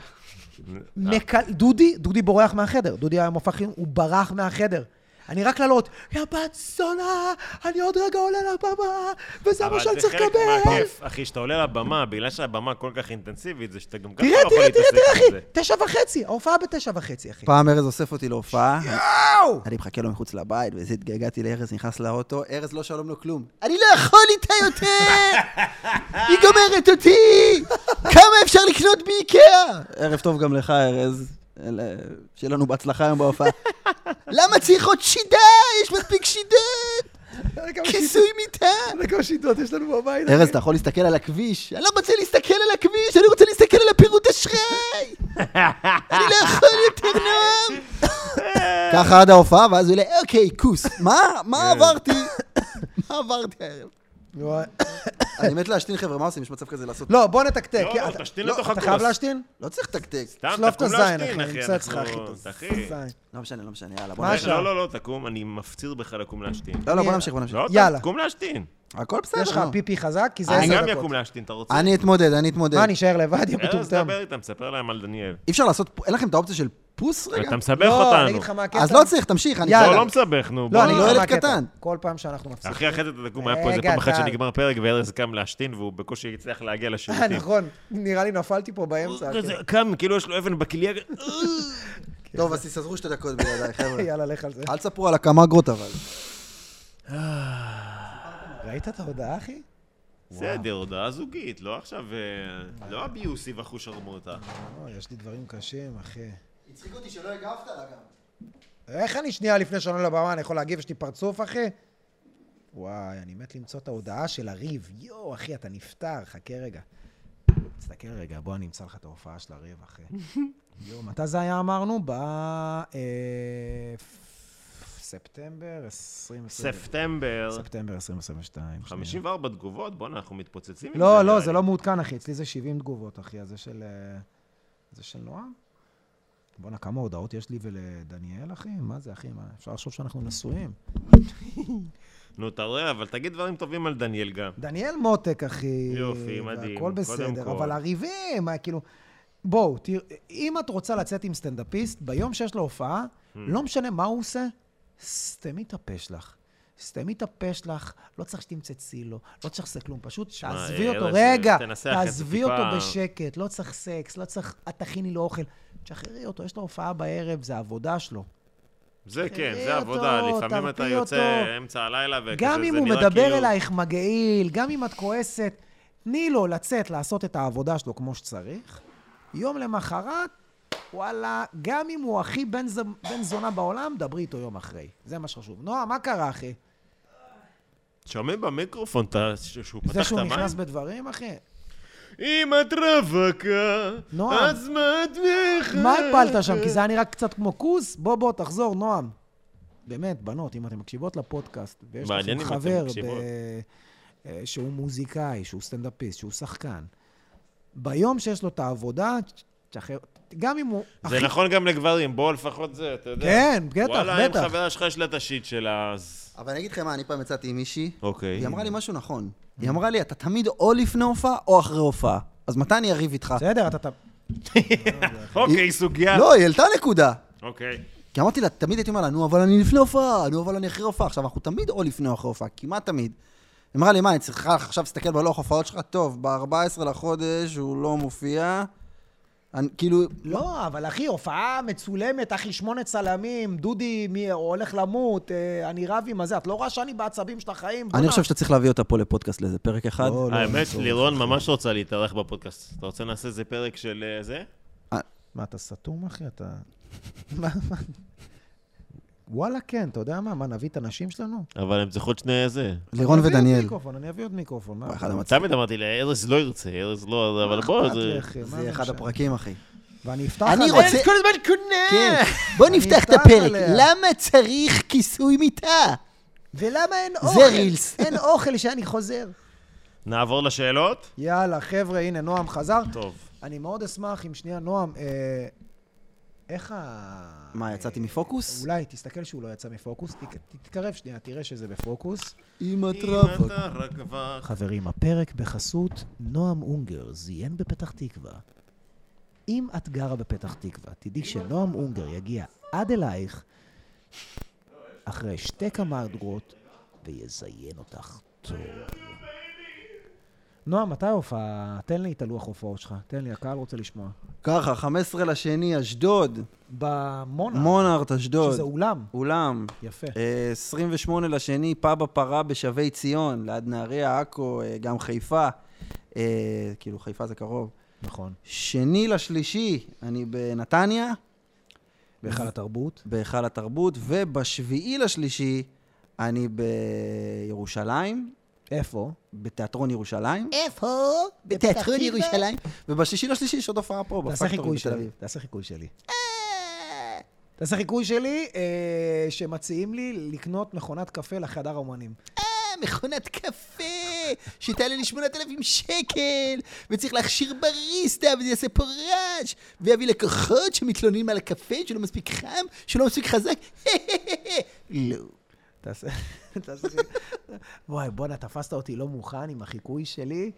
[SPEAKER 4] אה. מקל... דודי, דודי בורח מהחדר. דודי היה מופע חינוך, הוא ברח מהחדר. אני רק לעלות, יא בת זונה, אני עוד רגע עולה לבמה, וזה
[SPEAKER 2] אבל
[SPEAKER 4] מה שאני
[SPEAKER 2] זה
[SPEAKER 4] צריך
[SPEAKER 2] חלק
[SPEAKER 4] לקבל.
[SPEAKER 2] מהכיף, אחי, שאתה עולה לבמה, בגלל שהבמה כל כך אינטנסיבית, זה שאתה גם ככה לא
[SPEAKER 4] תראה,
[SPEAKER 2] יכול
[SPEAKER 4] תראה, תראה,
[SPEAKER 2] להתעסק
[SPEAKER 4] תראה,
[SPEAKER 2] עם זה.
[SPEAKER 4] אחי, תשע וחצי, ההופעה בתשע וחצי, אחי.
[SPEAKER 3] פעם ארז אוסף אותי להופעה,
[SPEAKER 4] יואו!
[SPEAKER 3] אני מחכה לו מחוץ לבית, וזה התגעגעתי לארז, נכנס לאוטו, ארז לא שלום לו כלום. אני לא יכול איתה יותר! היא גומרת אותי! כמה אפשר לקנות באיקאה? ערב טוב גם לך, ארז. אלה- שיהיה לנו בהצלחה היום בהופעה. למה צריך עוד שידה? יש מספיק שידות! כיסוי מיטה!
[SPEAKER 4] כמה שיטות יש לנו בבית.
[SPEAKER 3] ארז, אתה יכול להסתכל על הכביש? אני לא רוצה להסתכל על הכביש, אני רוצה להסתכל על הפירוט אשראי! אני לא יכול יותר נועם! ככה עד ההופעה, ואז הוא יהיה, אוקיי, כוס. מה? מה עברתי? מה עברתי הערב? אני מת להשתין, חבר'ה, מה עושים? יש מצב כזה לעשות...
[SPEAKER 4] לא, בוא נתקתק.
[SPEAKER 2] לא,
[SPEAKER 4] כי
[SPEAKER 2] לא,
[SPEAKER 4] אתה-
[SPEAKER 2] תשתין
[SPEAKER 4] לא,
[SPEAKER 2] לתוך
[SPEAKER 4] אתה
[SPEAKER 2] הכוס.
[SPEAKER 4] חייב להשתין?
[SPEAKER 3] לא צריך לתקתק.
[SPEAKER 2] סתם,
[SPEAKER 4] שלוף את
[SPEAKER 2] תקום
[SPEAKER 4] הזין,
[SPEAKER 2] להשתין,
[SPEAKER 4] אחי, אני
[SPEAKER 2] אחי,
[SPEAKER 4] אמצא אותך, אחי.
[SPEAKER 2] אנחנו-
[SPEAKER 4] תעשה
[SPEAKER 2] אחי.
[SPEAKER 4] זין.
[SPEAKER 3] לא משנה, לא משנה, יאללה, בוא
[SPEAKER 4] מה
[SPEAKER 2] רגע,
[SPEAKER 3] נמשיך.
[SPEAKER 4] השעה?
[SPEAKER 2] לא, לא, לא, תקום, אני מפציר בך לקום להשתין.
[SPEAKER 3] לא, לא, בוא נמשיך, בוא נמשיך.
[SPEAKER 2] לא,
[SPEAKER 4] יאללה.
[SPEAKER 2] תקום להשתין.
[SPEAKER 3] הכל בסדר,
[SPEAKER 4] יש לך
[SPEAKER 3] נו.
[SPEAKER 4] פיפי חזק, כי זה
[SPEAKER 2] אני
[SPEAKER 4] עשר
[SPEAKER 2] גם
[SPEAKER 4] דקות.
[SPEAKER 2] יקום להשתין, אתה רוצה?
[SPEAKER 3] אני אתמודד, אני אתמודד.
[SPEAKER 4] מה, נשאר לבד, יא
[SPEAKER 2] ארז,
[SPEAKER 4] מטומטם?
[SPEAKER 2] דבר איתם, ספר להם על דניאל.
[SPEAKER 3] אי אפשר לעשות... אין לכם את האופציה של פוס רגע?
[SPEAKER 2] אתה מסבך
[SPEAKER 4] לא, אני אגיד לך
[SPEAKER 2] אותנו.
[SPEAKER 4] מה הקטע.
[SPEAKER 3] אז לא צריך, תמשיך, אני...
[SPEAKER 4] יאללה.
[SPEAKER 2] לא, לא מסבך, נו.
[SPEAKER 4] לא,
[SPEAKER 2] בוא.
[SPEAKER 4] אני
[SPEAKER 3] לא
[SPEAKER 4] אגיד לך
[SPEAKER 3] ילד
[SPEAKER 4] מה הקטע.
[SPEAKER 3] קטן.
[SPEAKER 4] כל פעם שאנחנו מפסיקים.
[SPEAKER 2] אחי, אחרי זה אתה תקום, היה פה איזה
[SPEAKER 4] רגע,
[SPEAKER 2] פעם אחת
[SPEAKER 4] טל.
[SPEAKER 2] שנגמר פרק, וארז קם להשתין, והוא בקושי הצליח להגיע
[SPEAKER 4] אה,
[SPEAKER 2] לשירותים.
[SPEAKER 4] נכון, נראה לי נפלתי פה באמצע. כן.
[SPEAKER 2] הוא כזה
[SPEAKER 4] אחי.
[SPEAKER 2] קם, כאילו יש לו אבן בכליה. "אה,
[SPEAKER 4] לא,
[SPEAKER 3] טוב, אז תסתדרו שתי דקות בידיי, חבר'ה.
[SPEAKER 4] יאללה, לך על זה.
[SPEAKER 3] אל תספרו על הקמגרות אבל.
[SPEAKER 4] ראית את ההודעה, אחי?
[SPEAKER 2] בסדר, הודעה זוגית, לא עכשיו... אה, לא הביוסי וחוש
[SPEAKER 4] אה,
[SPEAKER 2] שרמוטה.
[SPEAKER 4] אוי, יש לי דברים קשים, אחי.
[SPEAKER 3] הצחיק אותי שלא הגבת לה גם.
[SPEAKER 4] איך אני שנייה לפני שאני עולה לבמה, אני יכול להגיב, יש לי פרצוף, אחי? וואי, אני מת למצוא את ההודעה של הריב. יואו, אחי, אתה נפטר, חכה רגע. תסתכל רגע, בוא אני אמצא לך את ההופעה של הריב, אחי. יואו, מתי זה היה אמרנו? ב... אה, ספטמבר 2022.
[SPEAKER 2] ספטמבר.
[SPEAKER 4] ספטמבר 2022.
[SPEAKER 2] 54 תגובות, בואנה, אנחנו מתפוצצים עם
[SPEAKER 4] לא,
[SPEAKER 2] נראה
[SPEAKER 4] לא, זה
[SPEAKER 2] לי.
[SPEAKER 4] לא מעודכן, אחי. אצלי זה 70 תגובות, אחי. אז זה של... אה, זה של נועם? בואנה, כמה הודעות יש לי ולדניאל, אחי? מה זה, אחי? מה, אפשר לחשוב שאנחנו נשואים.
[SPEAKER 2] נו, אתה רואה, אבל תגיד דברים טובים על דניאל גם.
[SPEAKER 4] דניאל מותק, אחי.
[SPEAKER 2] יופי, מדהים,
[SPEAKER 4] הכל
[SPEAKER 2] קודם
[SPEAKER 4] בסדר,
[SPEAKER 2] כל.
[SPEAKER 4] אבל הריבים, מה, כאילו... בואו, תראו, אם את רוצה לצאת עם סטנדאפיסט, ביום שיש לו הופעה,
[SPEAKER 2] Hmm.
[SPEAKER 4] לא משנה מה הוא עושה, סתמי את הפה שלך. סתמי את הפה שלך, לא צריך שתמצצי לו, לא צריך לעשות כלום, פשוט תעזבי
[SPEAKER 2] ארז,
[SPEAKER 4] אותו, רגע,
[SPEAKER 2] תנסח את זה
[SPEAKER 4] תעזבי אותו
[SPEAKER 2] טיפה.
[SPEAKER 4] בשקט, לא צריך סקס, לא צריך, את תכיני לו אוכל, תשחררי אותו, יש לו הופעה בערב, זה העבודה שלו.
[SPEAKER 2] זה כן,
[SPEAKER 4] תראי
[SPEAKER 2] זה עבודה.
[SPEAKER 4] אותו,
[SPEAKER 2] לפעמים אתה
[SPEAKER 4] תרפי
[SPEAKER 2] יוצא
[SPEAKER 4] אותו.
[SPEAKER 2] אמצע הלילה, וכזה זה נראה
[SPEAKER 4] גם
[SPEAKER 2] כאילו...
[SPEAKER 4] אם הוא מדבר אלייך מגעיל, גם אם את כועסת, תני לו לצאת לעשות את העבודה שלו כמו שצריך. יום למחרת, וואלה, גם אם הוא הכי בן, ז... בן זונה בעולם, דברי איתו יום אחרי. זה מה שחשוב. נועה, מה קרה, אחי?
[SPEAKER 2] שומעים במיקרופון את ה- ש- שהוא פתח את
[SPEAKER 4] זה
[SPEAKER 2] המים?
[SPEAKER 4] שהוא נכנס בדברים, אחי?
[SPEAKER 2] אם את רווקה,
[SPEAKER 4] נועם.
[SPEAKER 2] אז מה את נכנסת?
[SPEAKER 4] מה הפלת שם? כי זה היה נראה קצת כמו כוס? בוא, בוא, תחזור, נועם. באמת, בנות, אם אתן מקשיבות לפודקאסט, ויש
[SPEAKER 2] מעניין
[SPEAKER 4] לכם
[SPEAKER 2] אם אתן
[SPEAKER 4] חבר ב...
[SPEAKER 2] מקשיבות.
[SPEAKER 4] אה, שהוא מוזיקאי, שהוא סטנדאפיסט, שהוא שחקן, ביום שיש לו את העבודה, תשחרר... גם אם הוא...
[SPEAKER 2] זה
[SPEAKER 4] הכי-
[SPEAKER 2] נכון גם לגברים, בוא לפחות זה, אתה יודע.
[SPEAKER 4] כן, בטח,
[SPEAKER 2] וואלה, אם
[SPEAKER 4] בטח.
[SPEAKER 2] חברה שלך יש לה את השיט שלה, אז...
[SPEAKER 3] אבל אני אגיד לכם מה, אני פעם יצאתי עם מישהי,
[SPEAKER 2] אוקיי.
[SPEAKER 3] היא אמרה לי משהו נכון. היא אמרה לי, אתה תמיד או לפני הופעה או אחרי הופעה. אז מתי אני אריב איתך?
[SPEAKER 4] בסדר, אתה... אתה-
[SPEAKER 2] אוקיי, סוגיה.
[SPEAKER 3] לא, היא העלתה נקודה.
[SPEAKER 2] אוקיי.
[SPEAKER 3] כי אמרתי לה, תמיד הייתי אומר לה, נו, אבל אני לפני הופעה, נו, אבל אני אחרי הופעה. עכשיו, אנחנו תמיד או לפני או אחרי הופעה, כמעט תמיד. היא אמרה לי, מה, אני צריכה עכשיו להסתכל בלוח הופעות שלך? טוב, ב-14 לחודש הוא לא מופיע. אני, כאילו,
[SPEAKER 4] לא, אבל אחי, הופעה מצולמת, אחי, שמונה צלמים, דודי מי הולך למות, אה, אני רב עם הזה, את לא רואה שאני בעצבים של החיים?
[SPEAKER 3] אני
[SPEAKER 4] בוא'נה.
[SPEAKER 3] חושב שאתה צריך להביא אותה פה לפודקאסט לאיזה פרק אחד.
[SPEAKER 4] לא, לא,
[SPEAKER 2] האמת,
[SPEAKER 4] אסור.
[SPEAKER 2] לירון ממש רוצה להתארח בפודקאסט. אתה רוצה נעשה איזה פרק של אה, זה?
[SPEAKER 4] מה, אתה סתום, אחי? אתה... מה, מה? וואלה, כן, אתה יודע מה? מה, נביא את הנשים שלנו?
[SPEAKER 2] אבל הם צריכות שני אה, זה.
[SPEAKER 3] לירון
[SPEAKER 4] אני אביא עוד
[SPEAKER 3] ודניאל.
[SPEAKER 4] מיקרופון, אני אביא עוד מיקרופון. מה?
[SPEAKER 3] וואי, אחד המצ-
[SPEAKER 2] תמיד אמרתי לה, ארז לא ירצה, ארז לא, אבל בוא,
[SPEAKER 4] אכפת לי,
[SPEAKER 2] זה...
[SPEAKER 4] אחי, מה
[SPEAKER 3] זה אחד
[SPEAKER 4] משנה?
[SPEAKER 3] הפרקים, אחי.
[SPEAKER 4] ואני אפתח
[SPEAKER 1] אני
[SPEAKER 4] עליה.
[SPEAKER 1] רוצה-
[SPEAKER 4] אין, כל הזמן קונה!
[SPEAKER 1] כן,
[SPEAKER 3] אה,
[SPEAKER 1] בוא
[SPEAKER 4] אני
[SPEAKER 1] נפתח את
[SPEAKER 4] אפתח
[SPEAKER 1] הפרק.
[SPEAKER 4] עליה.
[SPEAKER 1] למה צריך כיסוי מיטה?
[SPEAKER 4] ולמה אין
[SPEAKER 1] זה
[SPEAKER 3] אוקיי.
[SPEAKER 4] אוכל?
[SPEAKER 1] רילס.
[SPEAKER 4] אין אוכל שאני חוזר.
[SPEAKER 2] נעבור לשאלות?
[SPEAKER 4] יאללה, חבר'ה, הנה, נועם חזר.
[SPEAKER 2] טוב.
[SPEAKER 4] אני מאוד אשמח אם שנייה, נועם, אה, איך ה...
[SPEAKER 3] מה, יצאתי מפוקוס?
[SPEAKER 4] אולי תסתכל שהוא לא יצא מפוקוס, ת- תתקרב שנייה, תראה שזה בפוקוס.
[SPEAKER 2] אם
[SPEAKER 3] עם הטראפק.
[SPEAKER 2] אתה רק כבר-
[SPEAKER 4] חברים, הפרק בחסות נועם אונגר זיין בפתח תקווה. אם את גרה בפתח תקווה, תדעי שנועם אונגר יגיע עד אלייך אחרי שתי קמדרות ויזיין אותך טוב. נועם, מתי ההופעה? תן לי את הלוח הופעות שלך. תן לי, הקהל רוצה לשמוע.
[SPEAKER 3] ככה, 15 לשני, אשדוד.
[SPEAKER 4] במונארט,
[SPEAKER 3] מונארט, אשדוד.
[SPEAKER 4] שזה אולם.
[SPEAKER 3] אולם.
[SPEAKER 4] יפה.
[SPEAKER 3] אה, 28 לשני, פאב הפרה בשבי ציון, ליד נהריה, עכו, אה, גם חיפה. אה, כאילו, חיפה זה קרוב.
[SPEAKER 4] נכון.
[SPEAKER 3] שני לשלישי, אני בנתניה,
[SPEAKER 4] בהיכל התרבות.
[SPEAKER 3] בהיכל התרבות, ובשביעי לשלישי, אני בירושלים,
[SPEAKER 4] איפה?
[SPEAKER 3] בתיאטרון ירושלים,
[SPEAKER 1] איפה?
[SPEAKER 3] בפתח
[SPEAKER 1] בתיאטרון
[SPEAKER 3] תקווה?
[SPEAKER 1] ירושלים?
[SPEAKER 3] ובשישי לשלישי יש עוד הופעה פה,
[SPEAKER 4] תעשה
[SPEAKER 3] בפקטורי
[SPEAKER 4] חיקוי
[SPEAKER 3] בתל
[SPEAKER 4] שלי.
[SPEAKER 3] אביב.
[SPEAKER 4] תעשה חיקוי שלי.
[SPEAKER 1] אה,
[SPEAKER 4] תעשה חיקוי שלי, אה, שמציעים לי לקנות מכונת קפה לחדר האומנים.
[SPEAKER 1] אה, מכונת קפה, שתעלה לי 8,000 שקל, וצריך להכשיר בריסטה, וזה יעשה פה רעש, ויביא לקוחות שמתלוננים על הקפה, שלא מספיק חם, שלא מספיק חזק, לא.
[SPEAKER 4] תעשה... תעשה חיקוי. וואי, בואנה, תפסת אותי לא מוכן עם החיקוי שלי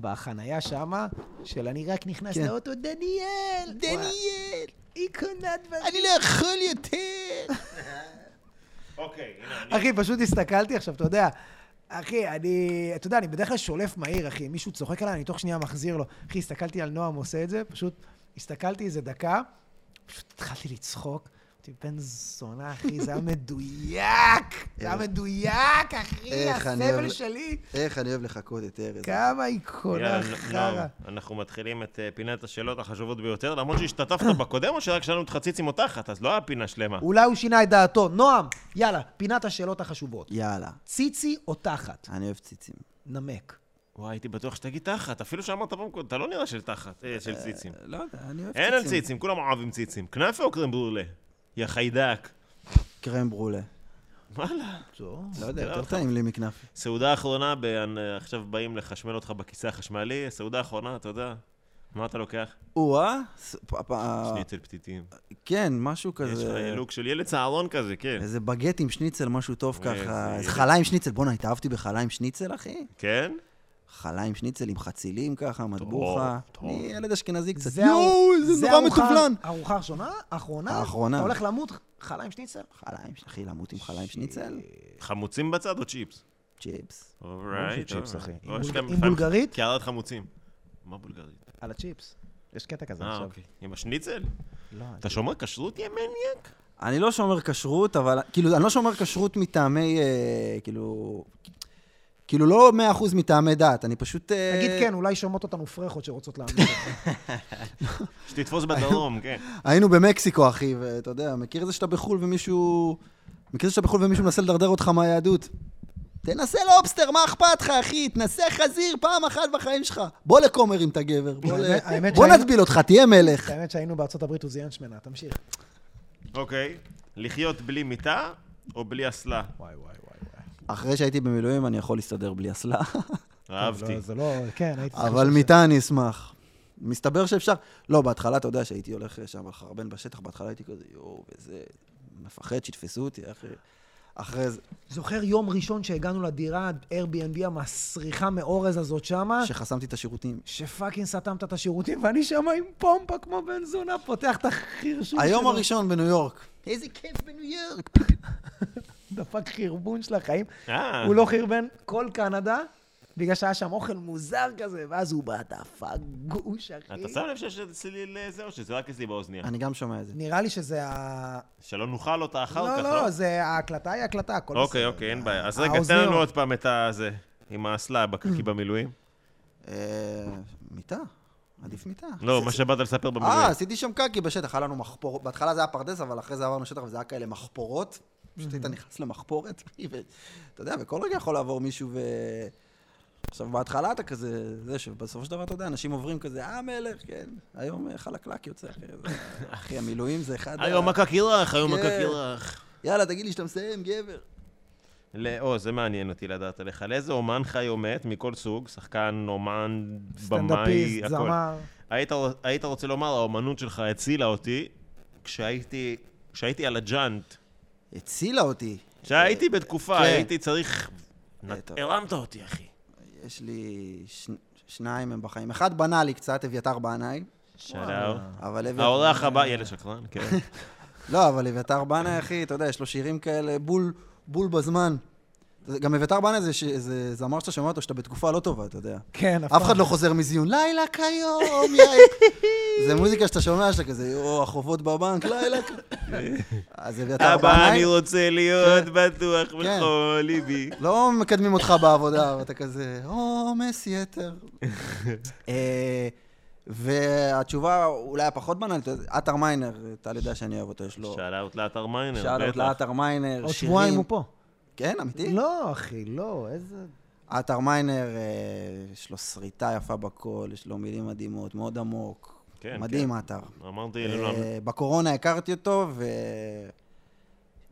[SPEAKER 4] בחנייה שמה, של אני רק נכנס
[SPEAKER 3] כן.
[SPEAKER 4] לאוטו, דניאל!
[SPEAKER 1] דניאל,
[SPEAKER 4] היא קונה דברים.
[SPEAKER 1] אני לא יכול יותר.
[SPEAKER 2] אוקיי, הנה, אני-
[SPEAKER 4] אחי, פשוט הסתכלתי עכשיו, אתה יודע, אחי, אני, אתה יודע, אני בדרך כלל שולף מהיר, אחי, מישהו צוחק עליי, אני תוך שנייה מחזיר לו. אחי, הסתכלתי על נועם עושה את זה, פשוט הסתכלתי איזה דקה, פשוט התחלתי לצחוק. אמרתי, בן זונה, אחי, זה היה מדויק! זה היה מדויק, אחי,
[SPEAKER 3] איך אני
[SPEAKER 4] הסבל
[SPEAKER 3] אוהב-
[SPEAKER 4] שלי!
[SPEAKER 3] איך אני אוהב לחכות את ארז.
[SPEAKER 4] כמה היא
[SPEAKER 2] יאללה,
[SPEAKER 4] קונה חרא.
[SPEAKER 2] נועם, אנחנו מתחילים את אה, פינת השאלות החשובות ביותר, למרות שהשתתפת בקודם או שרק שלנו את חציץ עם מותחת, אז לא היה פינה שלמה.
[SPEAKER 4] אולי הוא שינה את דעתו. נועם, יאללה, פינת השאלות החשובות.
[SPEAKER 3] יאללה,
[SPEAKER 4] ציצי או תחת?
[SPEAKER 3] אני אוהב ציצים.
[SPEAKER 4] נמק.
[SPEAKER 2] וואי, הייתי בטוח שתגיד תחת, אפילו שאמרת במקום, אתה לא נראה של תחת, אה, של ציצים.
[SPEAKER 3] לא יודע, אני
[SPEAKER 4] אה,
[SPEAKER 3] אוהב
[SPEAKER 2] אין
[SPEAKER 3] ציצים.
[SPEAKER 2] על ציצים, כולם אוהבים ציצים. כנאפה או קרם ברולה? יא חיידק.
[SPEAKER 3] קרם ברולה.
[SPEAKER 2] וואלה.
[SPEAKER 4] טוב.
[SPEAKER 3] לא יודע,
[SPEAKER 2] נראה
[SPEAKER 3] יותר
[SPEAKER 2] לך.
[SPEAKER 3] טעים לי מכנף.
[SPEAKER 2] סעודה אחרונה, ב- אה, עכשיו באים לחשמל אותך בכיסא החשמלי, סעודה אחרונה, אתה יודע. מה אתה לוקח?
[SPEAKER 4] אה.
[SPEAKER 3] או-אה? ס- פ- פ-
[SPEAKER 2] שניצל פתיתים.
[SPEAKER 3] כן, משהו
[SPEAKER 2] יש לך
[SPEAKER 3] כזה.
[SPEAKER 2] לוק של ילד צהרון כזה, כן.
[SPEAKER 3] איזה בגט עם שניצל, משהו טוב
[SPEAKER 2] איזה
[SPEAKER 3] ככה. איזה
[SPEAKER 2] ילד.
[SPEAKER 3] חלה עם שניצל. בואנה, התאהבתי בחלה עם שניצל, אחי?
[SPEAKER 2] כן?
[SPEAKER 3] חלה עם שניצל, עם חצילים ככה, מטבוחה.
[SPEAKER 2] טוב.
[SPEAKER 3] אני ילד אשכנזי קצת.
[SPEAKER 4] זה הארוח-
[SPEAKER 3] יואו, זה נורא
[SPEAKER 4] הארוחה-
[SPEAKER 3] מטובלן.
[SPEAKER 4] ארוחה ראשונה? אחרונה?
[SPEAKER 3] האחרונה.
[SPEAKER 4] אתה הולך למות? חלה עם שניצל?
[SPEAKER 3] חלה עם, אחי, למות עם חלה עם שניצל?
[SPEAKER 2] חמוצים בצד או צ'יפס?
[SPEAKER 3] צ'יפס.
[SPEAKER 2] אורייט.
[SPEAKER 4] צ'יפס, אחי.
[SPEAKER 2] אורייט.
[SPEAKER 4] עם
[SPEAKER 2] או, יש
[SPEAKER 4] בולג-
[SPEAKER 2] גם
[SPEAKER 4] עם
[SPEAKER 2] לפעמים
[SPEAKER 4] בולגרית?
[SPEAKER 2] קערת חמוצים. מה בולגרית?
[SPEAKER 4] על הצ'יפס. יש קטע כזה
[SPEAKER 2] אה,
[SPEAKER 4] עכשיו.
[SPEAKER 2] אוקיי. עם השניצל?
[SPEAKER 4] לא,
[SPEAKER 2] אתה שומר כשרות, יא מניאק?
[SPEAKER 3] אני לא שומר כשרות, אבל... כאילו, אני לא שומר כשרות מטעמי... אה, כאילו... כאילו, לא 100% מטעמי דת, אני פשוט... אה,
[SPEAKER 4] תגיד כן, אולי שומעות אותנו פרחות שרוצות להאמין לך.
[SPEAKER 2] שתתפוס בדרום, כן.
[SPEAKER 3] היינו במקסיקו, אחי, ואתה יודע, מכיר זה שאתה בחו"ל ומישהו... מכיר זה שאתה בחו"ל ומישהו מנסה לדרדר אותך מהיהדות? תנסה לובסטר, מה אכפת לך, אחי? תנסה חזיר פעם אחת בחיים שלך. בוא לכומר אם אתה גבר. בוא, ל...
[SPEAKER 4] האמת- האמת
[SPEAKER 3] בוא
[SPEAKER 4] שהיינו- כן.
[SPEAKER 3] נטביל אותך, תהיה מלך.
[SPEAKER 4] האמת שהיינו בארצות הברית, הוא זיין שמנה, תמשיך.
[SPEAKER 2] אוקיי. לחיות בלי מיטה או בלי אסלה?
[SPEAKER 4] וואי, וואי, וואי. וואי.
[SPEAKER 3] אחרי שהייתי במילואים, אני יכול להסתדר בלי אסלה.
[SPEAKER 4] טוב,
[SPEAKER 2] אהבתי.
[SPEAKER 4] לא, זה לא, כן, הייתי... צריך
[SPEAKER 3] אבל
[SPEAKER 4] לשאול
[SPEAKER 3] מיטה אני אשמח. מסתבר שאפשר... לא, בהתחלה, אתה יודע, שהייתי הולך שם על חרבן בשטח, בהתחלה הייתי כזה, יואו, וזה... מפחד שיתפסו אותי, אחי. אחרי זה,
[SPEAKER 4] שאלה. זוכר יום ראשון שהגענו לדירה, Airbnb המסריחה מאורז הזאת שמה?
[SPEAKER 3] שחסמתי את השירותים.
[SPEAKER 4] שפאקינג סתמת את השירותים, ואני שמה עם פומפה כמו בן זונה, פותח את החרשום
[SPEAKER 3] היום הראשון בניו יורק.
[SPEAKER 1] איזה כיף בניו יורק.
[SPEAKER 4] דפק חרבון של החיים.
[SPEAKER 2] אה.
[SPEAKER 4] הוא לא חרבן כל קנדה, בגלל שהיה שם אוכל מוזר כזה, ואז הוא בא, דפק גוש, אחי.
[SPEAKER 2] אה, אתה שם לב שיש אצלי זה או שזה רק אצלי באוזניה?
[SPEAKER 3] אני גם שומע את זה.
[SPEAKER 4] נראה לי שזה ה...
[SPEAKER 2] שלא נאכל אותה אחר
[SPEAKER 4] לא,
[SPEAKER 2] כך,
[SPEAKER 4] לא, לא, זה... ההקלטה היא הקלטה, הכל בסדר.
[SPEAKER 2] אוקיי, אוקיי, אין בעיה. אז רגע, תן
[SPEAKER 4] האוזניות.
[SPEAKER 2] לנו עוד פעם את הזה, עם האסלה בקקי במילואים.
[SPEAKER 3] אה, מיטה, עדיף מיטה.
[SPEAKER 2] לא, מה שבאת לספר במילואים.
[SPEAKER 3] אה, עשיתי שם קקי בשטח, היה לנו מחפורות. בהתחלה זה היה פרדס, אבל אחרי זה עברנו שטח וזה היה כאלה מחפורות. פשוט היית נכנס למחפורת, ואתה יודע, וכל רגע יכול לעבור מישהו ו... עכשיו, בהתחלה אתה כזה, זה שבסופו של דבר, אתה יודע, אנשים עוברים כזה, אה, מלך, כן. היום אה, חלקלק יוצא, אחי. זה- אחי, המילואים זה אחד... ה-
[SPEAKER 2] היום מקק ירח, היום
[SPEAKER 3] כן.
[SPEAKER 2] מקק ירח.
[SPEAKER 3] יאללה, תגיד לי שאתה מסיים, גבר.
[SPEAKER 2] לא, או, זה מעניין אותי לדעת עליך. על איזה אומן חי או מת מכל סוג, שחקן, אומן, במאי,
[SPEAKER 4] סטנדאפיסט,
[SPEAKER 2] הכל.
[SPEAKER 4] זמר.
[SPEAKER 2] היית, היית רוצה לומר, האומנות שלך הצילה אותי כשהייתי, כשהייתי על הג'אנט.
[SPEAKER 3] הצילה אותי.
[SPEAKER 2] כשהייתי בתקופה,
[SPEAKER 3] כן.
[SPEAKER 2] הייתי צריך...
[SPEAKER 3] אה, טוב.
[SPEAKER 2] הרמת אותי, אחי.
[SPEAKER 3] יש לי ש... שניים הם בחיים. אחד בנאלי קצת, אביתר בנאי.
[SPEAKER 2] שלום.
[SPEAKER 3] אבל אביתר...
[SPEAKER 2] האורח הבא, ילד שקרן, כן.
[SPEAKER 3] לא, אבל אביתר בנאי, אחי, אתה יודע, יש לו שירים כאלה בול, בול בזמן. זה- גם אביתר בנאי זה, ש... זה זמר שאתה שומע אותו, שאתה בתקופה לא טובה, אתה יודע.
[SPEAKER 4] כן, אף
[SPEAKER 3] אף אחד
[SPEAKER 4] פעם.
[SPEAKER 3] לא חוזר מזיון, לילה כיום, יאי. זה מוזיקה שאתה שומע, שאתה כזה, או החובות בבנק, לילה כיום. אז אביתר
[SPEAKER 2] אבא,
[SPEAKER 3] בנאי,
[SPEAKER 2] אני רוצה להיות בטוח
[SPEAKER 3] כן.
[SPEAKER 2] בכל ליבי.
[SPEAKER 3] לא מקדמים אותך בעבודה, ואתה כזה, עומס יתר. אה, והתשובה אולי הפחות בנאלית, עטר מיינר, אתה יודע שאני אוהב אותו, יש לו...
[SPEAKER 2] שאלה לאתר מיינר,
[SPEAKER 3] שאל
[SPEAKER 2] בטח.
[SPEAKER 3] אותה לעטר מיינר,
[SPEAKER 4] עוד
[SPEAKER 3] שירים.
[SPEAKER 4] שבועיים הוא פה.
[SPEAKER 3] כן,
[SPEAKER 2] אוקיי.
[SPEAKER 3] אמיתי?
[SPEAKER 4] לא, אחי, לא, איזה...
[SPEAKER 3] עטר מיינר, אה, יש לו שריטה יפה בקול, יש לו מילים מדהימות, מאוד עמוק.
[SPEAKER 2] כן,
[SPEAKER 3] מדהים
[SPEAKER 2] כן.
[SPEAKER 3] עטר.
[SPEAKER 2] אמרתי, לא, לא,
[SPEAKER 3] אה, בקורונה הכרתי אותו, ו...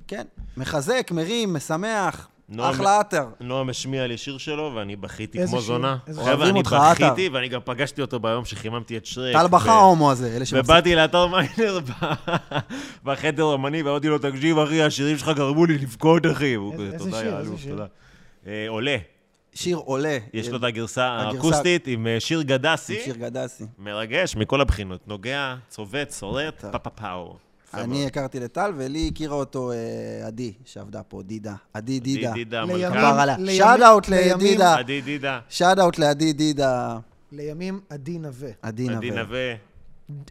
[SPEAKER 3] כן, מחזק, מרים, משמח,
[SPEAKER 2] נועם-
[SPEAKER 3] אחלה עטר.
[SPEAKER 2] נועם השמיע לי שיר שלו, ואני בכיתי
[SPEAKER 4] איזה
[SPEAKER 2] כמו
[SPEAKER 4] שיר?
[SPEAKER 2] זונה.
[SPEAKER 4] איזה
[SPEAKER 3] שיר?
[SPEAKER 2] חבר'ה,
[SPEAKER 3] אוהבים
[SPEAKER 2] אני
[SPEAKER 3] אותך,
[SPEAKER 2] בכיתי,
[SPEAKER 3] עטר.
[SPEAKER 2] ואני גם פגשתי אותו ביום שחיממתי את שרק.
[SPEAKER 3] טל בכה
[SPEAKER 2] ו-
[SPEAKER 3] ההומו הזה, אלה שמפסיקים.
[SPEAKER 2] ובאתי לאתר מיינר ב- בחדר אומני, ואמרתי לו, תקשיב, אחי, השירים שלך גרמו לי לבכות, אחי. והוא
[SPEAKER 4] איזה-
[SPEAKER 2] כזה,
[SPEAKER 4] איזה
[SPEAKER 2] תודה,
[SPEAKER 4] שיר?
[SPEAKER 2] יא
[SPEAKER 4] איזה
[SPEAKER 2] אלוף,
[SPEAKER 4] שיר?"
[SPEAKER 2] תודה. אה, עולה,
[SPEAKER 3] שיר עולה.
[SPEAKER 2] יש
[SPEAKER 3] אה,
[SPEAKER 2] לו את הגרסה
[SPEAKER 3] הגרסה-
[SPEAKER 2] האקוסטית עם אה, שיר
[SPEAKER 3] עם
[SPEAKER 2] גדסי.
[SPEAKER 3] שיר גדסי.
[SPEAKER 2] מרגש מכל הבחינות, נוגע, צובט, שורט, פאפאפאו. יפה
[SPEAKER 3] אני
[SPEAKER 2] מאוד.
[SPEAKER 3] הכרתי לטל, ולי הכירה אותו אה, עדי, שעבדה פה, דידה. עדי דידה.
[SPEAKER 2] עדי דידה,
[SPEAKER 4] לימים-
[SPEAKER 2] המלכה.
[SPEAKER 3] כבר עליה.
[SPEAKER 4] לימים-
[SPEAKER 3] שאט אאוט
[SPEAKER 4] לימים-
[SPEAKER 3] לדידה.
[SPEAKER 2] עדי דידה,
[SPEAKER 3] שאט אאוט לעדי דידה,
[SPEAKER 4] לימים עדי נווה.
[SPEAKER 3] עדי
[SPEAKER 2] עדי
[SPEAKER 3] נווה.
[SPEAKER 2] נווה,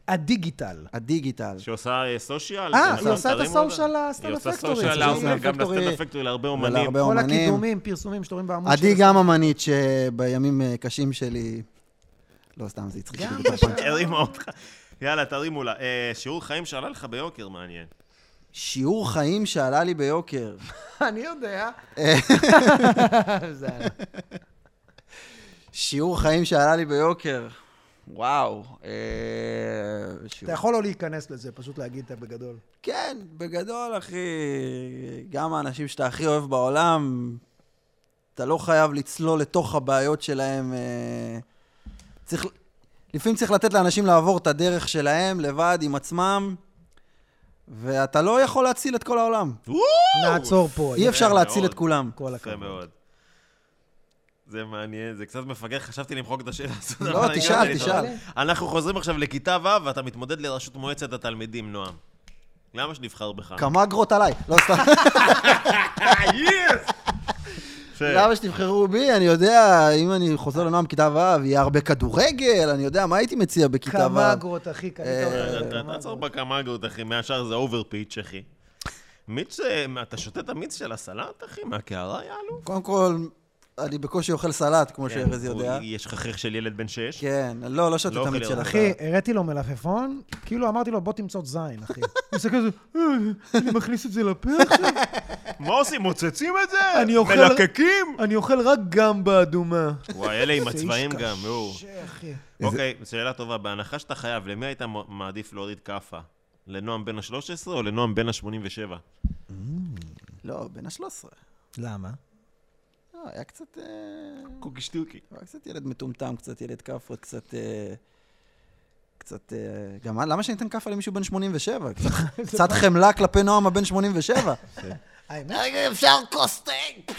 [SPEAKER 4] הדיגיטל.
[SPEAKER 3] הדיגיטל.
[SPEAKER 2] שעושה אה, סושיאל.
[SPEAKER 4] אה,
[SPEAKER 2] אתם
[SPEAKER 4] היא עושה את
[SPEAKER 2] מכירים
[SPEAKER 4] הסושיאל
[SPEAKER 2] אותה?
[SPEAKER 4] לסטנדאפ
[SPEAKER 2] היא
[SPEAKER 4] פקטורי,
[SPEAKER 2] עושה סושיאל
[SPEAKER 4] זה
[SPEAKER 2] להרבה,
[SPEAKER 4] סטנדאפ
[SPEAKER 2] גם
[SPEAKER 3] פקטורי.
[SPEAKER 2] לסטנדאפ פקטורי, להרבה אומנים.
[SPEAKER 3] ולהרבה
[SPEAKER 4] כל
[SPEAKER 3] אומנים.
[SPEAKER 4] הקידומים, פרסומים שקורים בעמוד
[SPEAKER 3] עדי גם אמנית שבימים אה, קשים שלי... לא, סתם, זה הצחיק
[SPEAKER 4] גם
[SPEAKER 3] אותי. כל פעם.
[SPEAKER 2] הרימה אותך. יאללה, תרימו לה. אה, שיעור חיים שעלה לך ביוקר, מעניין.
[SPEAKER 3] שיעור חיים שעלה לי ביוקר.
[SPEAKER 4] אני יודע. זה היה-
[SPEAKER 3] שיעור חיים שעלה לי ביוקר. וואו. אה, שיעור-
[SPEAKER 4] אתה יכול לא להיכנס לזה, פשוט להגיד את בגדול.
[SPEAKER 3] כן, בגדול, אחי, גם האנשים שאתה הכי אוהב בעולם, אתה לא חייב לצלול לתוך הבעיות שלהם. אה, צריך, לפעמים צריך לתת לאנשים לעבור את הדרך שלהם לבד עם עצמם, ואתה לא יכול להציל את כל העולם.
[SPEAKER 4] נעצור פה.
[SPEAKER 3] אי אפשר
[SPEAKER 2] מאוד.
[SPEAKER 3] להציל את כולם.
[SPEAKER 4] כל
[SPEAKER 2] יפה
[SPEAKER 4] הכבוד.
[SPEAKER 2] מאוד. זה מעניין, זה קצת מפגר, חשבתי למחוק את השאלה הזאת.
[SPEAKER 3] לא,
[SPEAKER 2] אבל אני
[SPEAKER 3] תשאל,
[SPEAKER 2] הגעתי
[SPEAKER 3] תשאל.
[SPEAKER 2] לזה. אנחנו חוזרים עכשיו לכיתה ו', ואתה מתמודד לראשות מועצת התלמידים, נועם. למה שנבחר בך?
[SPEAKER 3] כמה גרות עליי. לא, סתם.
[SPEAKER 2] יס! יפה.
[SPEAKER 3] למה שתבחרו בי, אני יודע, אם אני חוזר לנועם כיתה ו', יהיה הרבה כדורגל, אני יודע, מה הייתי מציע בכיתה
[SPEAKER 4] כמה
[SPEAKER 3] ו'?
[SPEAKER 4] אגרות, אחי, קנית
[SPEAKER 3] אה,
[SPEAKER 4] אותה.
[SPEAKER 2] אתה-
[SPEAKER 4] כמה
[SPEAKER 2] תעצור
[SPEAKER 4] אגרות.
[SPEAKER 2] בקמגות, אחי, מהשאר זה אובר פיץ', אחי. מיץ, אה, אתה שותה את המיץ של הסלט, אחי? מהקערה, יעלו?
[SPEAKER 3] קודם כל, אני בקושי אוכל סלט,
[SPEAKER 2] כן,
[SPEAKER 3] כמו שארז יודע.
[SPEAKER 2] יש לך חייך של ילד בן שש?
[SPEAKER 3] כן, לא, לא שתו
[SPEAKER 2] לא
[SPEAKER 3] את
[SPEAKER 2] אוכל
[SPEAKER 3] המיץ של
[SPEAKER 2] ירק.
[SPEAKER 4] אחי,
[SPEAKER 3] הסלט.
[SPEAKER 4] הראתי לו מלפפון, כאילו אמרתי לו, בוא תמצוא זין, אחי. הוא מסתכל על זה, "אה, אני מכניס את זה לפה עכשיו?
[SPEAKER 3] כן.
[SPEAKER 2] מה עושים? מוצצים את זה?
[SPEAKER 4] אני אוכל-
[SPEAKER 2] מלקקים?
[SPEAKER 4] אני אוכל רק גמבה אדומה.
[SPEAKER 2] וואי, אלה עם
[SPEAKER 4] זה איש
[SPEAKER 2] הצבעים גם, נו.
[SPEAKER 4] קשה, אחי.
[SPEAKER 2] אוקיי, שאלה טובה. בהנחה שאתה חייב, למי היית מ- מעדיף להוריד כאפה? לנועם בן ה-13 או לנועם בן ה-87?
[SPEAKER 3] לא, בן ה-13.
[SPEAKER 4] למה?
[SPEAKER 3] לא, היה קצת... אה,
[SPEAKER 2] קוקי שטוקי.
[SPEAKER 3] היה קצת ילד מטומטם, קצת ילד כאפות, קצת... אה, קצת... אה, גם למה שאני אתן כאפה למישהו בן 87? קצת- קצת חמלה כלפי נועם הבן 87.
[SPEAKER 4] האמת-
[SPEAKER 1] רגע, אפשר כוס תה?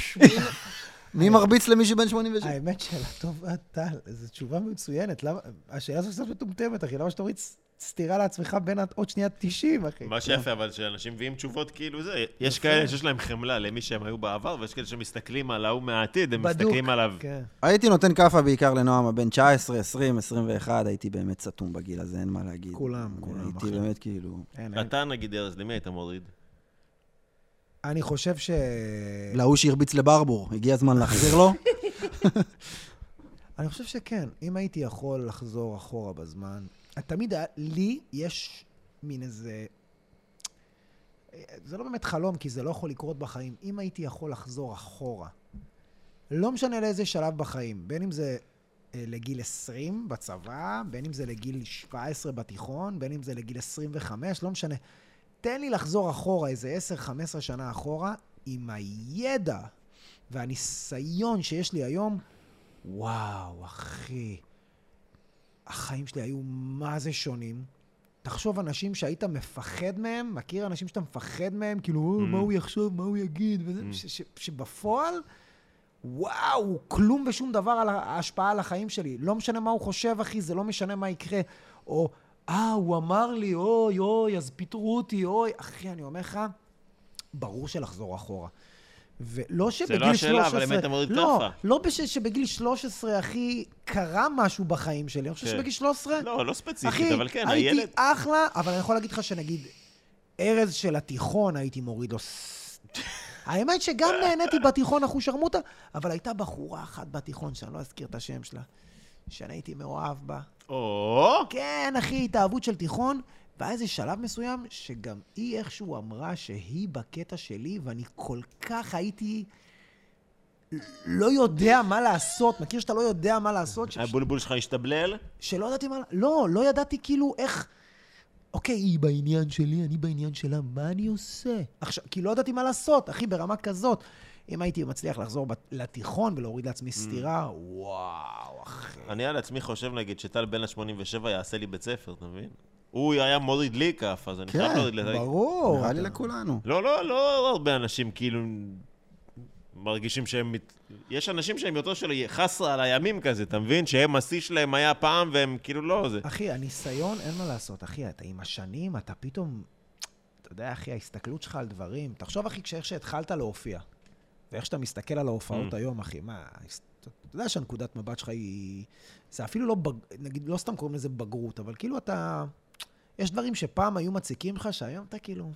[SPEAKER 3] מי מרביץ למישהו בן 87?
[SPEAKER 4] האמת, שאלה טובה, טל, זו תשובה מצוינת. למה- השאלה הזו קצת מטומטמת, אחי, למה שתוריד ס- סטירה לעצמך בין ה- עוד שנייה 90, אחי?
[SPEAKER 2] מה שיפה, אבל שאנשים מביאים תשובות כאילו זה, יש כאלה שיש להם חמלה למי שהם היו בעבר, ויש כאלה שמסתכלים על ההוא מהעתיד, הם
[SPEAKER 4] בדוק,
[SPEAKER 2] מסתכלים עליו.
[SPEAKER 4] כן.
[SPEAKER 3] הייתי נותן כאפה בעיקר לנועם הבן 19, 20, 21, הייתי באמת סתום בגיל הזה, אין מה להגיד. אה,
[SPEAKER 4] כולם, כולם,
[SPEAKER 3] הייתי
[SPEAKER 4] אחי.
[SPEAKER 3] באמת כאילו...
[SPEAKER 4] אין, אין.
[SPEAKER 2] אתה נגיד, ארז, למי היית מוריד?
[SPEAKER 4] אני חושב ש... אה.
[SPEAKER 3] להוא שהרביץ לברבור, הגיע הזמן להחזיר לו?
[SPEAKER 4] אני חושב שכן, אם הייתי יכול לחזור אחורה בזמן, תמיד היה, לי יש מין איזה... אה, זה לא באמת חלום, כי זה לא יכול לקרות בחיים. אם הייתי יכול לחזור אחורה לא משנה לאיזה שלב בחיים, בין אם זה אה, לגיל 20 בצבא, בין אם זה לגיל 17 בתיכון, בין אם זה לגיל 25, לא משנה. תן לי לחזור אחורה, איזה 10-15 שנה אחורה, עם הידע והניסיון שיש לי היום, וואו, אחי, החיים שלי היו מה זה שונים. תחשוב אנשים שהיית מפחד מהם, מכיר אנשים שאתה מפחד מהם, כאילו,
[SPEAKER 2] Mm-hmm.
[SPEAKER 4] mm. מה הוא יחשוב, מה הוא יגיד, וזה, mm. ש- ש- שבפועל, וואו, כלום ושום דבר על ההשפעה על החיים שלי. לא משנה מה הוא חושב, אחי, זה לא משנה מה יקרה. או, אה, הוא אמר לי, אוי, אוי, אז פיטרו אותי, אוי. אחי, אני אומר לך, ברור שלחזור אחורה. ולא שבגיל 13...
[SPEAKER 2] לא השאלה, אבל אם היית מוריד
[SPEAKER 4] לא,
[SPEAKER 2] כאפה.
[SPEAKER 4] לא בש... שבגיל 13, אחי, קרה משהו בחיים שלי. אני חושב
[SPEAKER 2] כן.
[SPEAKER 4] שבגיל 13...
[SPEAKER 2] לא, לא ספציפית,
[SPEAKER 4] אחי,
[SPEAKER 2] אבל כן,
[SPEAKER 4] הייתי
[SPEAKER 2] הילד...
[SPEAKER 4] אחלה, אבל אני יכול להגיד לך שנגיד, ארז של התיכון הייתי מוריד לו... ס- האמת שגם נהניתי בתיכון אחושרמוטה, אבל הייתה בחורה אחת בתיכון, שאני לא אזכיר את השם שלה, שאני הייתי מאוהב בה.
[SPEAKER 2] או!
[SPEAKER 4] כן, אחי, התאהבות של תיכון. והיה איזה שלב מסוים שגם היא איכשהו אמרה שהיא בקטע שלי, ואני כל כך הייתי לא יודע מה לעשות. מכיר שאתה לא יודע מה לעשות? ש-
[SPEAKER 2] הבולבול שלך השתבלל?
[SPEAKER 4] שלא ידעתי מה... לא, לא ידעתי כאילו איך... אוקיי, היא בעניין שלי, אני בעניין שלה, מה אני עושה? עכשיו, כי לא ידעתי מה לעשות, אחי, ברמה כזאת. אם הייתי מצליח לחזור בת- לתיכון ולהוריד לעצמי סטירה, וואו, אחי.
[SPEAKER 2] אני על עצמי חושב, נגיד, שטל בן ה-87 יעשה לי בית ספר, אתה מבין? הוא היה מוריד לי כף, אז אני חייב
[SPEAKER 3] כן,
[SPEAKER 2] להוריד לי.
[SPEAKER 4] ברור.
[SPEAKER 3] נראה לי לכולנו.
[SPEAKER 2] לא, לא, לא הרבה אנשים כאילו מרגישים שהם... מת... יש אנשים שהם יותר של חסרה על הימים כזה, אתה מבין? שהם, השיא שלהם היה פעם, והם כאילו לא זה.
[SPEAKER 4] אחי, הניסיון, אין מה לעשות. אחי, אתה עם השנים, אתה פתאום... אתה יודע, אחי, ההסתכלות שלך על דברים... תחשוב, אחי, כשאיך שהתחלת להופיע, ואיך שאתה מסתכל על ההופעות
[SPEAKER 2] Mm.
[SPEAKER 4] היום, אחי, מה... ההס- אתה יודע שהנקודת מבט שלך היא... זה אפילו לא... בג... נגיד, לא סתם קוראים לזה בגרות, אבל כאילו אתה... יש דברים שפעם היו מציקים לך, שהיום אתה כאילו...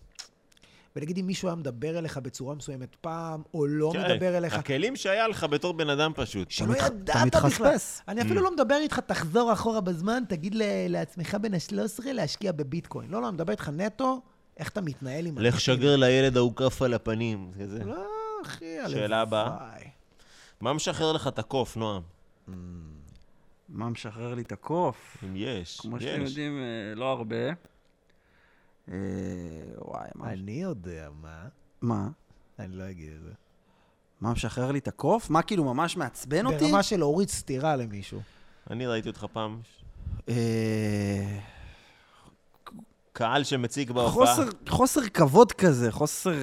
[SPEAKER 4] ונגיד אם מישהו היה מדבר אליך בצורה מסוימת פעם, או לא
[SPEAKER 2] כן,
[SPEAKER 4] מדבר אליך,
[SPEAKER 2] הכלים שהיה לך בתור בן אדם פשוט.
[SPEAKER 4] שלא
[SPEAKER 3] אתה מת-
[SPEAKER 4] ידעת
[SPEAKER 3] אתה
[SPEAKER 4] בכלל.
[SPEAKER 3] מתחפש.
[SPEAKER 4] אני אפילו לא מדבר איתך, תחזור אחורה בזמן, תגיד ל- לעצמך בן ה-13 להשקיע בביטקוין. לא, לא, אני מדבר איתך נטו, איך אתה מתנהל עם...
[SPEAKER 2] לך
[SPEAKER 4] אנשים.
[SPEAKER 2] שגר לילד ההוא כף על הפנים. זה זה.
[SPEAKER 4] לא, אחי, הלוואי.
[SPEAKER 2] שאלה הבאה. מה משחרר לך את הקוף, נועם?
[SPEAKER 5] מה משחרר לי את הקוף?
[SPEAKER 2] אם יש,
[SPEAKER 5] כמו שאתם
[SPEAKER 2] יש.
[SPEAKER 5] יודעים, אה, לא הרבה. אה, וואי, מה?
[SPEAKER 4] אני יודע מה,
[SPEAKER 3] מה?
[SPEAKER 4] אני לא אגיד את זה.
[SPEAKER 3] מה משחרר לי את הקוף? מה כאילו ממש מעצבן אותי?
[SPEAKER 4] ברמה של להוריד סטירה למישהו.
[SPEAKER 2] אני ראיתי אותך פעם.
[SPEAKER 3] אה,
[SPEAKER 2] קהל שמציק בהופעה.
[SPEAKER 3] חוסר, חוסר כבוד כזה, חוסר... אה,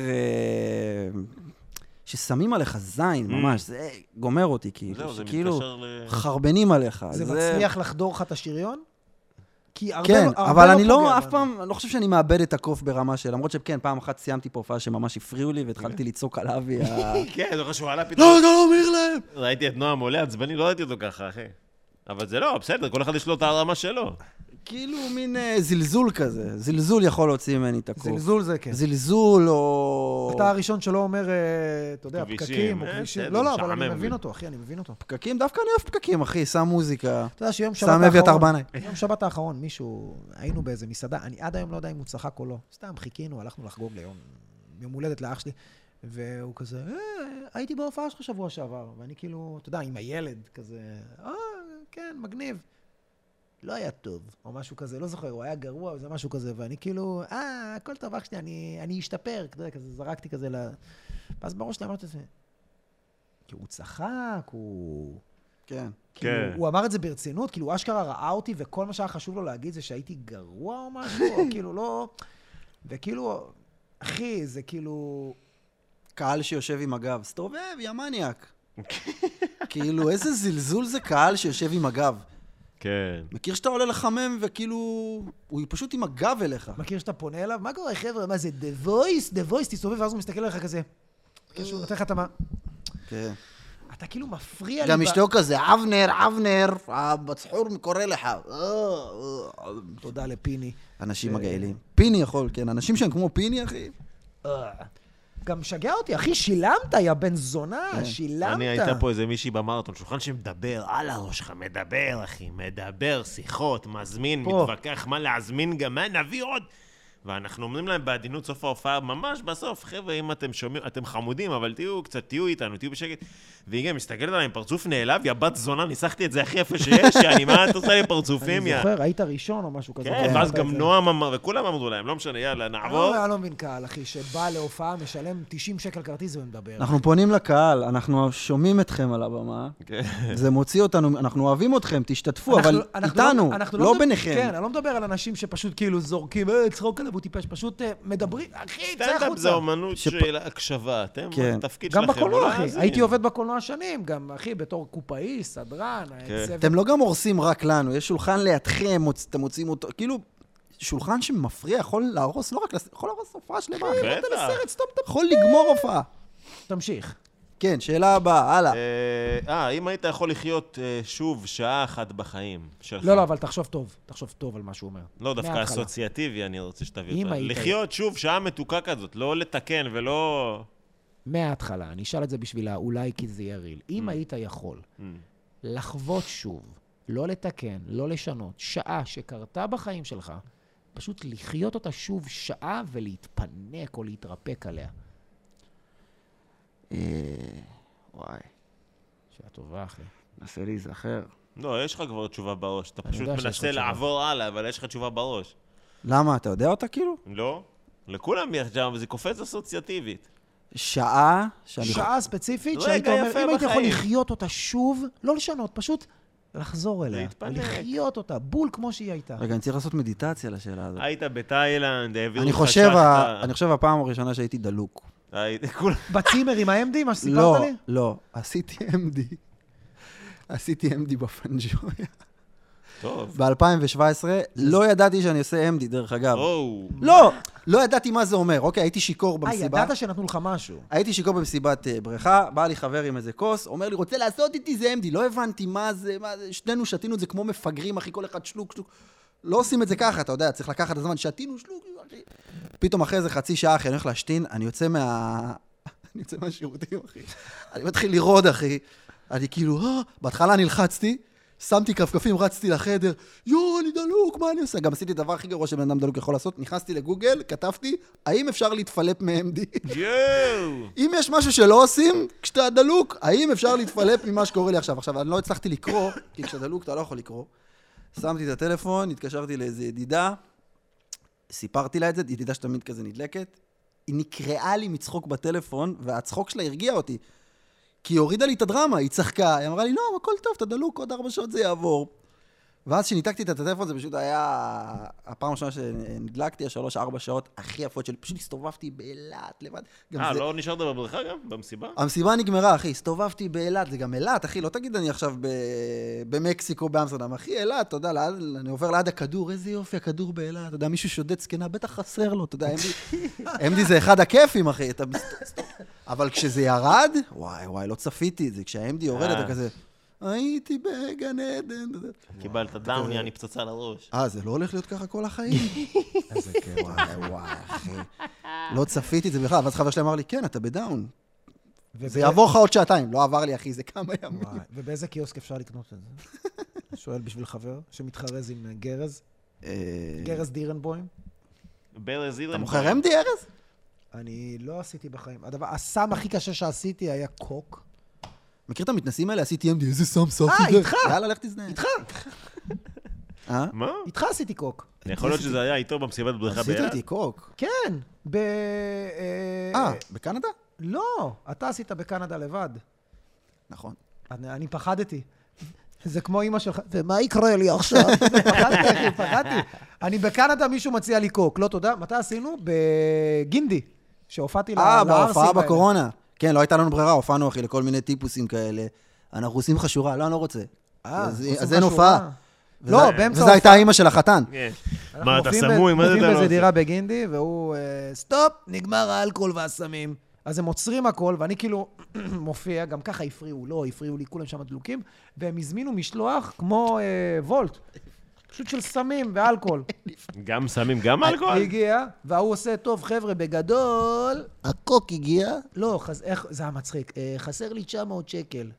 [SPEAKER 3] ששמים עליך זין, ממש, זה גומר אותי, כאילו.
[SPEAKER 2] Mm. זהו, זה
[SPEAKER 3] שכאילו
[SPEAKER 2] מתקשר אה, ל...
[SPEAKER 3] חרבנים עליך.
[SPEAKER 4] זה מצליח לחדור לך את השריון? כי הרבה
[SPEAKER 3] כן,
[SPEAKER 4] לא- הרבה
[SPEAKER 3] אבל אני
[SPEAKER 4] פוגע
[SPEAKER 3] לא, אף
[SPEAKER 4] בנו.
[SPEAKER 3] פעם, אני לא חושב שאני מאבד את הקוף ברמה של... למרות שכן, פעם אחת סיימתי פה הופעה שממש הפריעו לי,
[SPEAKER 4] אוקיי.
[SPEAKER 3] והתחלתי לצעוק על אבי ה...
[SPEAKER 2] כן, זוכר שהוא עלה פתאום.
[SPEAKER 3] לא, אתה לא אומר להם!
[SPEAKER 2] ראיתי את נועם עולה עצבני, לא ראיתי אותו ככה, אחי. אבל זה לא, בסדר, כל אחד יש לו את הרמה שלו.
[SPEAKER 3] כאילו מין אה, זלזול כזה. זלזול יכול להוציא ממני את הקוף.
[SPEAKER 4] זלזול זה כן.
[SPEAKER 3] זלזול או...
[SPEAKER 4] אתה הראשון שלא אומר, אה, אתה יודע,
[SPEAKER 2] כבישים,
[SPEAKER 4] פקקים או
[SPEAKER 2] אה,
[SPEAKER 4] כבישים.
[SPEAKER 2] בסדר,
[SPEAKER 4] לא, לא, אבל אני
[SPEAKER 2] משעמם
[SPEAKER 4] מבין
[SPEAKER 2] לי.
[SPEAKER 4] אותו, אחי, אני מבין אותו.
[SPEAKER 3] פקקים? דווקא אני אוהב פקקים, אחי, שם מוזיקה.
[SPEAKER 4] אתה יודע שיום שבת
[SPEAKER 3] סמי
[SPEAKER 4] האחרון...
[SPEAKER 3] אביתר בנאי.
[SPEAKER 4] יום שבת האחרון, מישהו, היינו באיזה מסעדה, אני עד היום לא יודע אם הוא צחק או לא. סתם חיכינו, הלכנו לחגוג ליום יום הולדת לאח שלי, והוא כזה, אה, הייתי בהופעה שלך שבוע שעבר, ואני כאילו, אתה יודע, עם הילד, כזה, אה, כן, מגניב. לא היה טוב, או משהו כזה, לא זוכר, הוא היה גרוע, או זה משהו כזה, ואני כאילו, אה, הכל טוב, אח שלי, אני, אני אשתפר, אתה יודע, כזה, זרקתי כזה ל... ואז בראש שלי אמרתי לעצמי, כי הוא צחק, הוא...
[SPEAKER 3] כן.
[SPEAKER 4] כאילו,
[SPEAKER 2] כן.
[SPEAKER 4] הוא אמר את זה ברצינות, כאילו, הוא אשכרה ראה אותי, וכל מה שהיה חשוב לו להגיד זה שהייתי גרוע או משהו, או כאילו, לא... וכאילו, אחי, זה כאילו...
[SPEAKER 3] קהל שיושב עם הגב. סתובב, יא מניאק. כאילו, איזה זלזול זה קהל שיושב עם הגב.
[SPEAKER 2] כן.
[SPEAKER 3] מכיר שאתה עולה לחמם וכאילו... הוא פשוט עם הגב אליך.
[SPEAKER 4] מכיר שאתה פונה אליו? מה קורה, חבר'ה? מה זה, The Voice? The Voice, תסתובב, ואז הוא מסתכל עליך כזה. מכיר
[SPEAKER 2] אה.
[SPEAKER 4] שהוא נותן לך את המה...
[SPEAKER 3] כן.
[SPEAKER 4] אתה כאילו מפריע לי...
[SPEAKER 3] גם
[SPEAKER 4] ב-
[SPEAKER 3] אשתו כזה, אבנר, אבנר, הבצחור קורא לך. אה, אה.
[SPEAKER 4] תודה לפיני.
[SPEAKER 3] אנשים
[SPEAKER 1] כן.
[SPEAKER 3] מגעילים. פיני יכול, כן. אנשים שהם כמו פיני, אחי.
[SPEAKER 4] אה. גם משגע אותי, אחי, שילמת, יא בן זונה, שילמת.
[SPEAKER 2] אה. אני הייתה פה איזה מישהי במרתון, שולחן שמדבר, על הראש שלך, מדבר, אחי, מדבר, שיחות, מזמין,
[SPEAKER 4] פה.
[SPEAKER 2] מתווכח, מה להזמין גם, מה נביא עוד? ואנחנו אומרים להם בעדינות סוף ההופעה, ממש בסוף, חבר'ה, אם אתם שומעים, אתם חמודים, אבל תהיו קצת, תהיו איתנו, תהיו בשקט. והיא גם מסתכלת עליי עם פרצוף נעלב, יא בת זונה, ניסחתי את זה הכי יפה שיש, יעני, מה את עושה לי פרצופים,
[SPEAKER 1] אני
[SPEAKER 2] יא...
[SPEAKER 1] זוכר, היית ראשון או משהו כזה.
[SPEAKER 2] כן,
[SPEAKER 1] אמרת
[SPEAKER 2] ואז
[SPEAKER 1] את
[SPEAKER 2] גם
[SPEAKER 1] זה.
[SPEAKER 2] נועם אמר, וכולם אמרו להם, לא משנה, יאללה,
[SPEAKER 1] אני
[SPEAKER 2] נעבור.
[SPEAKER 1] אוקיי. לא- אני לא מבין קהל, אחי, שבא להופעה, משלם 90 שקל כרטיס
[SPEAKER 2] נכון.
[SPEAKER 1] ומדבר.
[SPEAKER 3] אנחנו פונים לקהל, אנחנו שומעים אתכם על הבמה,
[SPEAKER 2] כן.
[SPEAKER 3] זה מוציא אותנו, אנחנו אוהבים אתכם, תשתתפו, אבל
[SPEAKER 1] אנחנו- אנחנו
[SPEAKER 3] איתנו,
[SPEAKER 1] אנחנו
[SPEAKER 3] לא
[SPEAKER 1] מדבר- כן,
[SPEAKER 3] ביניכם.
[SPEAKER 1] אני לא מדבר על אנשים שפשוט כאילו זורקים, אה, צחוק עליו, הוא טיפש, פשוט אה, מדברים, אחי, צא
[SPEAKER 2] סטנדאפ זה
[SPEAKER 1] החוצה.
[SPEAKER 2] אומנות
[SPEAKER 3] שפ-
[SPEAKER 2] של הקשבה, אתם,
[SPEAKER 3] כן.
[SPEAKER 2] התפקיד
[SPEAKER 1] גם
[SPEAKER 2] שלכם. לא
[SPEAKER 1] בקולנוע, אחי.
[SPEAKER 2] להאזין.
[SPEAKER 1] הייתי עובד בקולנוע שנים, גם, אחי, בתור קופאי, סדרן,
[SPEAKER 2] כן.
[SPEAKER 1] צוות.
[SPEAKER 3] אתם לא גם הורסים רק לנו, יש שולחן לידכם, מוצ- אתם מוצאים אותו, כאילו, שולחן שמפריע יכול להרוס, לא רק, לס- יכול להרוס הופעה שלמה,
[SPEAKER 1] כן.
[SPEAKER 2] בטח.
[SPEAKER 3] יכול לגמור הופעה.
[SPEAKER 1] תמשיך.
[SPEAKER 3] כן, שאלה הבאה, הלאה.
[SPEAKER 2] אה, אה, אם היית יכול לחיות אה, שוב שעה אחת בחיים שלך.
[SPEAKER 1] לא, לא, אבל תחשוב טוב. תחשוב טוב על מה שהוא אומר.
[SPEAKER 2] לא, דווקא
[SPEAKER 1] מההתחלה.
[SPEAKER 2] אסוציאטיבי, אני רוצה שתביא
[SPEAKER 1] אם
[SPEAKER 2] אותה.
[SPEAKER 1] היית-
[SPEAKER 2] לחיות שוב שעה מתוקה כזאת, לא לתקן ולא...
[SPEAKER 1] מההתחלה, אני אשאל את זה בשבילה, אולי כי זה יהיה ריל. אם היית יכול
[SPEAKER 2] Mm.
[SPEAKER 1] לחוות שוב, לא לתקן, לא לשנות, שעה שקרתה בחיים שלך, פשוט לחיות אותה שוב שעה ולהתפנק או להתרפק עליה.
[SPEAKER 4] אה, וואי,
[SPEAKER 1] שאלה טובה, אחי.
[SPEAKER 4] נסה להיזכר.
[SPEAKER 2] לא, יש לך כבר תשובה בראש. אתה
[SPEAKER 1] אני
[SPEAKER 2] פשוט
[SPEAKER 1] יודע שיש לך
[SPEAKER 2] מנסה
[SPEAKER 1] תשובה.
[SPEAKER 2] לעבור הלאה, אבל יש לך תשובה בראש.
[SPEAKER 3] למה, אתה יודע אותה כאילו?
[SPEAKER 2] לא? לכולם יש שם, זה קופץ אסוציאטיבית.
[SPEAKER 3] שעה, שאני...
[SPEAKER 1] שעה ספציפית
[SPEAKER 2] רגע
[SPEAKER 1] שהיית אומר,
[SPEAKER 2] יפה
[SPEAKER 1] אם היית יכול
[SPEAKER 2] בחיים."
[SPEAKER 1] לחיות אותה שוב, לא לשנות, פשוט לחזור אליה.
[SPEAKER 2] להתפנק.
[SPEAKER 1] לחיות אותה, בול כמו שהיא הייתה.
[SPEAKER 3] רגע, אני צריך לעשות מדיטציה לשאלה
[SPEAKER 1] אה,
[SPEAKER 3] הזאת.
[SPEAKER 2] היית בתאילנד, העבירו
[SPEAKER 3] אני
[SPEAKER 2] לך
[SPEAKER 3] חושב, אה, ה-
[SPEAKER 2] שחטה.
[SPEAKER 3] אני חושב הפעם הראשונה שהייתי דלוק.
[SPEAKER 2] היית- כולם-
[SPEAKER 1] בצימר עם האמדי, מה
[SPEAKER 3] לא,
[SPEAKER 1] שסיפרת לי?
[SPEAKER 3] לא, עשיתי MD. עשיתי MD בפנג'ויה.
[SPEAKER 2] טוב.
[SPEAKER 3] ב-2017, לא ידעתי שאני עושה MD, דרך אגב.
[SPEAKER 2] וואו.
[SPEAKER 3] לא, לא ידעתי מה זה אומר. אוקיי, הייתי שיכור
[SPEAKER 1] אה,
[SPEAKER 3] במסיבה.
[SPEAKER 1] ידעת שנתנו לך משהו.
[SPEAKER 3] הייתי שיכור במסיבת אה, בריכה, בא לי חבר עם איזה כוס, אומר לי, רוצה לעשות איתי זה MD. לא הבנתי מה זה, מה זה, שנינו שתינו את זה כמו מפגרים, אחי, כל אחד שלוק, שלוק. לא עושים את זה ככה, אתה יודע, צריך לקחת את הזמן, שתינו שלוק, אחי. פתאום אחרי איזה חצי שעה, אחי, אני הולך להשתין, אני יוצא מה... אני יוצא מהשירותים, אחי. אני מתחיל לרעוד, אחי. אני כאילו, אה, בהתחלה נלחצתי, שמתי כפכפים, רצתי לחדר, יואו, אני דלוק, מה אני עושה? גם עשיתי את הדבר הכי גרוע שבן אדם דלוק יכול לעשות, נכנסתי לגוגל, כתבתי, האם אפשר להתפלפ מ-MD?
[SPEAKER 2] יואו.
[SPEAKER 3] אם יש משהו שלא עושים, כשאתה דלוק, האם אפשר להתפלפ ממה שקורה לי עכשיו? עכשיו, אני לא הצלחתי לקרוא, כי כשאתה דלוק אתה לא יכול לקרוא. שמתי את הטלפון, התקשרתי לאיזו ידידה, סיפרתי לה את זה, ידידה שתמיד כזה נדלקת. היא נקרעה לי מצחוק בטלפון, והצחוק שלה הרגיע אותי. כי היא הורידה לי את הדרמה, היא צחקה, היא אמרה לי, נועם, הכל טוב, אתה דלוק, עוד ארבע שעות זה יעבור. ואז כשניתקתי את הטלפון, זה פשוט היה... הפעם הראשונה שנדלקתי, השלוש-ארבע שעות הכי יפות שלי. פשוט הסתובבתי באילת לבד. גם
[SPEAKER 2] אה,
[SPEAKER 3] זה-
[SPEAKER 2] לא נשארת בבריכה גם? במסיבה?
[SPEAKER 3] המסיבה נגמרה, אחי, הסתובבתי באילת, זה גם אילת, אחי, לא תגיד אני עכשיו ב... במקסיקו, באמסרדם, אחי, אילת, אתה יודע, לעד, אני עובר ליד הכדור, איזה יופי, הכדור באילת, אתה יודע, מישהו שודד זקנה, בטח חסר לו, אתה יודע, MD, MD זה אחד הכיפים, אחי, אתה... מס- אבל כשזה ירד, וואי, וואי, לא צפיתי את זה, כשה-MD יורד, אתה
[SPEAKER 2] אה.
[SPEAKER 3] כזה, הייתי בגן עדן, אתה יודע.
[SPEAKER 2] קיבלת דאון, יעני פצצה לראש.
[SPEAKER 3] אה, זה לא הולך להיות ככה כל החיים? איזה כיף. וואי, וואי, אחי. לא צפיתי את זה בכלל, ואז חבר שלי אמר לי, כן, אתה בדאון. זה יעבור לך עוד שעתיים. לא עבר לי, אחי, זה כמה ימים.
[SPEAKER 1] וואי, ובאיזה קיוסק אפשר לקנות את זה? שואל בשביל חבר שמתחרז עם אה, גרז,
[SPEAKER 3] אה,
[SPEAKER 1] גרז דירנבוים.
[SPEAKER 2] ברז אילן.
[SPEAKER 3] אתה מוכר MD, ארז?
[SPEAKER 1] אני לא עשיתי בחיים. הדבר, הסם הכי קשה שעשיתי היה קוק.
[SPEAKER 3] מכיר את המתנסים האלה? עשיתי MD, איזה סם סף.
[SPEAKER 1] אה,
[SPEAKER 3] זה.
[SPEAKER 1] איתך.
[SPEAKER 3] יאללה, לך תזדיין. איתך. אה?
[SPEAKER 2] מה?
[SPEAKER 1] איתך עשיתי קוק.
[SPEAKER 2] יכול להיות שזה היה איתו במסיבת בריכה
[SPEAKER 3] עשית
[SPEAKER 2] ביד?
[SPEAKER 3] איתי קוק.
[SPEAKER 1] כן, ב...
[SPEAKER 3] אה, בקנדה?
[SPEAKER 1] לא, אתה עשית בקנדה לבד.
[SPEAKER 3] נכון.
[SPEAKER 1] אני, אני פחדתי. זה כמו אימא שלך, ומה יקרה לי עכשיו? פחדתי, אחי, פחדתי. אני בקנדה, מישהו מציע לי קוק. לא תודה. מתי עשינו? בגינדי, שהופעתי ל-
[SPEAKER 3] אה,
[SPEAKER 1] לערסים
[SPEAKER 3] בהופעה
[SPEAKER 1] האלה.
[SPEAKER 3] בקורונה. כן, לא הייתה לנו ברירה, הופענו, אחי, לכל מיני טיפוסים כאלה. אנחנו עושים לך שורה, לא, אני לא רוצה.
[SPEAKER 1] אה,
[SPEAKER 3] אז-
[SPEAKER 1] עושים
[SPEAKER 3] אז אין
[SPEAKER 1] משהו
[SPEAKER 3] הופעה.
[SPEAKER 1] רע. לא,
[SPEAKER 3] וזה-
[SPEAKER 1] באמצע
[SPEAKER 3] וזו הייתה
[SPEAKER 1] ההופעה.
[SPEAKER 3] אימא של החתן.
[SPEAKER 2] כן.
[SPEAKER 1] אנחנו
[SPEAKER 2] מה, אתה
[SPEAKER 1] עובדים
[SPEAKER 2] סמוי? מה זה
[SPEAKER 1] עובדים
[SPEAKER 2] אתה לא
[SPEAKER 1] באיזה
[SPEAKER 2] עושה?
[SPEAKER 1] דירה בגינדי, והוא, אה, סטופ, נגמר האלכוהול והסמים. אז הם עוצרים הכל, ואני כאילו מופיע, גם ככה הפריעו, לא, הפריעו לי, כולם שם דלוקים, והם הזמינו משלוח כמו אה, וולט, פשוט של סמים ואלכוהול.
[SPEAKER 2] גם סמים, גם אלכוהול?
[SPEAKER 1] הגיע, וההוא עושה, טוב, חבר'ה, בגדול...
[SPEAKER 3] הקוק הגיע.
[SPEAKER 1] לא, חס... איך... זה היה מצחיק. אה, חסר לי 900 שקל.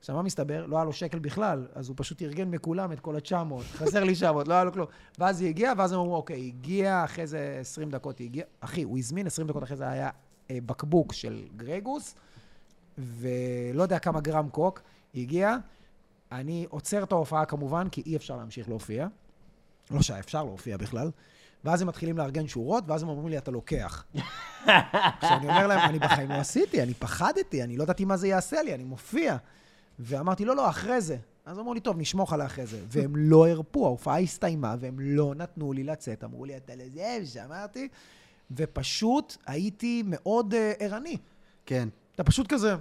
[SPEAKER 1] עכשיו, מה מסתבר? לא היה לו שקל בכלל, אז הוא פשוט ארגן מכולם את כל ה-900. חסר לי 900, לא היה לו כלום. ואז היא הגיעה, ואז הם אמרו, אוקיי, הגיע, אחרי זה 20 דקות היא הגיעה. אחי, הוא הזמין 20 דקות אחרי זה היה אה, בקבוק של גרגוס, ולא יודע כמה גרם קוק. היא הגיעה, אני עוצר את ההופעה כמובן, כי אי אפשר להמשיך להופיע. לא שהיה אפשר להופיע בכלל. ואז הם מתחילים לארגן שורות, ואז הם אומרים לי, אתה לוקח. כשאני אומר להם, אני בחיים לא עשיתי, אני פחדתי, אני לא ידעתי מה זה יעשה לי, אני מופיע. ואמרתי, לא, לא, אחרי זה. אז אמרו לי, טוב, נשמוך על האחרי זה. והם לא הרפו, ההופעה הסתיימה, והם לא נתנו לי לצאת. אמרו לי, אתה לזה, שאמרתי. ופשוט הייתי מאוד אה, ערני.
[SPEAKER 3] כן.
[SPEAKER 1] אתה פשוט כזה,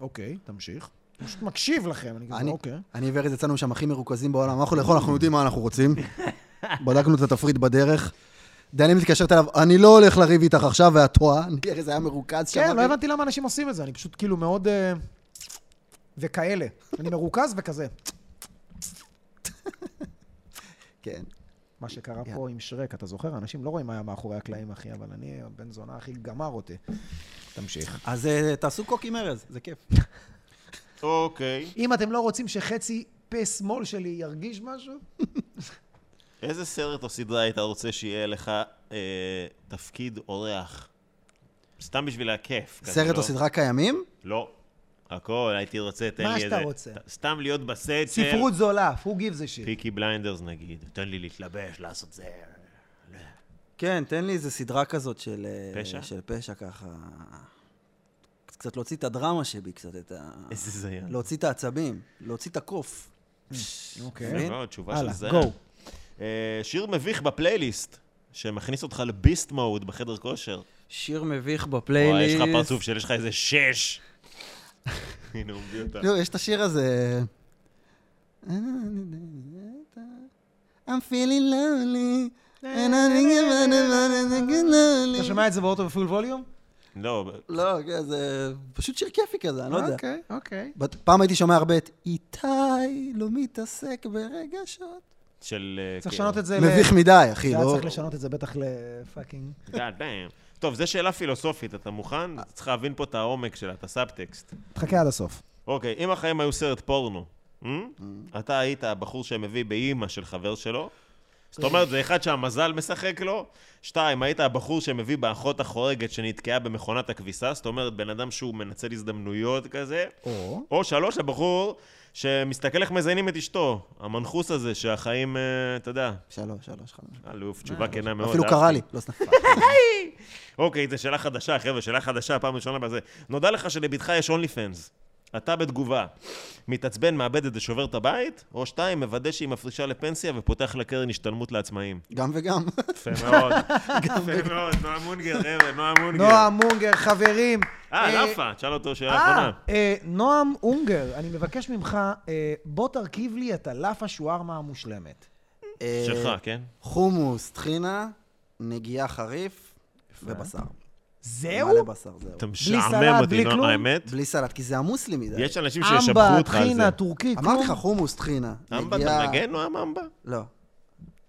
[SPEAKER 1] אוקיי, תמשיך. פשוט מקשיב לכם, אני כזה,
[SPEAKER 3] אני-
[SPEAKER 1] אוקיי.
[SPEAKER 3] אני וארז יצאנו משם הכי מרוכזים בעולם. אנחנו לאכול, אנחנו יודעים מה אנחנו רוצים. בדקנו את התפריט בדרך. דני מתקשרת אליו, אני לא הולך לריב איתך עכשיו, ואת טועה. אני ארז היה מרוכז שם.
[SPEAKER 1] כן, לא
[SPEAKER 3] אחי.
[SPEAKER 1] הבנתי למה אנשים עושים את זה, אני פשוט כאילו מאוד... אה, וכאלה. אני מרוכז וכזה.
[SPEAKER 3] כן.
[SPEAKER 1] מה שקרה פה עם שרק, אתה זוכר? אנשים לא רואים מה היה מאחורי הקלעים, אחי, אבל אני, הבן זונה הכי גמר אותי. תמשיך.
[SPEAKER 3] אז אה, תעשו קוק עם ארז, זה כיף.
[SPEAKER 2] אוקיי.
[SPEAKER 1] אם אתם לא רוצים שחצי פה שמאל שלי ירגיש משהו,
[SPEAKER 2] איזה סרט או סדרה היית רוצה שיהיה לך אה, תפקיד אורח? סתם בשביל הכיף. כזה,
[SPEAKER 3] סרט
[SPEAKER 2] לא?
[SPEAKER 3] או סדרה קיימים?
[SPEAKER 2] לא. הכל, הייתי רוצה, תן לי
[SPEAKER 1] מה
[SPEAKER 2] איזה...
[SPEAKER 1] שאתה רוצה.
[SPEAKER 2] ת- סתם להיות בסט של...
[SPEAKER 1] ספרות זולה, who gives a shit.
[SPEAKER 2] פיקי בליינדרס נגיד, תן לי להתלבש, לעשות זה.
[SPEAKER 3] כן, תן לי איזה סדרה כזאת של... אה,
[SPEAKER 2] פשע?
[SPEAKER 3] של פשע ככה. קצת להוציא את הדרמה שבי, קצת את ה...
[SPEAKER 2] איזה זיין.
[SPEAKER 1] לא,
[SPEAKER 3] להוציא את העצבים, להוציא את הקוף.
[SPEAKER 1] אוקיי.
[SPEAKER 3] מבין?
[SPEAKER 2] לא, תשובה של
[SPEAKER 1] הלאה,
[SPEAKER 2] זיין.
[SPEAKER 1] גו.
[SPEAKER 2] אה, שיר מביך בפלייליסט, שמכניס אותך לביסט מוד בחדר כושר.
[SPEAKER 3] שיר מביך
[SPEAKER 2] וואי, יש
[SPEAKER 3] בפלייליסט.
[SPEAKER 2] לך פרצוף של יש לך איזה שש. הנה, הוא מביא אותה.
[SPEAKER 3] לא, יש את השיר הזה. I'm feeling lonely. and I think about it, but I think it's lonely.
[SPEAKER 1] אתה שומע את זה באוטו בפול ווליום?
[SPEAKER 2] לא,
[SPEAKER 3] לא, כן, זה פשוט שיר כיפי כזה, אני לא יודע.
[SPEAKER 1] אוקיי, אוקיי.
[SPEAKER 3] בת- פעם הייתי שומע הרבה את איתי לא מתעסק ברגשות.
[SPEAKER 2] של... אה,
[SPEAKER 1] צריך
[SPEAKER 2] כן.
[SPEAKER 1] לשנות את זה ל...
[SPEAKER 3] מביך מדי, אחי,
[SPEAKER 1] היה
[SPEAKER 3] לא...
[SPEAKER 1] צריך לשנות את זה בטח לפאקינג...
[SPEAKER 2] God damn. טוב, זו שאלה פילוסופית, אתה מוכן? צריך להבין פה את העומק שלה, את הסאבטקסט.
[SPEAKER 1] תחכה עד הסוף.
[SPEAKER 2] אוקיי, אם החיים היו סרט פורנו, אמ? אתה היית הבחור שמביא באימא של חבר שלו, זאת אומרת, זה אחד שהמזל משחק לו, שתיים, היית הבחור שמביא באחות החורגת שנתקעה במכונת הכביסה, זאת אומרת, בן אדם שהוא מנצל הזדמנויות כזה,
[SPEAKER 1] או...
[SPEAKER 2] או שלוש, הבחור שמסתכל איך מזיינים את אשתו, המנחוס הזה שהחיים, אה, אתה יודע,
[SPEAKER 3] שלוש, שלוש, חמש.
[SPEAKER 2] אלוף, תשובה כנה מאוד.
[SPEAKER 3] אה, אפילו
[SPEAKER 2] אהבתי.
[SPEAKER 3] קרא לי, לא סתם.
[SPEAKER 2] אוקיי, זו שאלה חדשה, חבר'ה, שאלה חדשה, פעם ראשונה בזה. נודע לך שלבתך יש אונלי פנס. אתה בתגובה, מתעצבן, מאבד את זה, שובר את הבית, או שתיים, מוודא שהיא מפרישה לפנסיה ופותח לה קרן השתלמות לעצמאים.
[SPEAKER 3] גם וגם.
[SPEAKER 2] יפה מאוד. יפה מאוד, נועה מונגר, חבר'ה, נועה מונגר.
[SPEAKER 1] נועם מונגר, חברים.
[SPEAKER 2] אה,
[SPEAKER 1] אה,
[SPEAKER 2] לאפה, תשאל אותו שאלה
[SPEAKER 1] אה,
[SPEAKER 2] אחרונה.
[SPEAKER 1] אה, נועם אונגר, אני מבקש ממך, אה, בוא תרכיב לי את הלאפה שוארמה המושלמת.
[SPEAKER 3] אה,
[SPEAKER 2] שלך, כן?
[SPEAKER 3] חומוס, טחינה, נגיעה חריף ובשר.
[SPEAKER 1] זהו?
[SPEAKER 3] מלא בשר, זהו.
[SPEAKER 2] אתה
[SPEAKER 1] סלט,
[SPEAKER 2] משעמם
[SPEAKER 1] בלי
[SPEAKER 2] אותי,
[SPEAKER 1] כלום?
[SPEAKER 2] נו, האמת.
[SPEAKER 3] בלי סלט, כי זה עמוס לי מדי.
[SPEAKER 2] יש אנשים שישבחו
[SPEAKER 1] אמבה,
[SPEAKER 2] אותך על זה.
[SPEAKER 1] טחינה, טורקי,
[SPEAKER 3] אמרתי לך,
[SPEAKER 1] כלום.
[SPEAKER 3] חומוס, טחינה.
[SPEAKER 2] אמבה,
[SPEAKER 3] נגיעה-
[SPEAKER 2] אתה מנגן, נועם אמבה?
[SPEAKER 3] לא.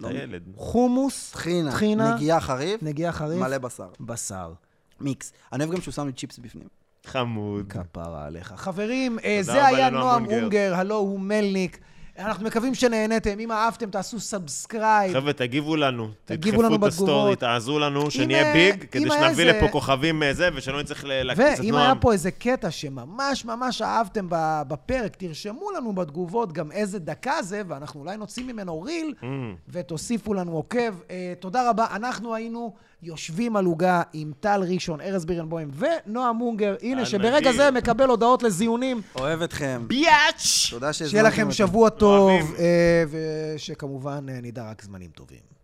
[SPEAKER 2] אתה ילד.
[SPEAKER 1] חומוס,
[SPEAKER 3] טחינה,
[SPEAKER 1] טחינה,
[SPEAKER 3] נגיעה חריף,
[SPEAKER 1] נגיעה חריף,
[SPEAKER 3] מלא בשר.
[SPEAKER 1] בשר.
[SPEAKER 3] מיקס. אני אוהב גם שהוא שם לי צ'יפס בפנים.
[SPEAKER 2] חמוד.
[SPEAKER 1] כפרה עליך. חברים, אה, זה
[SPEAKER 2] רבה
[SPEAKER 1] היה
[SPEAKER 2] לנועם
[SPEAKER 1] נועם
[SPEAKER 2] אונגר.
[SPEAKER 1] אונגר, הלו הוא מלניק. אנחנו מקווים שנהניתם. אם אהבתם, תעשו סאבסקרייב.
[SPEAKER 2] חבר'ה, תגיבו לנו.
[SPEAKER 1] תגיבו
[SPEAKER 2] תדחפו
[SPEAKER 1] לנו
[SPEAKER 2] את הסטורי,
[SPEAKER 1] בתגובות.
[SPEAKER 2] תעזרו לנו, שנהיה
[SPEAKER 1] אה,
[SPEAKER 2] ביג,
[SPEAKER 1] אם
[SPEAKER 2] כדי
[SPEAKER 1] היה
[SPEAKER 2] שנביא
[SPEAKER 1] איזה-
[SPEAKER 2] לפה כוכבים מזה, ושלא נצטרך ל- להקפיץ את
[SPEAKER 1] ואם היה
[SPEAKER 2] נועם.
[SPEAKER 1] פה איזה קטע שממש ממש אהבתם ב- בפרק, תרשמו לנו בתגובות גם איזה דקה זה, ואנחנו אולי נוציא ממנו ריל,
[SPEAKER 2] Mm.
[SPEAKER 1] ותוסיפו לנו עוקב. אה, תודה רבה, אנחנו היינו יושבים על עוגה עם טל ראשון, ארז בירנבוים ונועם מונגר. הנה,
[SPEAKER 2] על
[SPEAKER 1] שברגע
[SPEAKER 2] נדיר.
[SPEAKER 1] זה מקבל הודעות לזיונים.
[SPEAKER 3] אוהב אתכם.
[SPEAKER 2] ביאץ'!
[SPEAKER 3] תודה שהזמנתם
[SPEAKER 1] שיהיה לכם
[SPEAKER 3] אותי.
[SPEAKER 1] שבוע טוב,
[SPEAKER 2] אוהבים.
[SPEAKER 1] אה, ושכמובן אה, נדע רק זמנים טובים.